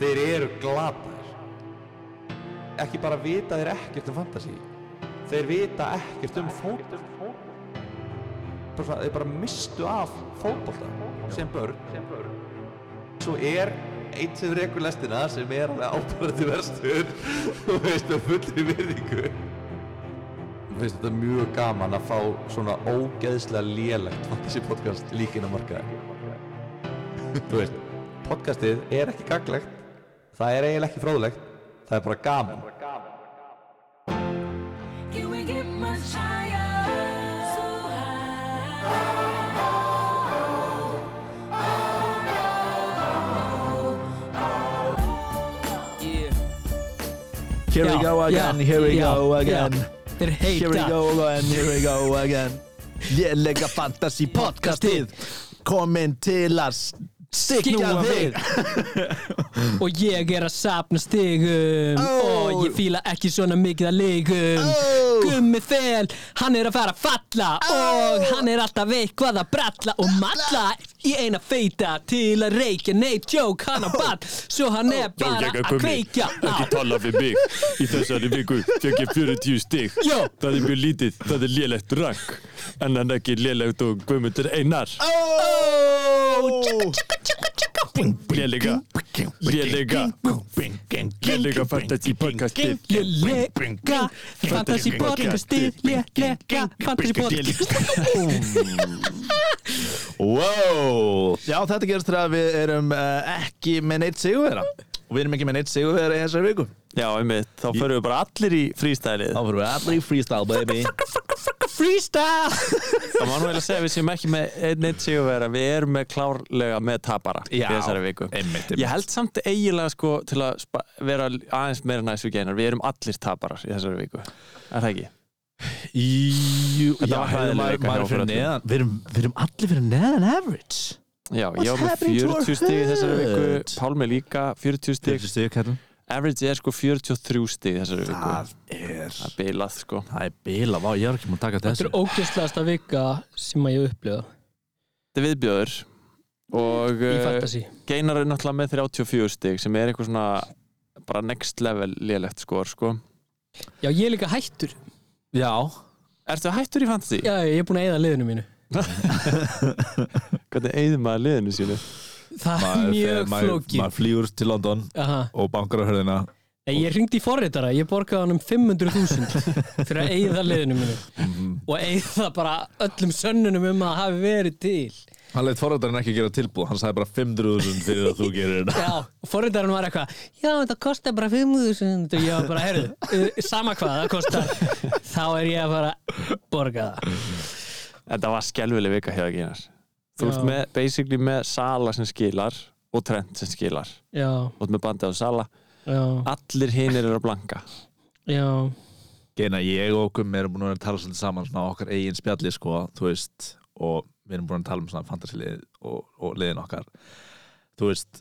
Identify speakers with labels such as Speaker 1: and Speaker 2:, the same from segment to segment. Speaker 1: þeir eru glatar ekki bara vita þeir ekkert um fantasy þeir vita ekkert um fótbolta Bara svona, þeir bara mistu af fótbolta sem börn svo er einn sem rekur lestina sem er alveg ábærandi verstur og veist að fullri virðingu Mér finnst þetta mjög gaman að fá svona ógeðslega lélegt fantasy podcast líkinn að markaði þú veist, podcastið er ekki gaglegt það er eiginlega ekki fróðlegt það er bara gaman
Speaker 2: Can we get much higher? So high.
Speaker 3: Yeah.
Speaker 4: Here we
Speaker 3: Já,
Speaker 4: go again,
Speaker 3: já,
Speaker 4: here we
Speaker 3: já,
Speaker 4: go again
Speaker 3: já. Þeir
Speaker 4: Here we
Speaker 3: heita
Speaker 4: go again, Sko, here we go again Lélega fantasy podcastið Komin til að stikja
Speaker 3: Skikja
Speaker 4: þig
Speaker 3: og ég er að sapna stigum
Speaker 4: Ó.
Speaker 3: og ég fíla ekki svona mikið að ligum
Speaker 4: Ó.
Speaker 3: Gummi fel, hann er að fara að falla og hann er alltaf eitthvað að bralla og malla í eina feita til að reykja neitt joke hann á bad svo hann er bara
Speaker 5: Ég
Speaker 3: að kveikja
Speaker 5: ekki
Speaker 3: á
Speaker 5: tala við mig Í þessari viku fekk ég 40 stig
Speaker 3: Já.
Speaker 5: Það er mjög lítið, það er lélegt rakk En hann er ekki lélegt og guðmundur einar Lélega Lélega Lélega fantasy podcastið
Speaker 3: Lélega fantasy podcastið Lélega fantasy podcastið
Speaker 4: Wow Já, þetta gerist þegar við erum uh, ekki með neitt sigurvera Og við erum ekki með neitt sigurvera í þessari viku
Speaker 6: Já, einmitt, þá förum við bara allir í frístælið
Speaker 4: Þá fyrir við allir í freestyle, baby
Speaker 3: Freestyle
Speaker 6: Það má nú eða segja að við séum ekki með einn eitt sigurvera Við erum með klárlega með tapara í
Speaker 4: Já,
Speaker 6: þessari viku
Speaker 4: einmitt, einmitt.
Speaker 6: Ég held samt eiginlega sko til að spa- vera aðeins meira næs við geinar Við erum allir taparar í þessari viku Er það ekki?
Speaker 4: Jú,
Speaker 6: Þetta
Speaker 4: já,
Speaker 6: var
Speaker 4: hefur
Speaker 6: hræðileg
Speaker 4: maður
Speaker 6: vika hjá
Speaker 4: maður
Speaker 6: okkur
Speaker 4: fyrir
Speaker 6: öllum.
Speaker 4: neðan Við erum, við erum allir fyrir neðan average
Speaker 6: Já,
Speaker 4: What's
Speaker 6: ég var með
Speaker 4: happening to our
Speaker 6: 40 stig í þessari viku
Speaker 4: hood?
Speaker 6: Pálmi líka 40 stig
Speaker 4: Fyrstu stig, Karl
Speaker 6: Average er sko 43 stig í þessari viku
Speaker 4: Það er
Speaker 6: Það er bilað sko
Speaker 4: Það er bila, vá, ég er ekki múin að taka
Speaker 3: Þetta
Speaker 4: þessu
Speaker 3: er ógjörslegasta vika sem að ég upplifa
Speaker 6: Þetta er viðbjöður Og
Speaker 3: í
Speaker 6: eh,
Speaker 3: fantasy
Speaker 6: Geinar er náttúrulega með 34 stig sem er eitthvað svona bara next level lélegt skor sko.
Speaker 3: Já, ég er líka hættur
Speaker 4: Já,
Speaker 6: Ertu hættur í fantasy?
Speaker 3: Já, ég er búin að eyða liðinu mínu
Speaker 6: Hvernig eigðum maður liðinu sínu?
Speaker 3: Það er mjög flókið
Speaker 4: Maður flýur til London
Speaker 3: Aha.
Speaker 4: og bankar á hörðina
Speaker 3: Nei, ég ringdi í forritara, ég borgaði hann um 500.000 fyrir að eyða liðinu mínu
Speaker 4: Mhm.
Speaker 3: og eyða bara öllum sönnunum um að hafi verið til
Speaker 4: Hann leitt forrættarinn ekki gera tilbúð Hann sagði bara 500.000 fyrir að þú gerir þetta
Speaker 3: Já, og forritarinn var eitthvað Já, þetta kostar bara 5.000 og ég var bara, heyrðu, uh, sama hvað það kostar þá er ég að fara að borga það
Speaker 6: Þetta var skelvileg vika hjá Geinar Þú ert
Speaker 3: Já.
Speaker 6: með, basically með Sala sem skilar og Trent sem skilar
Speaker 3: Já,
Speaker 6: Þú ert með bandið á Sala
Speaker 3: já,
Speaker 6: Allir hinir eru að blanka
Speaker 3: já
Speaker 4: Geina, ég og Gummi erum búin að vera að tala svolítið saman svona á okkar eigin spjalli sko, þú veist, og við erum búin að tala um svona fantasilið og, og liðin okkar þú veist,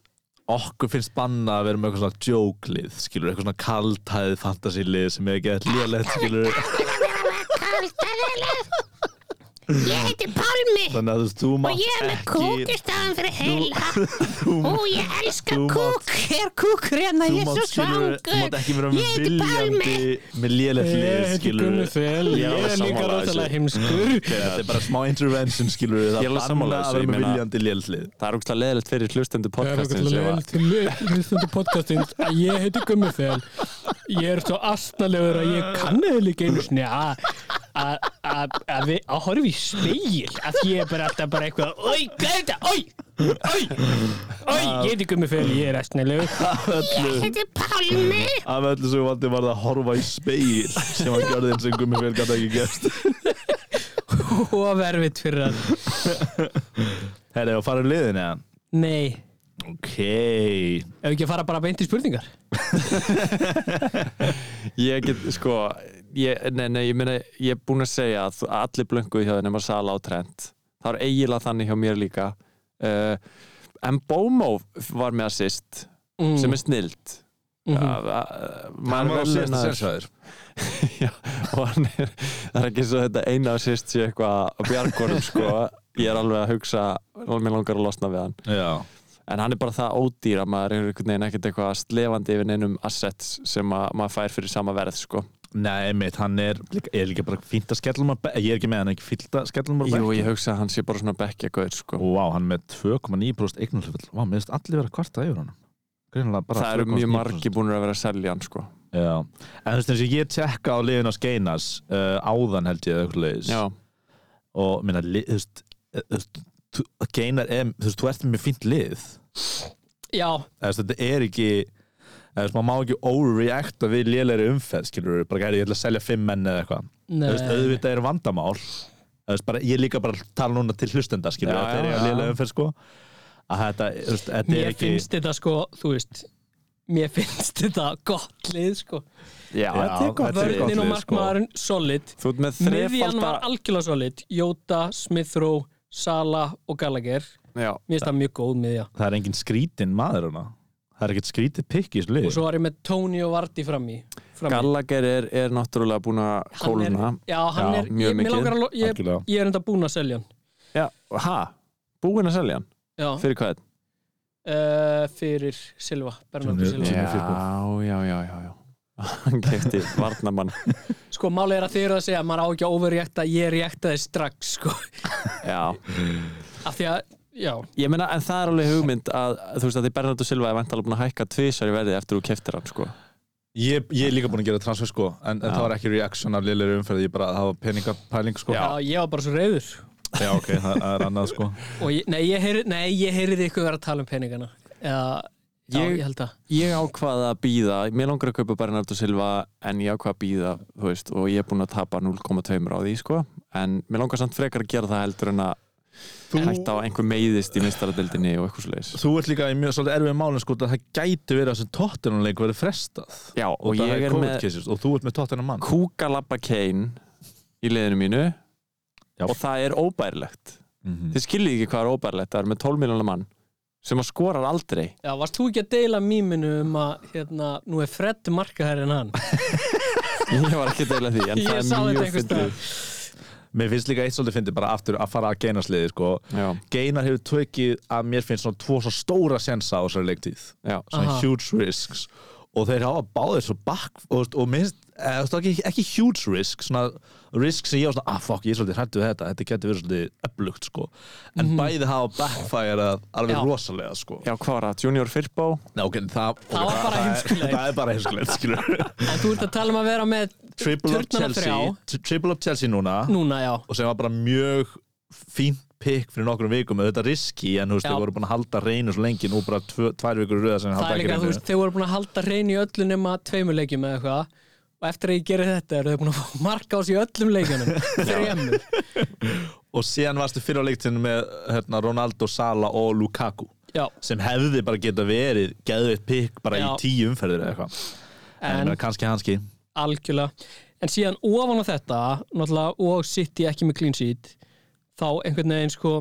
Speaker 4: okkur finnst banna að vera með eitthvað svona jóklið skilur, eitthvað svona kaltæð fantasilið sem er gett lélegt skilur
Speaker 7: Ég heiti Pálmi
Speaker 4: þannig að þú veist, þú
Speaker 7: og
Speaker 4: mátt
Speaker 7: ég er með kúk í staðan fyrir heila og ég elska
Speaker 4: þú mátt-
Speaker 7: kúk er kúk reyna, ég
Speaker 4: Þú
Speaker 7: er
Speaker 4: mátt
Speaker 7: svo
Speaker 4: skilur, þú mátt
Speaker 7: svangur
Speaker 4: ekki vera
Speaker 7: Ég
Speaker 4: með
Speaker 7: heiti
Speaker 4: viljandi með lélegt
Speaker 3: Eh,
Speaker 4: lið skilur
Speaker 3: Fel,
Speaker 6: ég er líka rosalega
Speaker 3: heimskur
Speaker 4: þetta er bara smá intervention skilur
Speaker 6: Ég er
Speaker 4: það
Speaker 6: alveg
Speaker 4: banna
Speaker 6: sammála
Speaker 4: að
Speaker 6: þessu,
Speaker 4: vera
Speaker 6: ég
Speaker 4: með
Speaker 6: meina-
Speaker 4: viljandi lélegt lið
Speaker 6: Það er ógstlega leðilegt fyrir hlustendur
Speaker 3: Það er okkur
Speaker 6: podcastin sem
Speaker 3: leil
Speaker 6: að
Speaker 3: til hlustundu podcastins að ég heiti Gummifel ég er svo astnalegur að ég kannaði líka einu sinni að að- að að við- að horfa í speil að ég er bara alltaf bara eitthvað Oi, hvað er þetta? Oi, oi, oi Ég heiti Gummifel, ég er astnalegur
Speaker 4: öllu
Speaker 7: Ég heiti Pálmi
Speaker 4: af öllu sem valdi var það að horfa í speil sem hann gjörði eins og gummi fyrir gæti ekki gerst
Speaker 3: og verfið fyrir að
Speaker 4: Herri, og farum um liðin eða?
Speaker 3: Nei,
Speaker 4: Ok
Speaker 3: ef ekki að fara bara beint í spurningar
Speaker 6: Ég get, sko ég, Nei, nei, ég meina, ég er búin að segja að þú- allir blönguð hjá þeir nema um Sala og Trent Það var eiginlega þannig hjá mér líka uh, En Bomo var með assist
Speaker 3: Mm. Mhm.
Speaker 6: sem er snilt mm -hmm.
Speaker 4: Hann var á síðasta sérsvæður
Speaker 6: Já, og hann er, það er ekki svo þetta eina assist sé eitthvað á bjargórum sko ég er alveg að hugsa, alveg langar að losna við hann
Speaker 4: Já
Speaker 6: en hann er bara það ódýr að maður er einhvern veginn ekkert eitthvað slefandi yfir neinum assets sem að maður fær fyrir sama verð sko.
Speaker 4: Nei, einmitt, hann er, líka- er líka bara fínt að skellum að ég er ekki með hann, ekki fínt að skellum að
Speaker 6: Jú, ég hugsa að hann sé bara svona bekkja gauð sko.
Speaker 4: Vá, hann er með 2,9% eignarhlufull Vá, mér finnst allir vera kvarta yfir honum Greinilega bara
Speaker 6: það eru
Speaker 4: 2,9%.
Speaker 6: mjög margi búin að vera að selja hann sko.
Speaker 4: Já, en þú veist eins og ég tekka á liðin á Skeinas uh, áðan held ég eða eitthvað leiðis
Speaker 6: Já,
Speaker 4: og minna, lið, þú veist, eh, þú veist þú- Skeinar, er, þú veist, þú ert með fínt lið
Speaker 3: já,
Speaker 4: Eða, þú veist, þetta er ekki eða, þú veist, maður má ekki overreacta við lélæri umferð skilur við, bara gæri ég ætla að selja fimm menn eða eitthvað
Speaker 3: nei,
Speaker 4: Þú veist, auðvitað er vandamál Þú veist, bara, ég er líka bara að tala núna til hlustenda skilur
Speaker 6: Já,
Speaker 4: við, þegar
Speaker 6: já,
Speaker 4: ég er
Speaker 6: já.
Speaker 4: lélæri umferð sko að þetta, þú veist, þetta
Speaker 3: mér
Speaker 4: er ekki
Speaker 3: finnst þetta sko, þú veist mér finnst þetta gott lið sko
Speaker 6: já,
Speaker 4: Já,
Speaker 6: þetta er gott
Speaker 4: þetta er
Speaker 6: lið.
Speaker 4: gott.
Speaker 3: vörnin og
Speaker 4: lið, sko.
Speaker 3: markmaðurinn solid
Speaker 6: Þú ert með
Speaker 3: miðjan
Speaker 6: þrefalda
Speaker 3: var algjörlega solid Jóta, Smithrow, Sala og Gallagher
Speaker 6: Já,
Speaker 3: mér finnst það mjög góð miðja
Speaker 4: það er engin skrítin maður hana. það er ekkert skrítið pikk í þessu lið
Speaker 3: og svo var ég með Tony og Vardy fram í fram í.
Speaker 6: Gallagher er, er náttúrulega búin að
Speaker 3: Hann er-
Speaker 6: kólna
Speaker 3: já, hann
Speaker 6: Já,
Speaker 3: er,
Speaker 6: mjög
Speaker 3: ég, mig
Speaker 6: mikið,
Speaker 3: langar að lo- ég,
Speaker 4: algjörlega.
Speaker 3: ég er enda búinn að selja hann
Speaker 6: Já, ha? Búin að selja hann?
Speaker 3: já,
Speaker 6: Fyrir hvað?
Speaker 3: uh, fyrir Silva, Bernardo
Speaker 4: Sem er-
Speaker 3: Silva
Speaker 4: sem er-
Speaker 6: já, já, já, já Hann kefti varnamann
Speaker 3: sko málið er að þið eru að segja að maður á ekki að overreakta ég reaktaði strax sko
Speaker 6: Já,
Speaker 3: af því að, já,
Speaker 6: ég meina, en það er alveg hugmynd að, þú veist, að því Bernardo Silva er vantalega búin að hækka tvisar í verði eftir þú keftir hann, sko
Speaker 4: ég, ég er líka búin að gera transfer sko en, en
Speaker 6: Já.
Speaker 4: það var ekki reaction af lélæri umferð ég bara hafa peningapæling sko
Speaker 3: já, ég var bara svo reyður
Speaker 4: Já, ok, það það er annað sko
Speaker 3: og ég, nei, ég heyri, nei, ég heyriði ykkur vera að tala um peningana já, já,
Speaker 6: Ég-
Speaker 3: ég, held að
Speaker 6: Ég ákvaða að býða, mér langar að kaupa Bernardo Silva en ég ákvaða að býða, þú veist og ég er búin að tapa 0,2 á því, sko en mér langar samt frekar að gera það heldur en að hætta á einhver meiðist í mistaradildinni og eitthvað svoleiðis
Speaker 4: Þú ert líka í mjög svolítið erfið málum sko það gæti verið að þessum tóttunumleik verið frestað
Speaker 6: Já, og
Speaker 4: og, það
Speaker 6: ég
Speaker 4: er
Speaker 6: er
Speaker 4: COVID
Speaker 6: með
Speaker 4: cases og þú ert með tóttunum mann
Speaker 6: kúkalabba Kane í liðinu mínu
Speaker 4: Já.
Speaker 6: og það er óbærilegt
Speaker 4: Mhm.
Speaker 6: þið skiljið ekki hvað er óbærilegt það er með 12 miljónar mann sem að skorar aldrei
Speaker 3: já, varst þú ekki að deila mýminu um að hérna, nú er Fred markaherr en hann
Speaker 6: ég var ekki að deila því en
Speaker 3: ég sá
Speaker 6: það er
Speaker 3: þetta
Speaker 6: mjög
Speaker 3: einhvers
Speaker 6: fyndið
Speaker 3: stað
Speaker 4: Mér finnst líka eitt svolítið fyndið bara aftur að fara að geinasliði sko
Speaker 6: já,
Speaker 4: Geinar hefur tökið að mér finnst svona tvo svo stóra sensa á þessari leiktíð
Speaker 6: já,
Speaker 4: svona
Speaker 3: Aha.
Speaker 4: huge risks og þeir hafa báðir svo bakk og, og minnst, eða, þú veist, ekki, ekki huge risk svona risk sem ég var svona ah fuck, ég er svolítið hrættu við þetta, þetta getur verið svolítið öflugt sko, en bæði hafa backfire alveg
Speaker 3: Mhm. Já.
Speaker 4: rosalega sko
Speaker 6: já hvað var það, Junior Firpo
Speaker 4: Nei, ok, en það, okay,
Speaker 3: var bara
Speaker 4: er-
Speaker 3: heimskulegt.
Speaker 4: það er bara heimskulegt skilur.
Speaker 3: en þú ert að tala um að vera með
Speaker 4: triple up
Speaker 3: Turnana
Speaker 4: Chelsea
Speaker 3: þrjá.
Speaker 4: tri- triple up Chelsea núna
Speaker 3: núna, já
Speaker 4: og sem var bara mjög fínt pikk fyrir nokkrum vikum með þetta riski en þú veist,
Speaker 3: Já.
Speaker 4: þau voru búin að halda reynu svo lengi nú bara tvö, tvær vikur í röða sem þeir
Speaker 3: það
Speaker 4: halda
Speaker 3: er
Speaker 4: ekki
Speaker 3: líka,
Speaker 4: hreinu.
Speaker 3: þú veist, þeir voru búin að halda hrein í öllu nema tveimur leikjum eða eitthvað og eftir að ég geri þetta eru þeir búin að fá marka á sig í öllum leikjunum þremur,
Speaker 4: og síðan varstu fyrir á leiktinu með hérna, Ronaldo, Sala og Lukaku
Speaker 3: já
Speaker 4: sem hefði bara geta verið geðveitt pikk bara
Speaker 3: Já.
Speaker 4: í tíu umferðir eða eitthvað en,
Speaker 3: en
Speaker 4: en kannski hanski
Speaker 3: algjörlega, en síðan ofan á þetta náttúrulega og sitt ég ekki með clean sheet þá einhvern veginn sko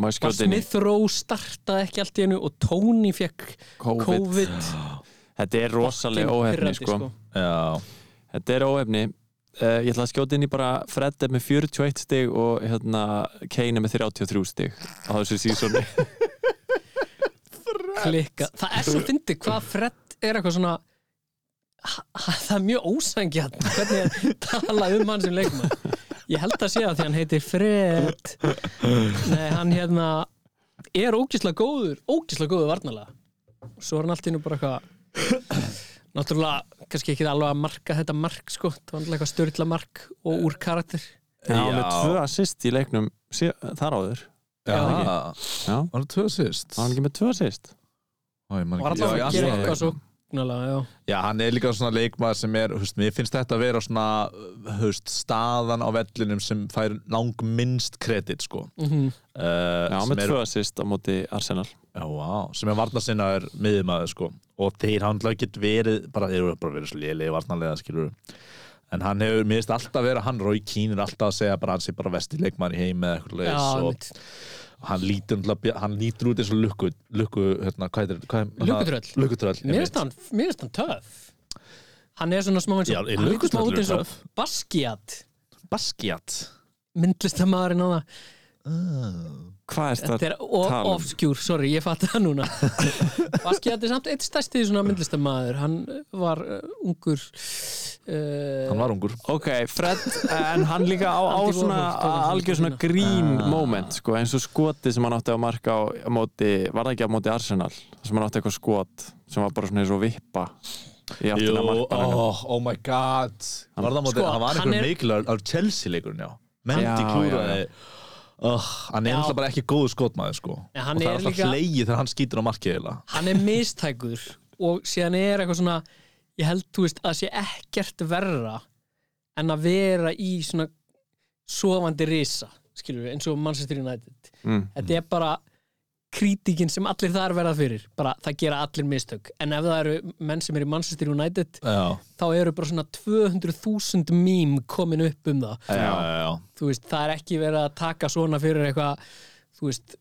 Speaker 6: má ég
Speaker 3: var
Speaker 6: skjóta inn í
Speaker 3: Smith Rowe startaði ekki allt í hennu og Tony fekk
Speaker 6: COVID.
Speaker 3: COVID
Speaker 6: þetta er rosalega óhefni
Speaker 3: Pirrandi,
Speaker 6: sko.
Speaker 4: já,
Speaker 6: þetta er óhefni uh, ég ætla að skjóta inn í bara Fred er með 41 stig og hérna, Kane er með 33 stig á þessu sísoni
Speaker 3: klikka, það er svo fyndið hvað Fred er eitthvað svona ha- ha- það er mjög ósangjarn hvernig er talað um hann sem leikmann ég held að sé það því hann heitir Fred nei hann hérna er ógislega góður ógislega góður varnalega svo er hann allt í nú bara eitthvað náttúrulega kannski ekki alveg að marka þetta mark sko, það var náttúrulega eitthvað störtla mark og úr karakter
Speaker 6: já, hann er
Speaker 4: Já.
Speaker 6: tvö assist í leiknum sí, þar áður
Speaker 4: já,
Speaker 6: ekki. Já.
Speaker 4: var það tvö sýst
Speaker 6: var hann ekki með tvö assist
Speaker 3: var alltaf að gera eitthvað svo já,
Speaker 4: já, hann er líka svona leikmaður sem er hufst, mér finnst þetta að vera svona hufst, staðan á vellinum sem fær langminnst kredit sko
Speaker 3: mm -hmm.
Speaker 4: uh,
Speaker 6: já,
Speaker 4: sem
Speaker 6: með
Speaker 4: er
Speaker 6: tvö assist á móti Arsenal
Speaker 4: Já, vá, sem er varnasinnaður miðumæður sko og þeir hann get verið bara, þeir eru bara verið svo lélega varnarlega skilur en hann hefur, mér finnst alltaf verið að hann Rói Kín er alltaf að segja bara hann sé bara vesti leikmaður í heim eða eitthvað
Speaker 3: já,
Speaker 4: leis og
Speaker 3: mitt.
Speaker 4: hann lítur, náttúrulega bj- hann lítur út eins og lukku, lukku hérna, hvað heitir hvað, er-
Speaker 3: Lukkutröll.
Speaker 4: hann- Lukkutröll,
Speaker 3: Mér finnst hann, mér finnst hann töf Hann er svona smá eins
Speaker 4: Já,
Speaker 3: og
Speaker 4: er
Speaker 3: Hann lítur smá
Speaker 4: Lukkutröllur
Speaker 3: út eins og
Speaker 4: töff?
Speaker 3: Baskiat
Speaker 4: Baskiat
Speaker 3: Myndlistamæðurinn á það
Speaker 6: Hvað er þetta?
Speaker 3: Þetta er o-
Speaker 6: tala um-
Speaker 3: obscure, sorry, ég fatt það núna Vaski þetta er samt eitt stærsti svona myndlistamæður, hann var uh, ungur uh,
Speaker 4: hann var ungur
Speaker 6: Ok, Fred, en hann líka á, á
Speaker 3: Andy
Speaker 6: svona
Speaker 3: Warhol tók hann Ah.
Speaker 6: algjör svona
Speaker 3: svona
Speaker 6: grín moment sko, eins og skoti sem hann átti að marka á, á móti, var það ekki á móti Arsenal sem hann átti eitthvað skot sem var bara svona eins og vippa í aftina
Speaker 4: Jú,
Speaker 6: markmanninum
Speaker 4: oh, oh my god var það, móti,
Speaker 3: Sko,
Speaker 4: hann var
Speaker 3: hann
Speaker 4: einhver
Speaker 3: er-
Speaker 4: mikilvæg á Chelsea leikurinn já
Speaker 6: Já,
Speaker 4: Mendy
Speaker 6: já,
Speaker 4: klúraði oh, hann er
Speaker 3: Já.
Speaker 4: alltaf bara ekki góðu skotmaður sko. og
Speaker 3: Nei, hann
Speaker 4: það er
Speaker 3: er
Speaker 4: alltaf
Speaker 3: líka-
Speaker 4: hlegið þegar hann skýtur á markið eiginlega.
Speaker 3: hann er mistækur og síðan er eitthvað svona ég held, þú veist, að sé ekkert verra en að vera í svona sofandi risa skilur við, eins og Manchester United
Speaker 6: Mm.
Speaker 3: þetta er bara krítikinn sem allir þar verða fyrir bara það gera allir mistök en ef það eru menn sem eru í Manchester United
Speaker 4: já,
Speaker 3: þá eru bara svona 200.000 mím komin upp um það
Speaker 4: já, já, já.
Speaker 3: þú veist, það er ekki verið að taka svona fyrir eitthvað, þú veist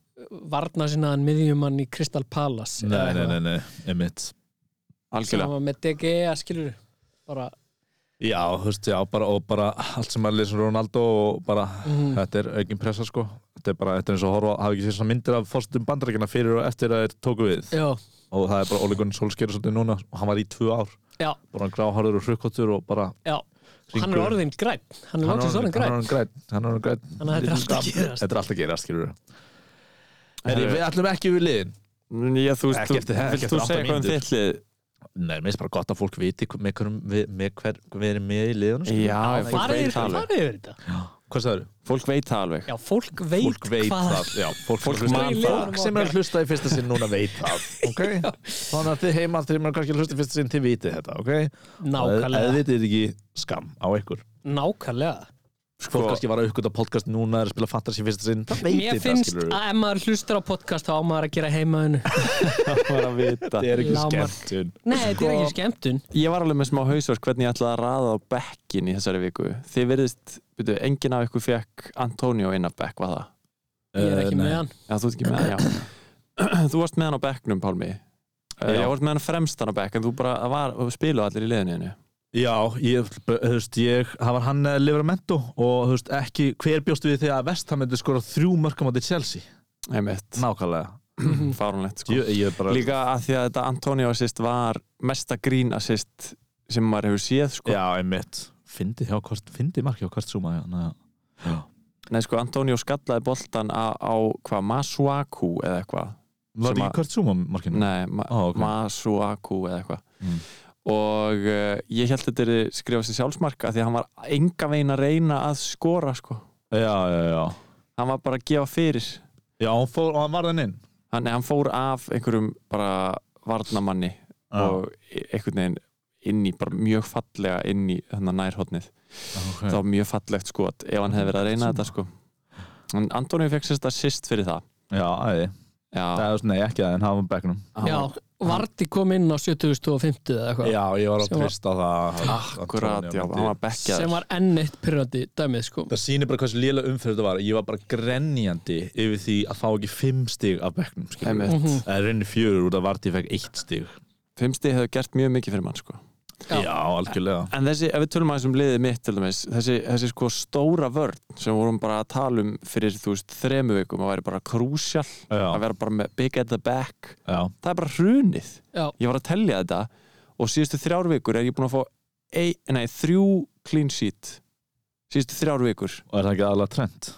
Speaker 3: varna sinnaðan miðjumann í Crystal Palace
Speaker 4: nei, nei, nei, nei, emitt
Speaker 6: algjörlega
Speaker 3: sama með DG skilur bara,
Speaker 4: já, þú veist, já, bara, og bara allt sem er leysum Ronaldo og bara
Speaker 3: Mhm.
Speaker 4: þetta er aukin pressa sko þetta er bara, þetta er eins og að horfa, hafa ekki séð svona myndir af fórstum bandarækina fyrir og eftir að þeir tóku við
Speaker 3: já,
Speaker 4: og það er bara Ole Gunnar Solskjær svolítið núna og hann var í tvö ár
Speaker 3: já,
Speaker 4: bara gráharður og hrukkotur og bara
Speaker 3: já hann er
Speaker 4: Hringur.
Speaker 3: orðin græn, hann er
Speaker 4: hann
Speaker 3: lóksins orðin græn
Speaker 4: er græn hann er græn
Speaker 3: Þannig að þetta er allt að gerast.
Speaker 4: þetta er alltaf gerast skilur Heri, við ætlum ekki við liðin
Speaker 6: Já, þú veist,
Speaker 4: Ekki eftir-
Speaker 6: þú,
Speaker 4: ekki
Speaker 6: vilt
Speaker 4: eftir
Speaker 6: þú
Speaker 4: átta
Speaker 6: segja eitthvað um
Speaker 4: mínútur.
Speaker 6: þitt lið?
Speaker 4: Nei, mér finnst bara gott að fólk viti hver- með, hverjum við- með hver við erum með í sko. liðinu skilurðu.
Speaker 6: Já, fólk
Speaker 3: farið
Speaker 6: veit
Speaker 3: yfir
Speaker 6: það alveg
Speaker 3: farið yfir þetta
Speaker 4: Hvað sagður?
Speaker 6: Fólk veit það alveg
Speaker 3: já, fólk veit,
Speaker 4: Fólk veit
Speaker 3: hvað
Speaker 4: það Já, fólk,
Speaker 6: Fólk
Speaker 4: hlusta-
Speaker 6: man
Speaker 4: fólk
Speaker 3: það.
Speaker 4: sem er að hlusta í fyrsta sinn núna veit það Ok? Þannig að þið heima þegar maður kannski að hlusta í fyrsta sinn þið vitið þetta, ok? Eða
Speaker 3: nákvæmlega,
Speaker 4: þið er ekki skam á ykkur
Speaker 3: nákvæmlega
Speaker 6: Sko,
Speaker 4: Fólk kannski var að aukvita podcast núna er að spila fattar sér fyrsta sinn Það veitir
Speaker 3: mér
Speaker 4: það,
Speaker 3: finnst
Speaker 4: skilur
Speaker 3: að ef maður hlustar á podcast þá á maður að gera heimaðinu
Speaker 6: Það var að vita
Speaker 4: Það er ekki
Speaker 3: lágmark.
Speaker 4: skemmtun
Speaker 3: nei, þetta er ekki skemmtun
Speaker 6: Ég var alveg með smá hausverk hvernig ég ætlaði að raða á bekkin í þessari viku Þið verðist, byrju, enginn af ykkur fekk Antonio inn af bekk, var það?
Speaker 3: ég er
Speaker 4: Eh,
Speaker 3: ekki
Speaker 4: nei.
Speaker 3: með hann
Speaker 6: Já, þú ert ekki með hann, já Þú varst með hann á bekknum, Pálmi Já.
Speaker 4: Já.
Speaker 6: Ég varst með hann fremstan á bekk en þú bara það var, spilu allir í liðinu þínu.
Speaker 4: Já, ég, þú veist, ég, það var hann eh, Livramento og þú veist, ekki, hver bjóst við því að Vestham myndi skora þrjú mörgum á til Chelsea?
Speaker 6: Einmitt,
Speaker 4: Nákvæmlega.
Speaker 6: fárunlegt sko.
Speaker 4: Ég, ég bara,
Speaker 6: Líka að því að þetta Antonio assist var mesta grín assist sem maður hefur séð sko.
Speaker 4: já, einmitt. Fyndi hjá hvort, fyndi marki hjá hvort súma, já, na, já.
Speaker 6: Nei, sko, Antonio skallaði boltan á, á hvað, Masuaku eða eitthvað
Speaker 4: Var
Speaker 6: Sem
Speaker 4: ekki
Speaker 6: að-
Speaker 4: hvort súma markinu?
Speaker 6: Nei, ma
Speaker 4: Ó, Ah, ok.
Speaker 6: Masuaku eða eitthvað
Speaker 4: Mm.
Speaker 6: og uh, ég held þetta er skrifað sér sjálfsmark að því að hann var enga vegin að reyna að skora sko.
Speaker 4: Já, já, já.
Speaker 6: hann var bara að gefa fyrir
Speaker 4: Já, hann fór, og hann var þenn inn.
Speaker 6: hann, hann fór af einhverjum bara varnamanni
Speaker 4: Já,
Speaker 6: og e- einhvern veginn inn í, bara mjög fallega inn í þannig nærhóttnið,
Speaker 4: ok.
Speaker 6: það var mjög fallegt skot ef hann hefði verið að reyna þetta sko en Antoni fekk sérst að sýst fyrir það
Speaker 4: Já, æði. Það
Speaker 6: já,
Speaker 4: er, nei, ekki það, en hann var begnum.
Speaker 6: hann
Speaker 3: já,
Speaker 6: var
Speaker 3: Varti kom inn á 7050 eða eitthvað
Speaker 4: Já, ég var
Speaker 3: Sem var-
Speaker 4: treysta á það.
Speaker 6: akkurat, já, hann var bekkjað
Speaker 3: sem var enn eitt pyrrandi dæmið sko
Speaker 4: Það sýnir bara hversu lélega umferð þetta var. Ég var bara grenjandi yfir því að fá ekki fimm stig af bekknum, skilur.
Speaker 3: Mhm.
Speaker 6: Einmitt.
Speaker 4: Það er reynir fjögur út af Vardí fekk eitt stig
Speaker 6: fimmsti hefur gert mjög mikið fyrir mann sko
Speaker 3: Já.
Speaker 4: algjörlega
Speaker 6: en þessi, ef við tölum aðeins um liðið mitt til dæmis, þessi, þessi sko stóra vörn sem vorum bara að tala um fyrir þú veist þremu vikum, að væri bara krúsjál að
Speaker 4: Já,
Speaker 6: vera bara með big at the back
Speaker 4: já,
Speaker 6: það er bara hrunið
Speaker 3: Já.
Speaker 6: ég var að tellja þetta og síðustu þrjár vikur er ég búin að fá ein, nei, þrjú clean sheet síðustu þrjár vikur
Speaker 4: og er það ekki aðalega trend?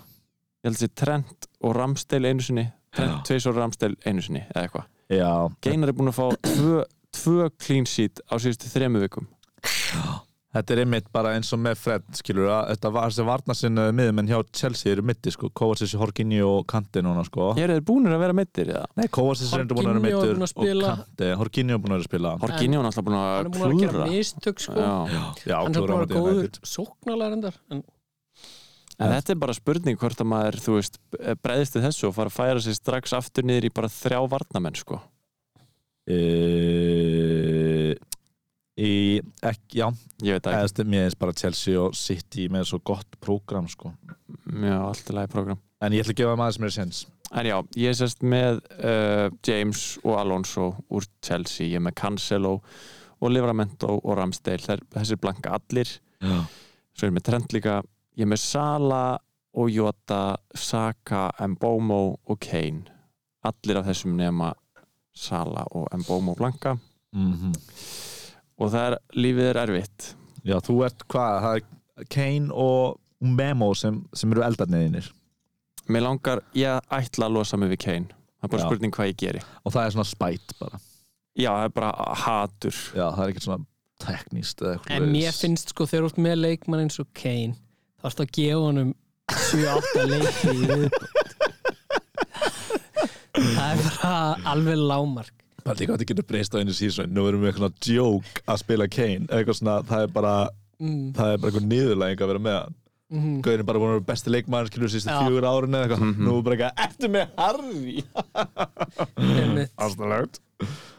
Speaker 6: ég held að sé Trent og Ramstel einu sinni Trent tveis og Ramstel einu sinni eða eitthvað
Speaker 4: Já,
Speaker 6: Geinar er búin að fá tvö, tvö clean sheet á síðustu þremu vikum
Speaker 4: þetta er einmitt bara eins og með Fred skilur að þetta var þessi varnasinn miðum en hjá Chelsea eru mitti sko Kovacic, Horginni og Kante núna sko
Speaker 6: ég er búinir að vera meittir eða
Speaker 4: Nei, Kovacic er endur búin að vera
Speaker 3: Jorginho
Speaker 4: mittur
Speaker 3: er búinn að
Speaker 4: og
Speaker 3: spila.
Speaker 4: Kante, Horginni er búin að vera að spila
Speaker 6: Horginni var náttúrulega búin
Speaker 3: hann
Speaker 6: að
Speaker 3: er búin að gera
Speaker 6: klúra
Speaker 3: mistök sko
Speaker 6: Já.
Speaker 4: Já,
Speaker 3: hann er
Speaker 4: klúðra
Speaker 3: bara
Speaker 4: móti
Speaker 3: góður
Speaker 4: United.
Speaker 3: sóknalærendar en
Speaker 6: en þetta er bara spurning hvort að maður þú veist, bregðist til þessu og fara að færa sér strax aftur niður í bara þrjá varnamenn sko.
Speaker 4: Eh, Í, ekki, já,
Speaker 6: ég veit að
Speaker 4: eðst, mér finnst bara Chelsea og City með svo gott prógram sko
Speaker 6: Já, allt í lagi program
Speaker 4: En ég ætla að gefa þeim aðeins mér séns
Speaker 6: En já, ég er sérst með uh, James og Alonso úr Chelsea ég er með Cancelo og Livramento og Ramsdale, Þær, þessir blanka allir
Speaker 4: Já
Speaker 6: svo er ég með Trent líka ég er með Sala og Jota, Saka, Mbomo og Kane allir af þessum nema Sala og Mbomo Blanka
Speaker 4: Mhm.
Speaker 6: og það er, lífið er erfitt
Speaker 4: Já, þú ert hvað, það er Kane og Memo sem, sem eru eldarniðinir
Speaker 6: Mér langar, ég ætla að losa mig við Kane það er bara
Speaker 4: Já.
Speaker 6: spurning hvað ég geri
Speaker 4: og það er svona spæt bara
Speaker 6: Já, það er bara hatur
Speaker 4: Já, það er ekkert svona tekníst eða eitthvað
Speaker 3: En mér
Speaker 4: svoleiðis.
Speaker 3: finnst sko þegar þú ert með leikmann eins og Kane þá ertu að gefa honum 7-8 leiki í viðbót Það er bara alveg lámark
Speaker 4: Bara líka að þetta getur breyst á einu sísun Nú erum við eitthvað joke að spila Kane eitthvað svona, það er bara
Speaker 3: mm,
Speaker 4: það er bara eitthvað niðurlæging að vera með hann
Speaker 3: mm.
Speaker 4: Gauðin er bara búin að vera besti leikmann skilur sýstu
Speaker 3: Já.
Speaker 4: fjögur árinu eða eitthvað Nú er bara eitthvað, ertu með Harry?
Speaker 3: einmitt.
Speaker 4: Ástæðlegt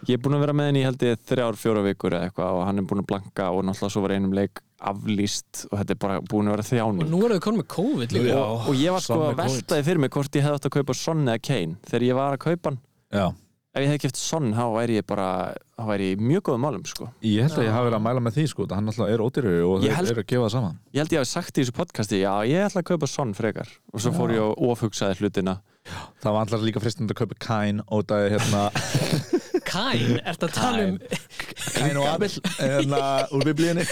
Speaker 6: Ég er búin að vera með henni, ég held ég, þrjár, fjóra vikur eða eitthvað og hann er búin að blanka og náttúrulega svo var einum leik aflýst og þetta er bara búin að vera
Speaker 3: Og
Speaker 6: þjáning
Speaker 3: nú erum við konum með COVID líka
Speaker 4: Já,
Speaker 6: og, og ég var sko
Speaker 4: Son
Speaker 6: að
Speaker 4: með COVID.
Speaker 6: veltaði fyrir mig hvort ég hefði átt að kaupa Son eða Kane þegar ég var að kaupa hann
Speaker 4: Já,
Speaker 6: ef ég hefði keft Son þá væri ég bara þá væri ég í mjög góðum málum sko
Speaker 4: ég held að ég hafi verið að mæla með því sko þetta hann alltaf er ódýrur og
Speaker 6: Ég
Speaker 4: þeir
Speaker 6: held-
Speaker 4: eru að gefa það saman
Speaker 6: ég held ég hafi sagt í þessu podcasti já ég ætla að kaupa Son frekar og svo fór ég og ofhugsaði hlutina
Speaker 4: Það var alltaf líka fristandi að kaupa Kine og það er hérna
Speaker 3: Kane, ertu að tala um
Speaker 4: Kine og Abel hérna úr biblíunni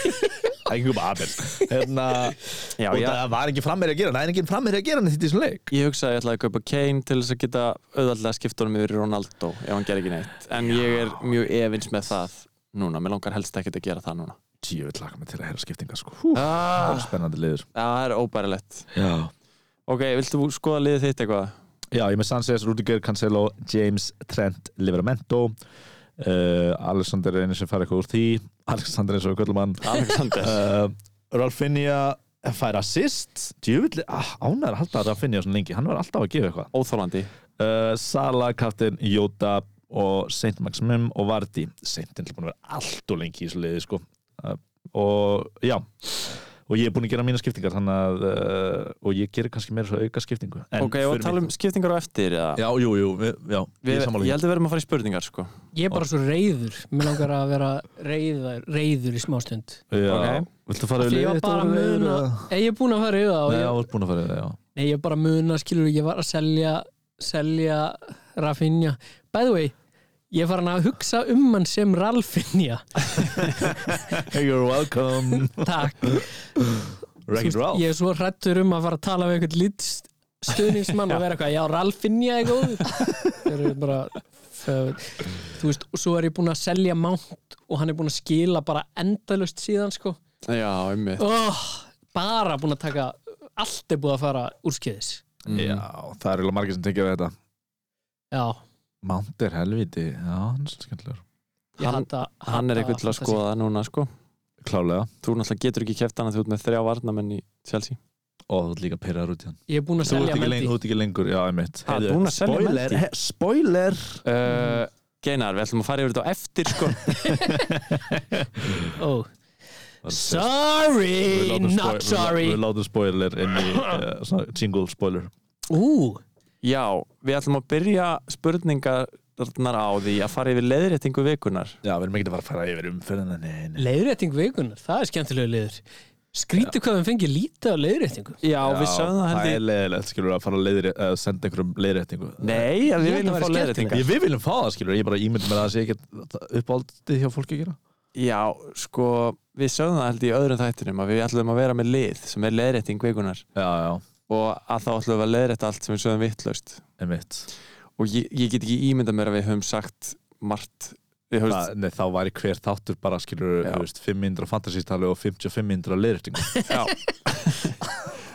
Speaker 4: ekki um Abel hérna
Speaker 6: já
Speaker 4: og
Speaker 6: ég,
Speaker 4: það var ekki frammeiri að gera það er ekki frammeiri að gera hann í þessum leik
Speaker 6: ég hugsaði ég ætlaði að kaupa Kane til þess að geta auðvaldlega skipta honum yfir í Ronaldo ef hann ger ekki neitt en ég er mjög efins með það núna, mér langar helst ekki að gera það núna
Speaker 4: Tíu vil laka mig til að heyra skiptinga sko Hú, það
Speaker 6: ah,
Speaker 4: er spennandi liður
Speaker 6: það er óbærilegt
Speaker 4: Já
Speaker 6: ok, viltu skoða liðið þitt eitthvað?
Speaker 4: Já, ég er með Sanchez, Rudiger, Cancelo, James, Trent, Liveramento uh, Alexander er einu sem fær eitthvað úr því Alexander eins og Köllumann
Speaker 6: Alexander
Speaker 4: uh, Ralfinha fær assist Djöfull, ah, ánæður að halda að Ralfinha svona lengi, hann var alltaf að gefa eitthvað
Speaker 6: óþólandi
Speaker 4: uh, Sala, Kapten, Jóta og Saint Maximum og Vardy Saint er búin að vera allt og lengi í þessu liði sko. uh, og já og ég er búin að gera mína skiptingar þannig að uh, og ég gerir kannski meira svo auka skiptingu En
Speaker 6: ok, og
Speaker 4: fyrir
Speaker 6: tala
Speaker 4: mig-
Speaker 6: um skiptingar á eftir eða?
Speaker 4: Já, jú, jú, við, já,
Speaker 6: Við,
Speaker 4: ég er sammála
Speaker 6: ég held að við verðum að fara í spurningar sko.
Speaker 3: Ég er bara svo reyður Mér langar að vera reyður, reyður í smástund
Speaker 4: Já,
Speaker 6: ok.
Speaker 4: viltu fara yfir
Speaker 3: Því ég var
Speaker 4: liðið
Speaker 3: bara að
Speaker 4: þetta yfir
Speaker 3: muna
Speaker 4: eða?
Speaker 3: Ég er búin að fara yfir það
Speaker 4: Nei,
Speaker 3: og
Speaker 4: já,
Speaker 3: ég,
Speaker 4: þú ert búin að fara yfir það, já
Speaker 3: Nei, ég er bara að muna, skilur Ég var að selja, selja Rafinha By the way, ég er farin að hugsa um hann sem Ralfinha
Speaker 4: You're welcome
Speaker 3: Takk
Speaker 4: Wreck it
Speaker 3: Þú veist,
Speaker 4: Ralph
Speaker 3: Ég er svo hrættur um að fara að tala við einhvern lítst stuðningsmann og vera eitthvað, já, Ralfinja er góð þeir eru bara þau- þú veist, og svo er ég búin að selja Mount og hann er búin að skila bara endalust síðan, sko
Speaker 6: já, einmitt
Speaker 3: oh, bara búin að taka allt er búið að fara úrskeiðis
Speaker 6: Mm.
Speaker 4: Já, það eru eiginlega margir sem tekja við þetta
Speaker 3: já,
Speaker 4: Mount er helviti, já, hann er skemmtilegur
Speaker 3: ég
Speaker 6: Hann-
Speaker 3: hata
Speaker 6: hann er
Speaker 3: hata-
Speaker 6: eitthvað til að
Speaker 3: hata sig.
Speaker 6: skoða núna sko.
Speaker 4: Klálega,
Speaker 6: þú náttúrulega getur ekki kæft hann að þú ert með þrjá varnamenn í Chelsea
Speaker 4: og þú ert líka pyrraður út í hann
Speaker 3: ég er búin að
Speaker 4: Þú ert
Speaker 3: selja
Speaker 4: ekki, leng,
Speaker 3: Mendy
Speaker 4: þú ert ekki lengur, já, einmitt
Speaker 6: Ha,
Speaker 4: Heyrðu,
Speaker 6: búin að selja
Speaker 4: spoiler,
Speaker 6: Mendy?
Speaker 4: he- Spoiler
Speaker 6: uh, Geinar, við ætlum að fara yfir þetta á eftir sko.
Speaker 3: oh.
Speaker 4: Við
Speaker 3: sorry,
Speaker 4: látum spoil-
Speaker 3: not
Speaker 4: við-
Speaker 3: sorry
Speaker 4: Við látum spoiler inn í uh, svona single spoiler
Speaker 3: ú,
Speaker 6: já, við ætlum að byrja spurningarnar á því að fara yfir leðréttingu vikunar
Speaker 4: Já, við erum ekki að fara að fara yfir umferðina nei, nei.
Speaker 3: leiðrétting vikunar það er skemmtilegu leiður skrítið hvað við fengið lítið á leiðréttingu
Speaker 6: já, við sögum það held
Speaker 4: Það
Speaker 6: ég
Speaker 4: er leiðilegt, skilur, að fara að leiðri, uh, senda einhverjum leiðréttingu
Speaker 6: nei, að
Speaker 3: Ég
Speaker 6: við
Speaker 3: held að
Speaker 6: viljum
Speaker 3: væri
Speaker 6: fá leiðréttingar
Speaker 4: Ég, við viljum fá það, skilur, ég bara ímynd mér að það sé ekki uppáldið hjá fólki að gera
Speaker 6: já, sko, við sögum það held ég í öðrum þættinum að við ætlum að vera með lið sem er leðrétting vikunar
Speaker 4: Já, já,
Speaker 6: og að þá ætlum við að leiðrétta allt sem við sögum vittlaust
Speaker 4: einmitt
Speaker 6: og ég, ég get ekki ímyndað mér að við höfum sagt margt við höfum,
Speaker 4: Þa, nei, Þá væri hver þáttur bara, skilur,
Speaker 6: Já.
Speaker 4: þú veist, 500 fantasístali og 5500 leiðréttingu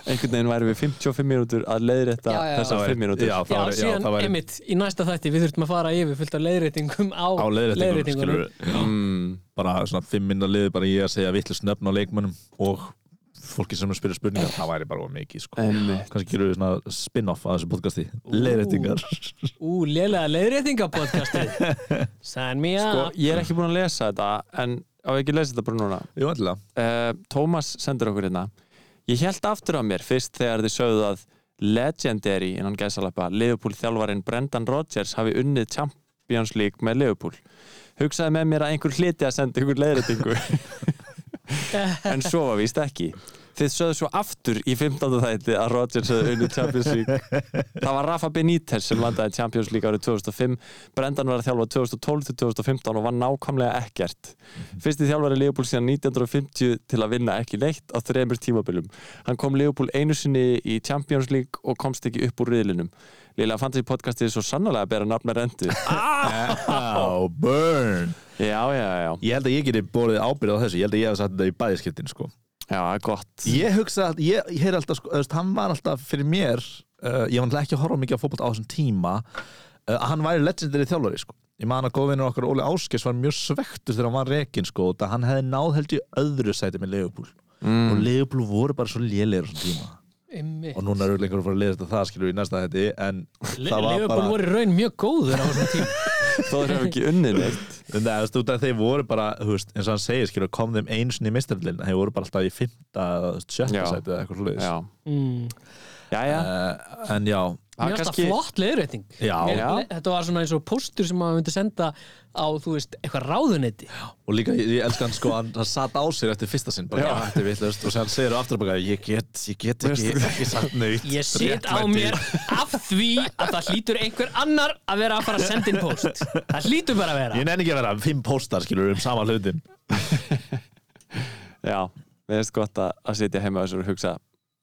Speaker 6: einhvern veginn væri við 55 mínútur að leiðrétta
Speaker 3: Já, já, já.
Speaker 6: þessar 5 mínútur
Speaker 4: Já,
Speaker 3: já,
Speaker 4: það væri, já,
Speaker 3: síðan,
Speaker 4: það væri
Speaker 3: einmitt, í næsta þætti við þurfum að fara yfir fullt af leiðréttingum á,
Speaker 4: á leiðréttingu,
Speaker 3: leiðréttingunum.
Speaker 4: skilur
Speaker 6: mm,
Speaker 4: bara svona fimm minna liði bara ég að segja vittlust nöfn á leikmönnum og fólki sem er að spyrja spurningar, það væri bara of mikið sko.
Speaker 3: Ah.
Speaker 6: einmitt.
Speaker 4: kannski gerum við svona spin-off að þessu podcasti, leiðréttingar
Speaker 3: Ú, lélega leiðréttingapodcastið Sign me
Speaker 6: sko,
Speaker 3: up
Speaker 6: ég er ekki búin að lesa þetta en á ekki að lesa þetta bara núna
Speaker 4: Jú, ætlilega
Speaker 6: uh, Tómas sendur okkur hérna ég held aftur á mér fyrst þegar þið sögðu að legendary innan gæsalappa Liverpool þjálfarin Brendan Rodgers hafi unnið Champions League með Liverpool hugsaði með mér að einhver hliti að senda einhver leiðrætingu en svo var víst ekki þið sögðu svo aftur í 15. þætti að Rodgers hefði unni Champions League það var Rafa Benítez sem landaði í Champions League árið 2005 Brendan var að þjálfa 2012 til 2015 og var nákvæmlega ekkert fyrsti þjálfari Leopold síðan 1950 til að vinna ekki neitt á þreymur tímabilum hann kom Leopold einu sinni í Champions League og komst ekki upp úr riðlinum Lila Fantasy podcastið er svo sannlega að bera nafn með rendu
Speaker 4: Oh, burn
Speaker 6: já, já, já,
Speaker 4: Ég held að ég geti borðið ábyrðið á þessu Ég held að ég hef sagt þetta í bæðiskiptin sko.
Speaker 6: já, það er gott
Speaker 4: Ég hugsa að, ég, ég heyr alltaf sko, þú veist, Hann var alltaf fyrir mér uh, Ég var náttúrulega ekki að horfa mikið á fótbolt á þessum tíma uh, Að hann væri legendary þjálfari sko. Ég man að góðvinur okkar Óli Áskis var mjög svektur þegar hann var rekin sko, og hann hefði náð held í öðru sæti með Leopold
Speaker 6: Mm.
Speaker 4: og Leopold voru bara svo lélegir á þessum tíma
Speaker 3: Einmitt.
Speaker 4: og núna eru lengur að fara að lesa þetta það skilur við í næsta þetta en
Speaker 3: Le-
Speaker 4: það var
Speaker 3: Liverpool
Speaker 4: bara
Speaker 3: voru í raun mjög góður á þessum tíma
Speaker 6: þó þeir hefur ekki unni neitt
Speaker 4: en það er stútt að þeir voru bara þú veist, eins og hann segir skilur kom þeim eins í mistarlinn þeir voru bara alltaf í fymta sjötta
Speaker 6: Já.
Speaker 4: sæti eða eitthvað slúðis
Speaker 6: já,
Speaker 3: mm.
Speaker 6: já, já.
Speaker 4: uh, en já
Speaker 6: Eh, Það
Speaker 3: Mér
Speaker 6: er
Speaker 3: finnst það
Speaker 6: kannski-
Speaker 3: flott leiðrétting
Speaker 4: Já.
Speaker 3: Mér-
Speaker 6: Já.
Speaker 3: Þetta var svona eins og póstur sem maður myndi senda á, þú veist, eitthvað ráðunetti
Speaker 4: og líka ég, ég elska hann sko hann, hann satt á sér eftir fyrsta sinn bara, já. þetta er vitlaust og sér segir á aftur bara ég get, ég get ekki, ekki sagt nöyt
Speaker 3: Ég sit á mér af því að það hlýtur einhver annar að vera að fara að senda inn póst Það hlýtur bara að vera
Speaker 4: ég nenni ekki að vera fimm póstar skilur um sama hlutin
Speaker 6: Já, við erum gott að, að sitja heima á þessu og hugsa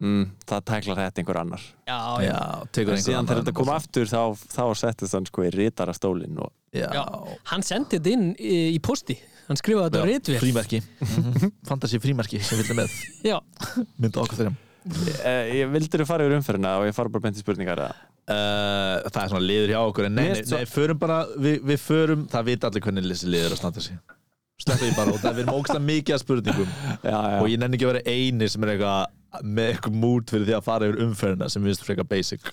Speaker 6: mm, það tæklar þetta einhver annar
Speaker 3: Já, já,
Speaker 4: já, tekur
Speaker 6: en síðan þegar
Speaker 4: annan
Speaker 6: þetta kom
Speaker 4: bolta.
Speaker 6: aftur þá, þá settist hann sko í ritarastólinn og
Speaker 3: já
Speaker 4: já,
Speaker 3: Hann sendi þetta inn í, í pósti Hann skrifaði þetta á
Speaker 4: já,
Speaker 3: ritvél
Speaker 4: frímerki Mhm. fantasi frímerki sem vilja með
Speaker 3: Já,
Speaker 4: mynda okkur þeirra
Speaker 6: e, ég vildur að fara yfir umferðina og ég fara bara beint í spurningar eða?
Speaker 4: Uh, það er svona liður hjá okkur en nei,
Speaker 6: Mér
Speaker 4: nei,
Speaker 6: finnst
Speaker 4: nei, förum bara, við, við förum það vita allir hvernig þessi liður að standa sig sleppa því bara út, það við erum ógsta mikið að spurningum
Speaker 6: Já, já,
Speaker 4: og ég nenni ekki að vera eini sem er eitthvað með eitthvað mút fyrir því að fara yfir umferðina sem við finnst frekar basic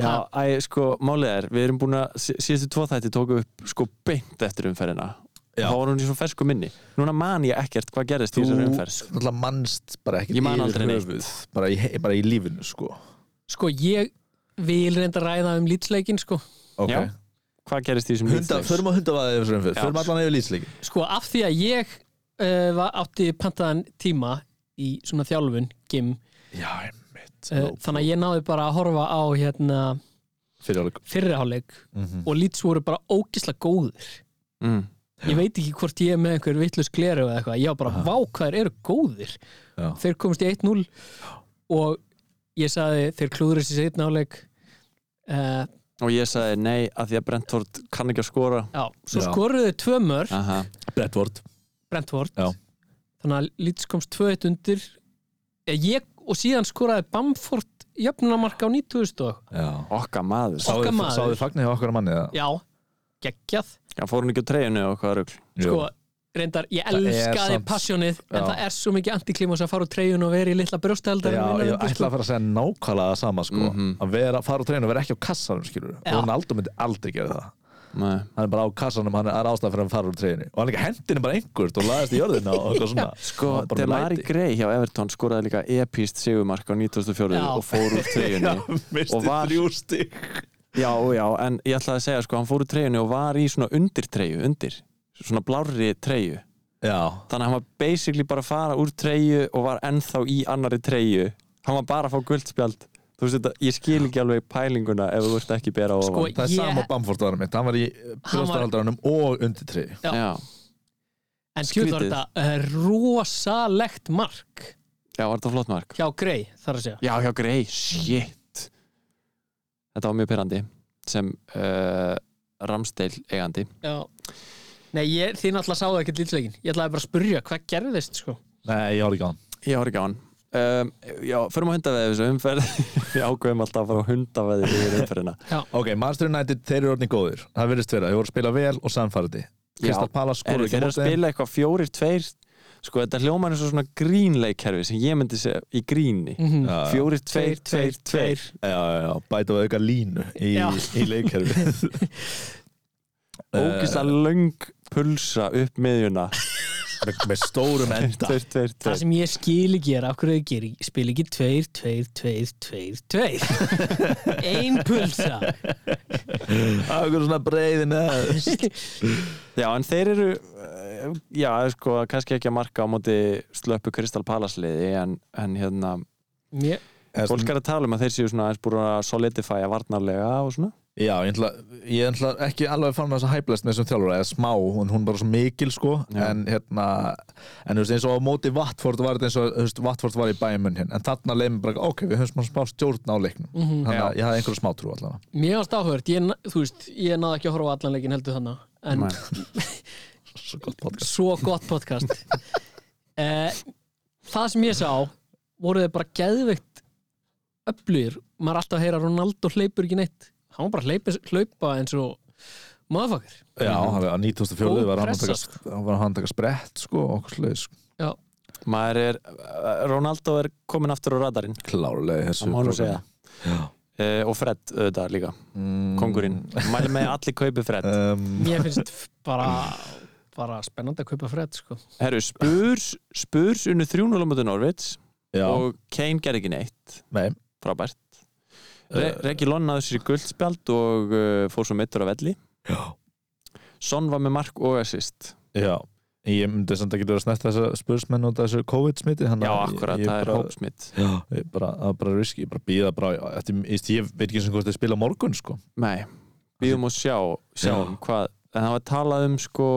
Speaker 6: já æ, sko, málið er, við erum búin að sí- síðustu tvo þætti tóku upp sko beint eftir umferðina
Speaker 4: Já.
Speaker 6: þá var hún í svona fersku minni núna man ég ekkert hvað gerðist í
Speaker 4: þú
Speaker 6: þessari umferð sko.
Speaker 4: náttúrulega mannst bara ekkert
Speaker 6: Ég man aldrei neitt.
Speaker 4: höfuð bara í, he- bara í lífinu sko
Speaker 3: sko, ég vil reynda að ræða um lýtsleikin, sko
Speaker 4: ok
Speaker 6: Já. hvað gerðist í þessum
Speaker 4: Hunda,
Speaker 6: Leeds leik?
Speaker 4: förum á hundavaðið yfir umferð,
Speaker 6: Já.
Speaker 4: förum allan yfir lýsleikin
Speaker 3: Sko, af því að ég uh, var átti pantaðan tíma í svona þjálfun, gym
Speaker 4: já, einmitt
Speaker 3: uh, þannig að ég náði bara að horfa á hérna
Speaker 4: fyrir Mhm. áleik
Speaker 3: fyrriháleik og lýts voru bara ógisla góðir
Speaker 6: mm.
Speaker 3: ég veit ekki hvort ég er með einhver vittlust gleru eða eitthvað, ég var bara vá hvað þeir eru góðir
Speaker 4: Já.
Speaker 3: þeir komist í 1-0 og ég saði þeir klúður þessi setnáleik uh,
Speaker 6: og ég sagði nei að því að Brentford kann ekki að skora
Speaker 3: já, svo
Speaker 4: Já.
Speaker 3: skoruðu þeir tvö mörg
Speaker 6: Aha.
Speaker 4: Brettvort
Speaker 3: Brentford
Speaker 4: Já.
Speaker 3: þannig að Leeds komst 2-1 undir Eh, ég, og síðan skoraði Bamford jöfnunamarka á 90 og
Speaker 6: okka maður
Speaker 3: Okkar maður.
Speaker 4: sáðu fagnir hjá okkar manni eða?
Speaker 3: já, geggjað
Speaker 6: Já, fór hún ekki á treyjunu og hvað rugl
Speaker 4: Jú.
Speaker 3: sko, reyndar, ég
Speaker 4: Það er
Speaker 3: elskaði
Speaker 4: samt-
Speaker 3: passjónið en
Speaker 4: Já.
Speaker 3: það er svo mikið antiklimos að fara úr treyjun og vera í litla brjóstahaldar
Speaker 4: Já, ég ætla að fara að segja nákvæmlega það sama sko.
Speaker 6: Mhm.
Speaker 4: að vera, fara á treinu og vera ekki á kassanum skilur
Speaker 3: Já.
Speaker 4: Ronaldo myndi aldrei gera það
Speaker 6: Nei.
Speaker 4: hann er bara á kassanum, hann er ástæðan fyrir að hann fara úr treinu og hann er ekki hendinu bara einhvert og laðist í jörðina og eitthvað svona
Speaker 6: Sko,
Speaker 4: Hann var bara með
Speaker 6: Demari
Speaker 4: læti.
Speaker 6: Gray hjá Everton skoraði líka epíst sigurmark á 94
Speaker 3: Já.
Speaker 6: og fór úr treyjunni
Speaker 4: misti
Speaker 6: og var-
Speaker 4: þrjú stík
Speaker 6: Já, já, en ég ætlaði að segja sko, hann fór úr treyjunni og var í svona undir treyju undir, svona blárri treyju
Speaker 4: Já,
Speaker 6: þannig að hann var basically bara að fara úr treyju og var ennþá í annari treyju hann var bara að fá guldspjald þú veist þetta, ég skil ekki alveg pælinguna ef þú ert ekki bera á
Speaker 3: Sko,
Speaker 6: ofan
Speaker 4: það er
Speaker 3: Ég-
Speaker 4: sama Bamford varum mitt hann var í brjóstahaldaranum og undir trei
Speaker 3: Já.
Speaker 6: já,
Speaker 3: en skjöld var
Speaker 6: skrítið.
Speaker 3: þetta eh, rosalegt mark
Speaker 6: já, var þetta flott mark
Speaker 3: hjá Grey, þar að segja
Speaker 6: Já, hjá Grey, shit Þetta var mjög pyrrandi sem uh, Ramsteil eigandi
Speaker 3: já. Nei, ég, þið náttúrulega sáðu ekkert lýtsleikin ég ætlaði bara að spurja hvað gerðist sko.
Speaker 4: Nei, ég horf ekki á hann
Speaker 6: Ég horf ekki á hann um, Já, förum á hundaveði þessu umferð Við ákveðum alltaf að fara á hundaveði yfir umferðina
Speaker 4: Ok, Manchester United, þeir eru orðin góðir það virðist vera, þeir voru að spila vel og sannfærandi
Speaker 6: Já.
Speaker 4: Kristal Palace skorur
Speaker 6: Eru þeir
Speaker 4: ekki á
Speaker 6: eru að
Speaker 4: móti þeim.
Speaker 6: spila eitthvað fjórir, tveir Sko, þetta hljómar eins og svona grínleikkerfi sem ég myndi segja í gríni
Speaker 3: Mhm.
Speaker 4: Já, já.
Speaker 6: Fjórir, Mm. tveir, tveir, tveir
Speaker 4: Já, já, já, bæta við eitthvað línu í,
Speaker 3: Já.
Speaker 4: í leikherfið
Speaker 6: Ógist að löng pulsa upp miðjuna
Speaker 4: Eh, með, með stórum enda
Speaker 6: Tveir, tveir,
Speaker 3: það
Speaker 6: tveir
Speaker 3: sem ég skil ekki er af hverju þau gerir spil ekki tveir, tveir, tveir, tveir, tveir ein pulsa
Speaker 4: Akkur svona breiðin eða
Speaker 6: Já, en þeir eru eh, já, sko, kannski ekki að marka á móti slöppu Kristal Palasliði en, en hérna,
Speaker 3: Mér-
Speaker 6: fólk er að tala um að þeir séu svona aðeins búin að solidifæja varnarlega og svona
Speaker 4: Já, ég ætla, ég ætla ekki alveg fann með þess að hæplast með þessum þjálfur eða smá, hún, hún bara svo mikil sko
Speaker 6: Já.
Speaker 4: en hérna, en þú veist eins og á móti Vatford var þetta eins og þú veist, Vatford var í bæjumun hérna, en þarna leið mér bara ok, við höfum smá, smá stjórn á leiknum
Speaker 6: Mhm.
Speaker 4: þannig að ég hafði einhverju smá trú allavega
Speaker 3: Mér varst áhört, ég, na- þú veist, ég náði ekki að horfa á allan leikin heldur þannig en
Speaker 4: Svo gott podcast
Speaker 3: svo gott podcast eh, Það sem ég sá voru þeir bara geðveikt öflugir, maður er alltaf að heyra að Ronaldo hleypur ekki neitt, hann var bara að hleypa, hlaupa eins og maðurfakar
Speaker 4: Já,
Speaker 6: Mhm.
Speaker 4: hann var- á 94 var hann að
Speaker 3: pressa,
Speaker 4: taka, hann var hann að taka sprett sko, okkur sluðis sko.
Speaker 6: maður er, eh, Ronaldo er komin aftur á radarinn,
Speaker 4: klárlega í þessu
Speaker 6: það má nú
Speaker 4: prógrammi.
Speaker 6: segja e, og Fred auðvitað líka,
Speaker 4: mm,
Speaker 6: kongurinn mæli með að allir kaupi Fred
Speaker 4: um,
Speaker 3: Mér finnst f- bara, bara spennandi að kaupa fred sko.
Speaker 6: herru, Spurs, Spurs unnu 3-0 á móti Norvits
Speaker 4: Já,
Speaker 6: og Kane ger ekki neitt
Speaker 4: nei,
Speaker 6: frábært
Speaker 4: eh,
Speaker 6: Re Regi Lonnaður sér guldspjald og uh, fór svo mittur á velli
Speaker 4: Já.
Speaker 6: Son var með mark og assist
Speaker 4: já Ég myndi samt ekki vera að snert þessa spursmenn út af þessu COVID-smiti þannig
Speaker 6: Já,
Speaker 4: að ég-
Speaker 6: akkurat,
Speaker 4: ég
Speaker 6: það er
Speaker 4: bara-
Speaker 6: hópsmitt
Speaker 4: Já, ég bara, það er bara riski, ég bara býða bara eftir, ég, ég veit ekki eins og hvort þið spila á morgun sko.
Speaker 6: Nei, býðum og sjá sjáum
Speaker 4: Já.
Speaker 6: hvað, en það var talað um sko,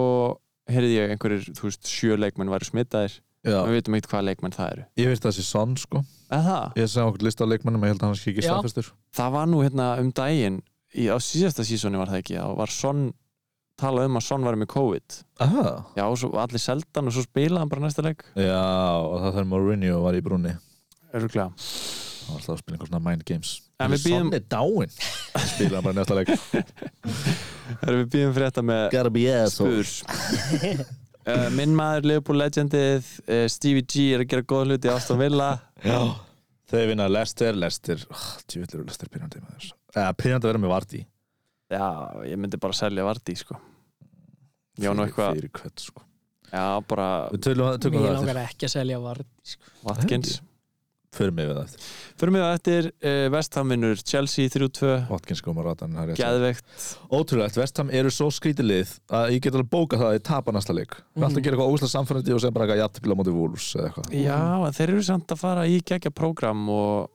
Speaker 6: heyrði ég einhverjir þú veist, sjö leikmenn væri smittaðir
Speaker 4: Já,
Speaker 6: við veitum ekkert hvað leikmenn það eru
Speaker 4: ég veist það sé sann sko.
Speaker 6: en það,
Speaker 4: Ég sagði okkur lista á leikmannum, ég held að hann sé ekki
Speaker 3: Já.
Speaker 4: staðfestur
Speaker 6: það var nú hérna um daginn í, á síðasta sísoni var það ekki þá var Son, talað um að Son var með COVID
Speaker 4: Aha.
Speaker 6: já, og svo allir seldan og svo spilaði hann bara næsta leik
Speaker 4: Já, og það þegar Mourinho var í brúni
Speaker 6: öruglega
Speaker 4: Það var alltaf að spila einhver svona mind games
Speaker 6: En við
Speaker 4: Sann
Speaker 6: býðum-
Speaker 4: er dáin Spila hann bara næsta leik
Speaker 6: Erum við býðum fyrir þetta með
Speaker 4: Gotta be
Speaker 6: spurs uh, Minn maður Liverpool legendið uh, Stevie G er að gera góð hluti Aston Villa
Speaker 4: Já, þegar vinna Lester, Lester oh, Tjúvillir og Lester pyrrandi maður Eh, Pyrrandi að vera með Vardí
Speaker 6: Já, ég myndi bara selja Vardí sko Já,
Speaker 4: Fyrir-
Speaker 6: nú eitthvað
Speaker 4: Fyrir hvert sko
Speaker 6: Já, bara
Speaker 4: Við tölum- tökum
Speaker 3: Mér
Speaker 4: það eftir
Speaker 3: langar ekki að selja vart sko.
Speaker 6: Watkins
Speaker 4: Förum við það eftir
Speaker 6: Fyrir mig á eftir uh, Vesthamvinnur Chelsea 3-2
Speaker 4: Watkins kom að ratan það er rétt.
Speaker 6: Geðveikt
Speaker 4: Ótrúlegt, Vestham eru svo skrítilið að ég get alveg bókað það að ég tapa næsta leik mm -hmm. Alltaf gera eitthvað ógæslega samfærandi og sem bara eitthvað jafntbíla móti vúlus eða eitthvað
Speaker 6: Já, en þeir eru samt að fara í gegja prógram og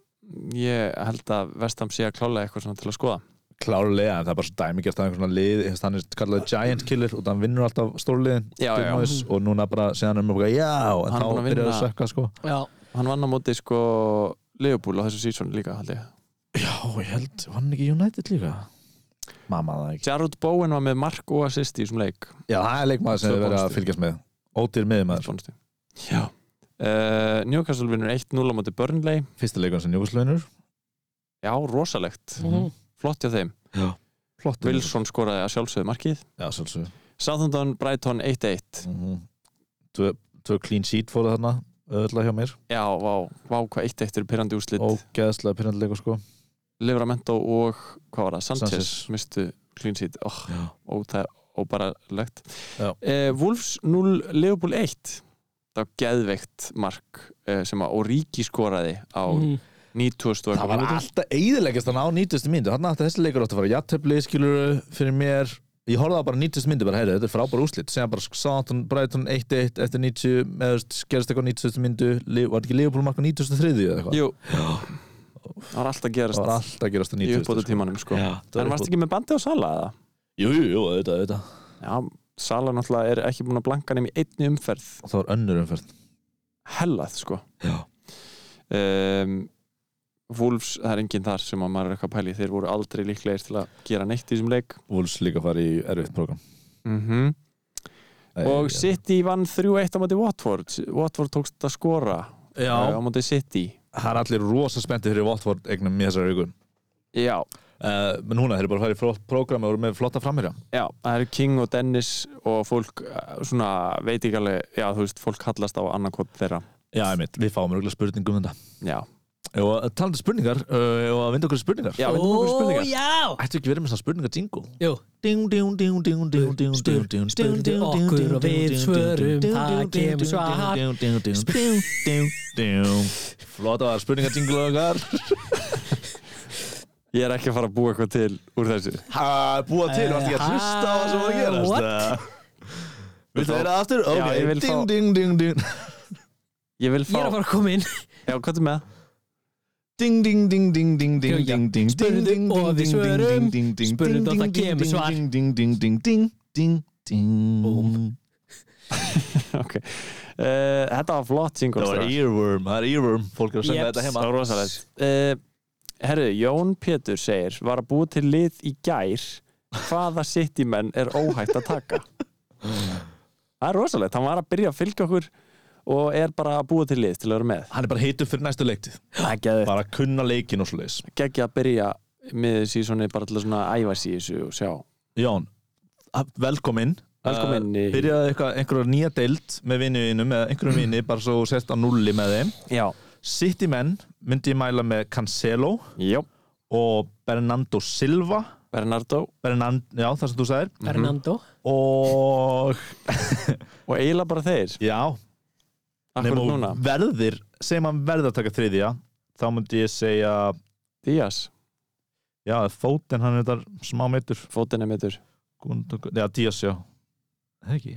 Speaker 6: ég held að Vestham sé að klála eitthvað svona til að skoða
Speaker 4: Klárlega, en það er bara svo dæmigert að einhvern svona lið þess að hann er kallaði Giant Killer og hann vinnur alltaf stórliðin
Speaker 6: Já, já, já.
Speaker 4: Dunamis, og núna bara segja hann um eitthvað já en
Speaker 6: Hann er
Speaker 4: þá
Speaker 6: búinn að
Speaker 4: byrjar það að
Speaker 6: vinna-
Speaker 4: sökka sko
Speaker 3: Já,
Speaker 6: Hann vann á móti sko Leopold á þessu sísónu líka, held ég
Speaker 4: Já, ég held, var hann ekki United líka? Mamma það ekki
Speaker 6: Jarrod Bowen var með mark og assist í þessum leik
Speaker 4: Já, það er leikmaður sem
Speaker 6: Tvö
Speaker 4: við verðum að
Speaker 6: bónusstig.
Speaker 4: fylgjast með Ódýr miðmaður,
Speaker 6: Bónusti. Já uh, Newcastle vinnur 1-0 á móti Burnley
Speaker 4: fyrsta leikun sem Njókuslaunur
Speaker 6: Já, rosalegt,
Speaker 3: Mhm.
Speaker 6: flott hjá þeim
Speaker 4: Flott
Speaker 6: Wilson skoraði að sjálfsögðu markið
Speaker 4: Já, svolsum
Speaker 6: Southampton Brighton 1-1
Speaker 4: mm tvö, tvö clean sheet fóru þarna öðvöldlega hjá mér,
Speaker 6: Já, vá, vá hvað 1-1 eru pyrrandi úrslit
Speaker 4: ógeðslega pyrrandilega sko
Speaker 6: Livramento og hvað var það, Sanchez,
Speaker 4: Sanchez.
Speaker 6: mistu clean sheet oh,
Speaker 4: Já.
Speaker 6: og það er óbaralegt
Speaker 4: Já.
Speaker 6: uh, Wolves 0 Liverpool 1 það var geðveikt mark uh, sem að Origi skoraði á
Speaker 3: mm.
Speaker 6: 90 og
Speaker 4: það
Speaker 6: eitthvað
Speaker 4: var
Speaker 6: mínútur.
Speaker 4: alltaf eiðilegast þannig á 90. myndu, þannig að þessi leikur átti að fara játtöfli skilur fyrir mér ég horfði á bara 90. myndu, bara heyrðu, þetta er frábæra úrslit sem bara Southampton, Brighton 1-1 eftir 90, eða þú veist, gerist eitthvað á 90. myndu var ekki Liverpool marka 93 eða eitthvað
Speaker 6: Jú, það var alltaf að gerast
Speaker 4: það var alltaf að gerast á
Speaker 6: í
Speaker 4: 90.
Speaker 6: uppbóta tímanum sko.
Speaker 4: það
Speaker 6: en
Speaker 4: var
Speaker 6: varst
Speaker 4: ekki
Speaker 6: ekki með bandi á Sala eða?
Speaker 4: jú, jú, jú, auðvitað, auðvitað
Speaker 6: Já, Sala náttúrulega er ekki búin að blanka nefn í einni umferð
Speaker 4: það var önnur umferð
Speaker 6: hellað sko
Speaker 4: Já.
Speaker 6: um, Wolves, það er enginn þar sem að maður er eitthvað að pæli þeir voru aldrei líklegir til að gera neitt í þessum leik
Speaker 4: Wolves líka fari í erfitt program
Speaker 3: Mhm.
Speaker 6: -hmm.
Speaker 4: Nei,
Speaker 6: og
Speaker 4: já.
Speaker 6: City vann 3-1 á móti Watford Watford tókst að skora eh,
Speaker 4: Já,
Speaker 6: á móti City
Speaker 4: það er allir rosa spenntið fyrir Watford eignum í þessari viku
Speaker 6: Já,
Speaker 4: uh, Men núna, þeir eru bara að fara í prógrami og eru með flotta framherja
Speaker 6: Já, það eru King og Dennis og fólk eh, svona veit ekki alveg, já þú veist, fólk hallast á annarkot þeirra.
Speaker 4: Já, ég mitt, við fáum röglega spurningum um þetta
Speaker 6: Já,
Speaker 4: Og talandi spurningar, uh, og að vinda okkur í spurningar
Speaker 6: já,
Speaker 3: Ó,
Speaker 6: við erum okkur spurningar.
Speaker 3: já
Speaker 4: Ættu ekki verið með svona spurningar jingle?
Speaker 3: Jú.
Speaker 4: Ding, ding, ding, ding, ding, ding, ding, ding,
Speaker 3: Spurðu
Speaker 4: ding,
Speaker 3: okkur
Speaker 4: ding,
Speaker 3: og við
Speaker 4: ding,
Speaker 3: svörum,
Speaker 4: ding, ding,
Speaker 3: það kemur
Speaker 4: ding,
Speaker 3: svar.
Speaker 4: ding, ding, ding, ding, ding, ding, ding. Flotta var spurningar jingle okkar
Speaker 6: Ég er ekki að fara að búa eitthvað til úr þessu.
Speaker 4: Ha, Búa til, varstu ekki að
Speaker 3: Eh,
Speaker 4: hlusta á það sem var að
Speaker 3: ha,
Speaker 4: gerast
Speaker 3: what?
Speaker 4: eða? Viltu heyra það aftur?
Speaker 6: Já, ég vil
Speaker 4: Ok,
Speaker 6: fá-
Speaker 4: ding, ding, ding, ding
Speaker 6: Ég vil
Speaker 3: Ég er
Speaker 6: fá
Speaker 3: að fara að koma inn
Speaker 6: Já, hvað er með?
Speaker 4: Ding, ding, ding, ding, ding, ding,
Speaker 3: Já, já.
Speaker 4: ding, ding
Speaker 3: Spurðu
Speaker 4: ding, ding,
Speaker 3: og
Speaker 4: ding,
Speaker 3: við
Speaker 4: ding,
Speaker 3: svörum.
Speaker 4: ding, ding, ding,
Speaker 3: Spurðu
Speaker 4: ding,
Speaker 3: og það
Speaker 4: ding,
Speaker 3: kemur
Speaker 4: ding,
Speaker 3: svar.
Speaker 4: ding, ding, ding, ding, ding, ding, ding.
Speaker 3: Búm.
Speaker 6: Ok uh, Þetta var flott jingle
Speaker 4: Það var
Speaker 6: strákar.
Speaker 4: earworm, það er earworm Fólk er að segja
Speaker 3: Jeps.
Speaker 4: þetta heima
Speaker 6: Það var rosalegt uh, Herru, Jón Pétur segir Var að búa til lið í gær Hvaða sitt menn er óhægt að taka Það er rosalegt Hann var að byrja að fylgja okkur Og er bara að búa til lið til að vera með
Speaker 4: Hann er bara heitur fyrir næstu leiktið
Speaker 6: Bara
Speaker 4: Bara að kunna leikin og svo leis
Speaker 6: Gekkja að byrja með sísoni Bara til að svona æfa sig í þessu og sjá
Speaker 4: Jón, velkomin
Speaker 6: Velkomin í-
Speaker 4: Byrjaði eitthvað- einhverja nýja deild með vinnuðinum eða einhverjum vini bara svo sérst á nulli með þeim
Speaker 6: Já,
Speaker 4: City menn myndi ég mæla með Cancelo
Speaker 6: já,
Speaker 4: og Bernardo Silva
Speaker 6: Bernardo
Speaker 4: Bernand, já, það sem þú sagðir
Speaker 6: Mhm.
Speaker 3: Fernando
Speaker 4: og
Speaker 6: Og eiginlega bara þeir
Speaker 4: já,
Speaker 6: Akkur núna,
Speaker 4: nema verðir segjum hann verður að taka þriðja þá myndi ég segja,
Speaker 6: Díaz,
Speaker 4: já, Fóten hann er þar smá meitur,
Speaker 6: fótinn er mittur
Speaker 4: já, Días, já það ekki,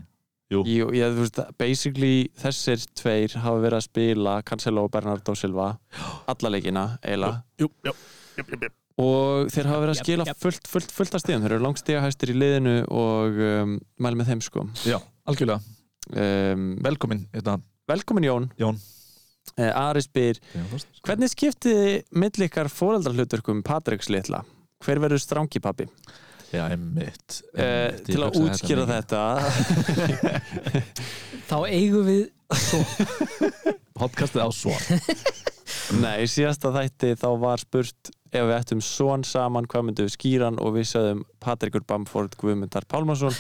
Speaker 4: jú,
Speaker 6: Jú, ég, þú veist, basically þessir tveir hafa verið að spila Cancelo og Bernardo Silva alla leikina, eiginlega
Speaker 4: jú, jú, jú, jú, jú.
Speaker 6: og þeir hafa verið að
Speaker 3: Jep,
Speaker 6: skila
Speaker 3: jep.
Speaker 6: fullt, fullt, fullt af stíðum þeir eru langstíðahæstir í liðinu og um, mæli með þeim sko
Speaker 4: já, algjörlega
Speaker 6: um,
Speaker 4: velkomin, þetta,
Speaker 6: Velkomin Jón
Speaker 4: Jón.
Speaker 6: Eh, Ari spyr, hvernig skiptiði milli ykkar fóreldrahluturkum Patriks litla? Hver verður strángipappi?
Speaker 4: já, einmitt,
Speaker 6: Eh,
Speaker 4: einmitt ég
Speaker 6: til að
Speaker 4: hugsaði
Speaker 6: útskýra
Speaker 4: mikið.
Speaker 6: þetta,
Speaker 3: Þá eigum við
Speaker 4: podcastið á svo
Speaker 6: Nei, í síðasta þætti þá var spurt ef við ættum son saman hvað myndum við skýran og við sagðum Patrikur Bamford Guðmundar Pálmarsson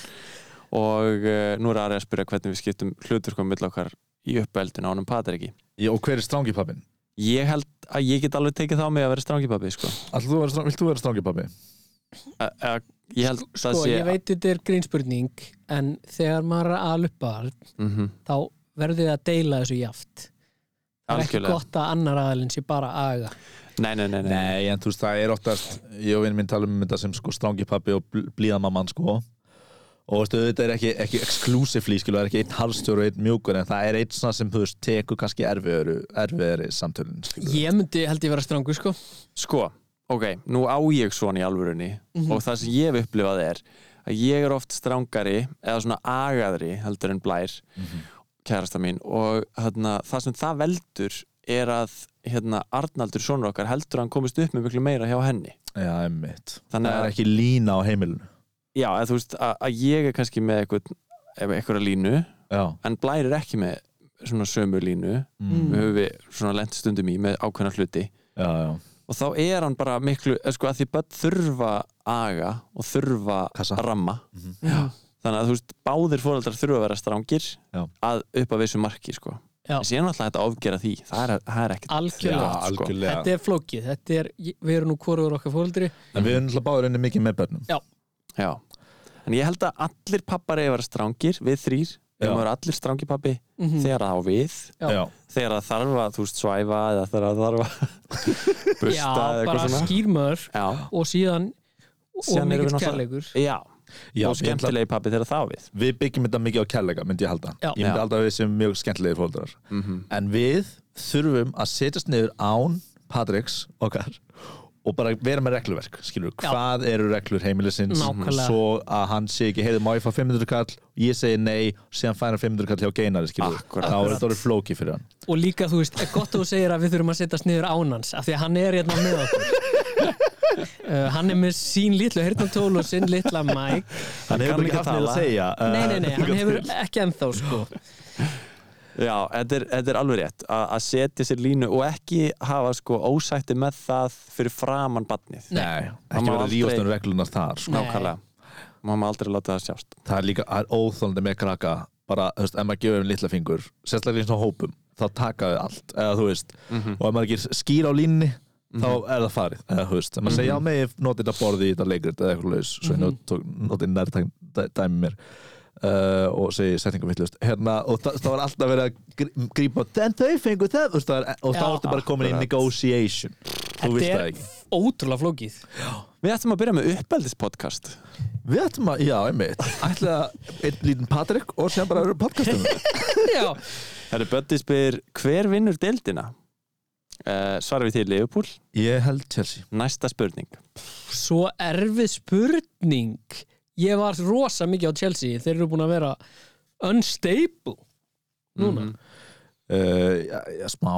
Speaker 6: og uh, nú er Ari að spyrja hvernig við skiptum hluturkum mill okkar í uppeldun ánum Patriki
Speaker 4: já, og hver er strángipappin?
Speaker 6: Ég held að ég get alveg tekið þá með að vera strangipabbi sko.
Speaker 4: Vilt þú vera strángipappin?
Speaker 6: Eh, eh, Ég held að
Speaker 3: Sko,
Speaker 6: það sé
Speaker 3: ég veit þetta er grínspurning en þegar maður er að alupa
Speaker 6: Mhm,
Speaker 3: þá verður þið að deila þessu jaft Það er ekki
Speaker 6: Algjörlega.
Speaker 3: gott að annar aðalinn sé bara aga
Speaker 6: Nei, nei, nei, nei.
Speaker 4: Nei, en þú veist, það er oftast ég og vinn minn tala um þetta sem sko strángi pappi og bl- blíða mamman sko og veistu, þetta er ekki, ekki exclusively skilu, það er ekki einn harðstjóru og einn mjúkur en það er einn svona sem, þú veist, tekur kannski erfiðari, erfiðari samtölin skilu.
Speaker 3: Ég myndi held ég vera strangur sko
Speaker 6: Sko, ok, nú á ég svona í alvörunni
Speaker 4: Mhm.
Speaker 6: og það sem ég hef upplifað er að ég er oft strangari eða svona agaðri heldur en blær
Speaker 4: Mhm.
Speaker 6: kærasta mín og hérna, það sem það veldur er að hérna, Arnaldur sonur okkar heldur að hann komist upp með miklu meira hjá henni
Speaker 4: Já, emmitt
Speaker 6: Þannig
Speaker 4: Það er
Speaker 6: að-
Speaker 4: ekki lína á heimilinu
Speaker 6: Já, eða þú veist að, að ég er kannski með eitthvað, eitthvað línu
Speaker 4: Já,
Speaker 6: en blær er ekki með svona sömu línu
Speaker 4: mm.
Speaker 6: við höfum við svona lent stundum í með ákveðna hluti
Speaker 4: já, já,
Speaker 6: og þá er hann bara miklu eh, sko, að því börn þurfa aga og þurfa
Speaker 4: Kassa. Mhm.
Speaker 6: ramma Já. þannig að þú veist, báðir fóreldrar þurfa að vera strángir
Speaker 4: Já.
Speaker 6: að upp að vissu marki sko.
Speaker 3: Já.
Speaker 6: en síðan alltaf þetta ofgera því það er, það er ekkert
Speaker 4: já,
Speaker 3: Algjörlega
Speaker 6: sko.
Speaker 4: algjörlega
Speaker 3: Þetta er flókið, þetta er, við erum nú hvoruður okkar fóreldri
Speaker 4: En við erum alltaf báður inni mikið með börnum
Speaker 6: Já. en ég held að allir pappar eigi að vera strángir, við þrýr við
Speaker 4: Já.
Speaker 6: erum að vera allir strángir pappi
Speaker 3: Mhm.
Speaker 6: þegar það á við,
Speaker 3: Já.
Speaker 4: Já,
Speaker 6: þegar það þarf að þú veist svæfa eða þegar það þarf að busta
Speaker 3: Já,
Speaker 6: eða
Speaker 3: bara
Speaker 6: eitthvað svona
Speaker 3: skýrmör
Speaker 6: Já.
Speaker 3: og síðan og
Speaker 6: Síðan erum við
Speaker 3: mikill
Speaker 6: náttúrulega-
Speaker 3: kærleikur
Speaker 6: Já.
Speaker 4: já
Speaker 6: og
Speaker 4: við, ætla,
Speaker 6: skemmtilegi pappi þegar það á við
Speaker 4: við byggjum þetta mikið á kærleika, myndi ég halda
Speaker 3: Já.
Speaker 4: Ég myndi
Speaker 6: Já.
Speaker 4: halda að við sem mjög skemmtilegir fóldrar
Speaker 6: mm -hmm.
Speaker 4: en við þurfum að setjast niður án Patricks okkar og bara vera með regluverk skilur,
Speaker 3: Já.
Speaker 4: hvað eru reglur heimilisins
Speaker 3: Nákvæmlega.
Speaker 4: svo að hann sé ekki heyrðu, má ég fá 500 kall, ég segi nei síðan fær hann 500 kall hjá geinari skilur
Speaker 6: Akkúrat.
Speaker 4: þá er þetta orðið flóki fyrir hann
Speaker 3: og líka þú veist, gott að þú segir að við þurfum að setjast niður án hans af því að hann er hérna með okkur uh, hann er með sín litlu hirtantól og sinn litla mæk
Speaker 4: hann
Speaker 6: kann
Speaker 4: hefur
Speaker 6: ekki
Speaker 4: ekki haft
Speaker 6: tala.
Speaker 4: niður að segja
Speaker 6: Uh,
Speaker 3: nei, nei, nei,
Speaker 4: eh,
Speaker 3: hann
Speaker 4: hingað
Speaker 3: hefur
Speaker 4: til.
Speaker 3: ekki ennþá sko
Speaker 6: Já, þetta er, þetta er alveg rétt að að setja sér línu og ekki hafa sko ósætti með það fyrir framann barnið.
Speaker 4: nei,
Speaker 6: Hann
Speaker 4: ekki
Speaker 6: má
Speaker 4: verið
Speaker 6: aldrei-
Speaker 4: ríðast um reglunar þar sko.
Speaker 3: Nei.
Speaker 6: Nákvæmlega. Má maður aldrei láta það sjást.
Speaker 4: það er líka það er óþólandi með krakka bara, þú veist, ef maður gefur um litla fingur sérstaklega í svona hópum, þá taka þau allt eða þú veist, og ef maður ekki skýr á línni þá er það farið eða þú veist, ef maður segja á mig, noti þetta borði í þetta leikrit eða eitthvað laus, svo ég not- tók- noti nærtæk dæmi mér uh, og segi setningum vittlust hérna, og það, það var alltaf verið að grí- grípa en þau fengu það Þú veist, það var- og þá
Speaker 3: Já,
Speaker 4: ertu bara komin í
Speaker 6: akkurat.
Speaker 4: negotiation þú veist það
Speaker 3: er
Speaker 4: ekki
Speaker 3: ótrúlega flókið
Speaker 6: Við ættum að byrja með uppeldispodcast
Speaker 4: við ætlum að, já, einmitt ætla einn lítinn Patrik og sem bara eru podcastum
Speaker 3: Já,
Speaker 6: Herri Böddi spyr, hver vinnur deildina? Uh, svara við til Leifupúl
Speaker 4: ég held Chelsea
Speaker 6: Næsta spurning
Speaker 3: svo erfið spurning Ég var rosa mikið á Chelsea Þeir eru búin að vera unstable Núna
Speaker 6: Mhm.
Speaker 4: uh, já, já, smá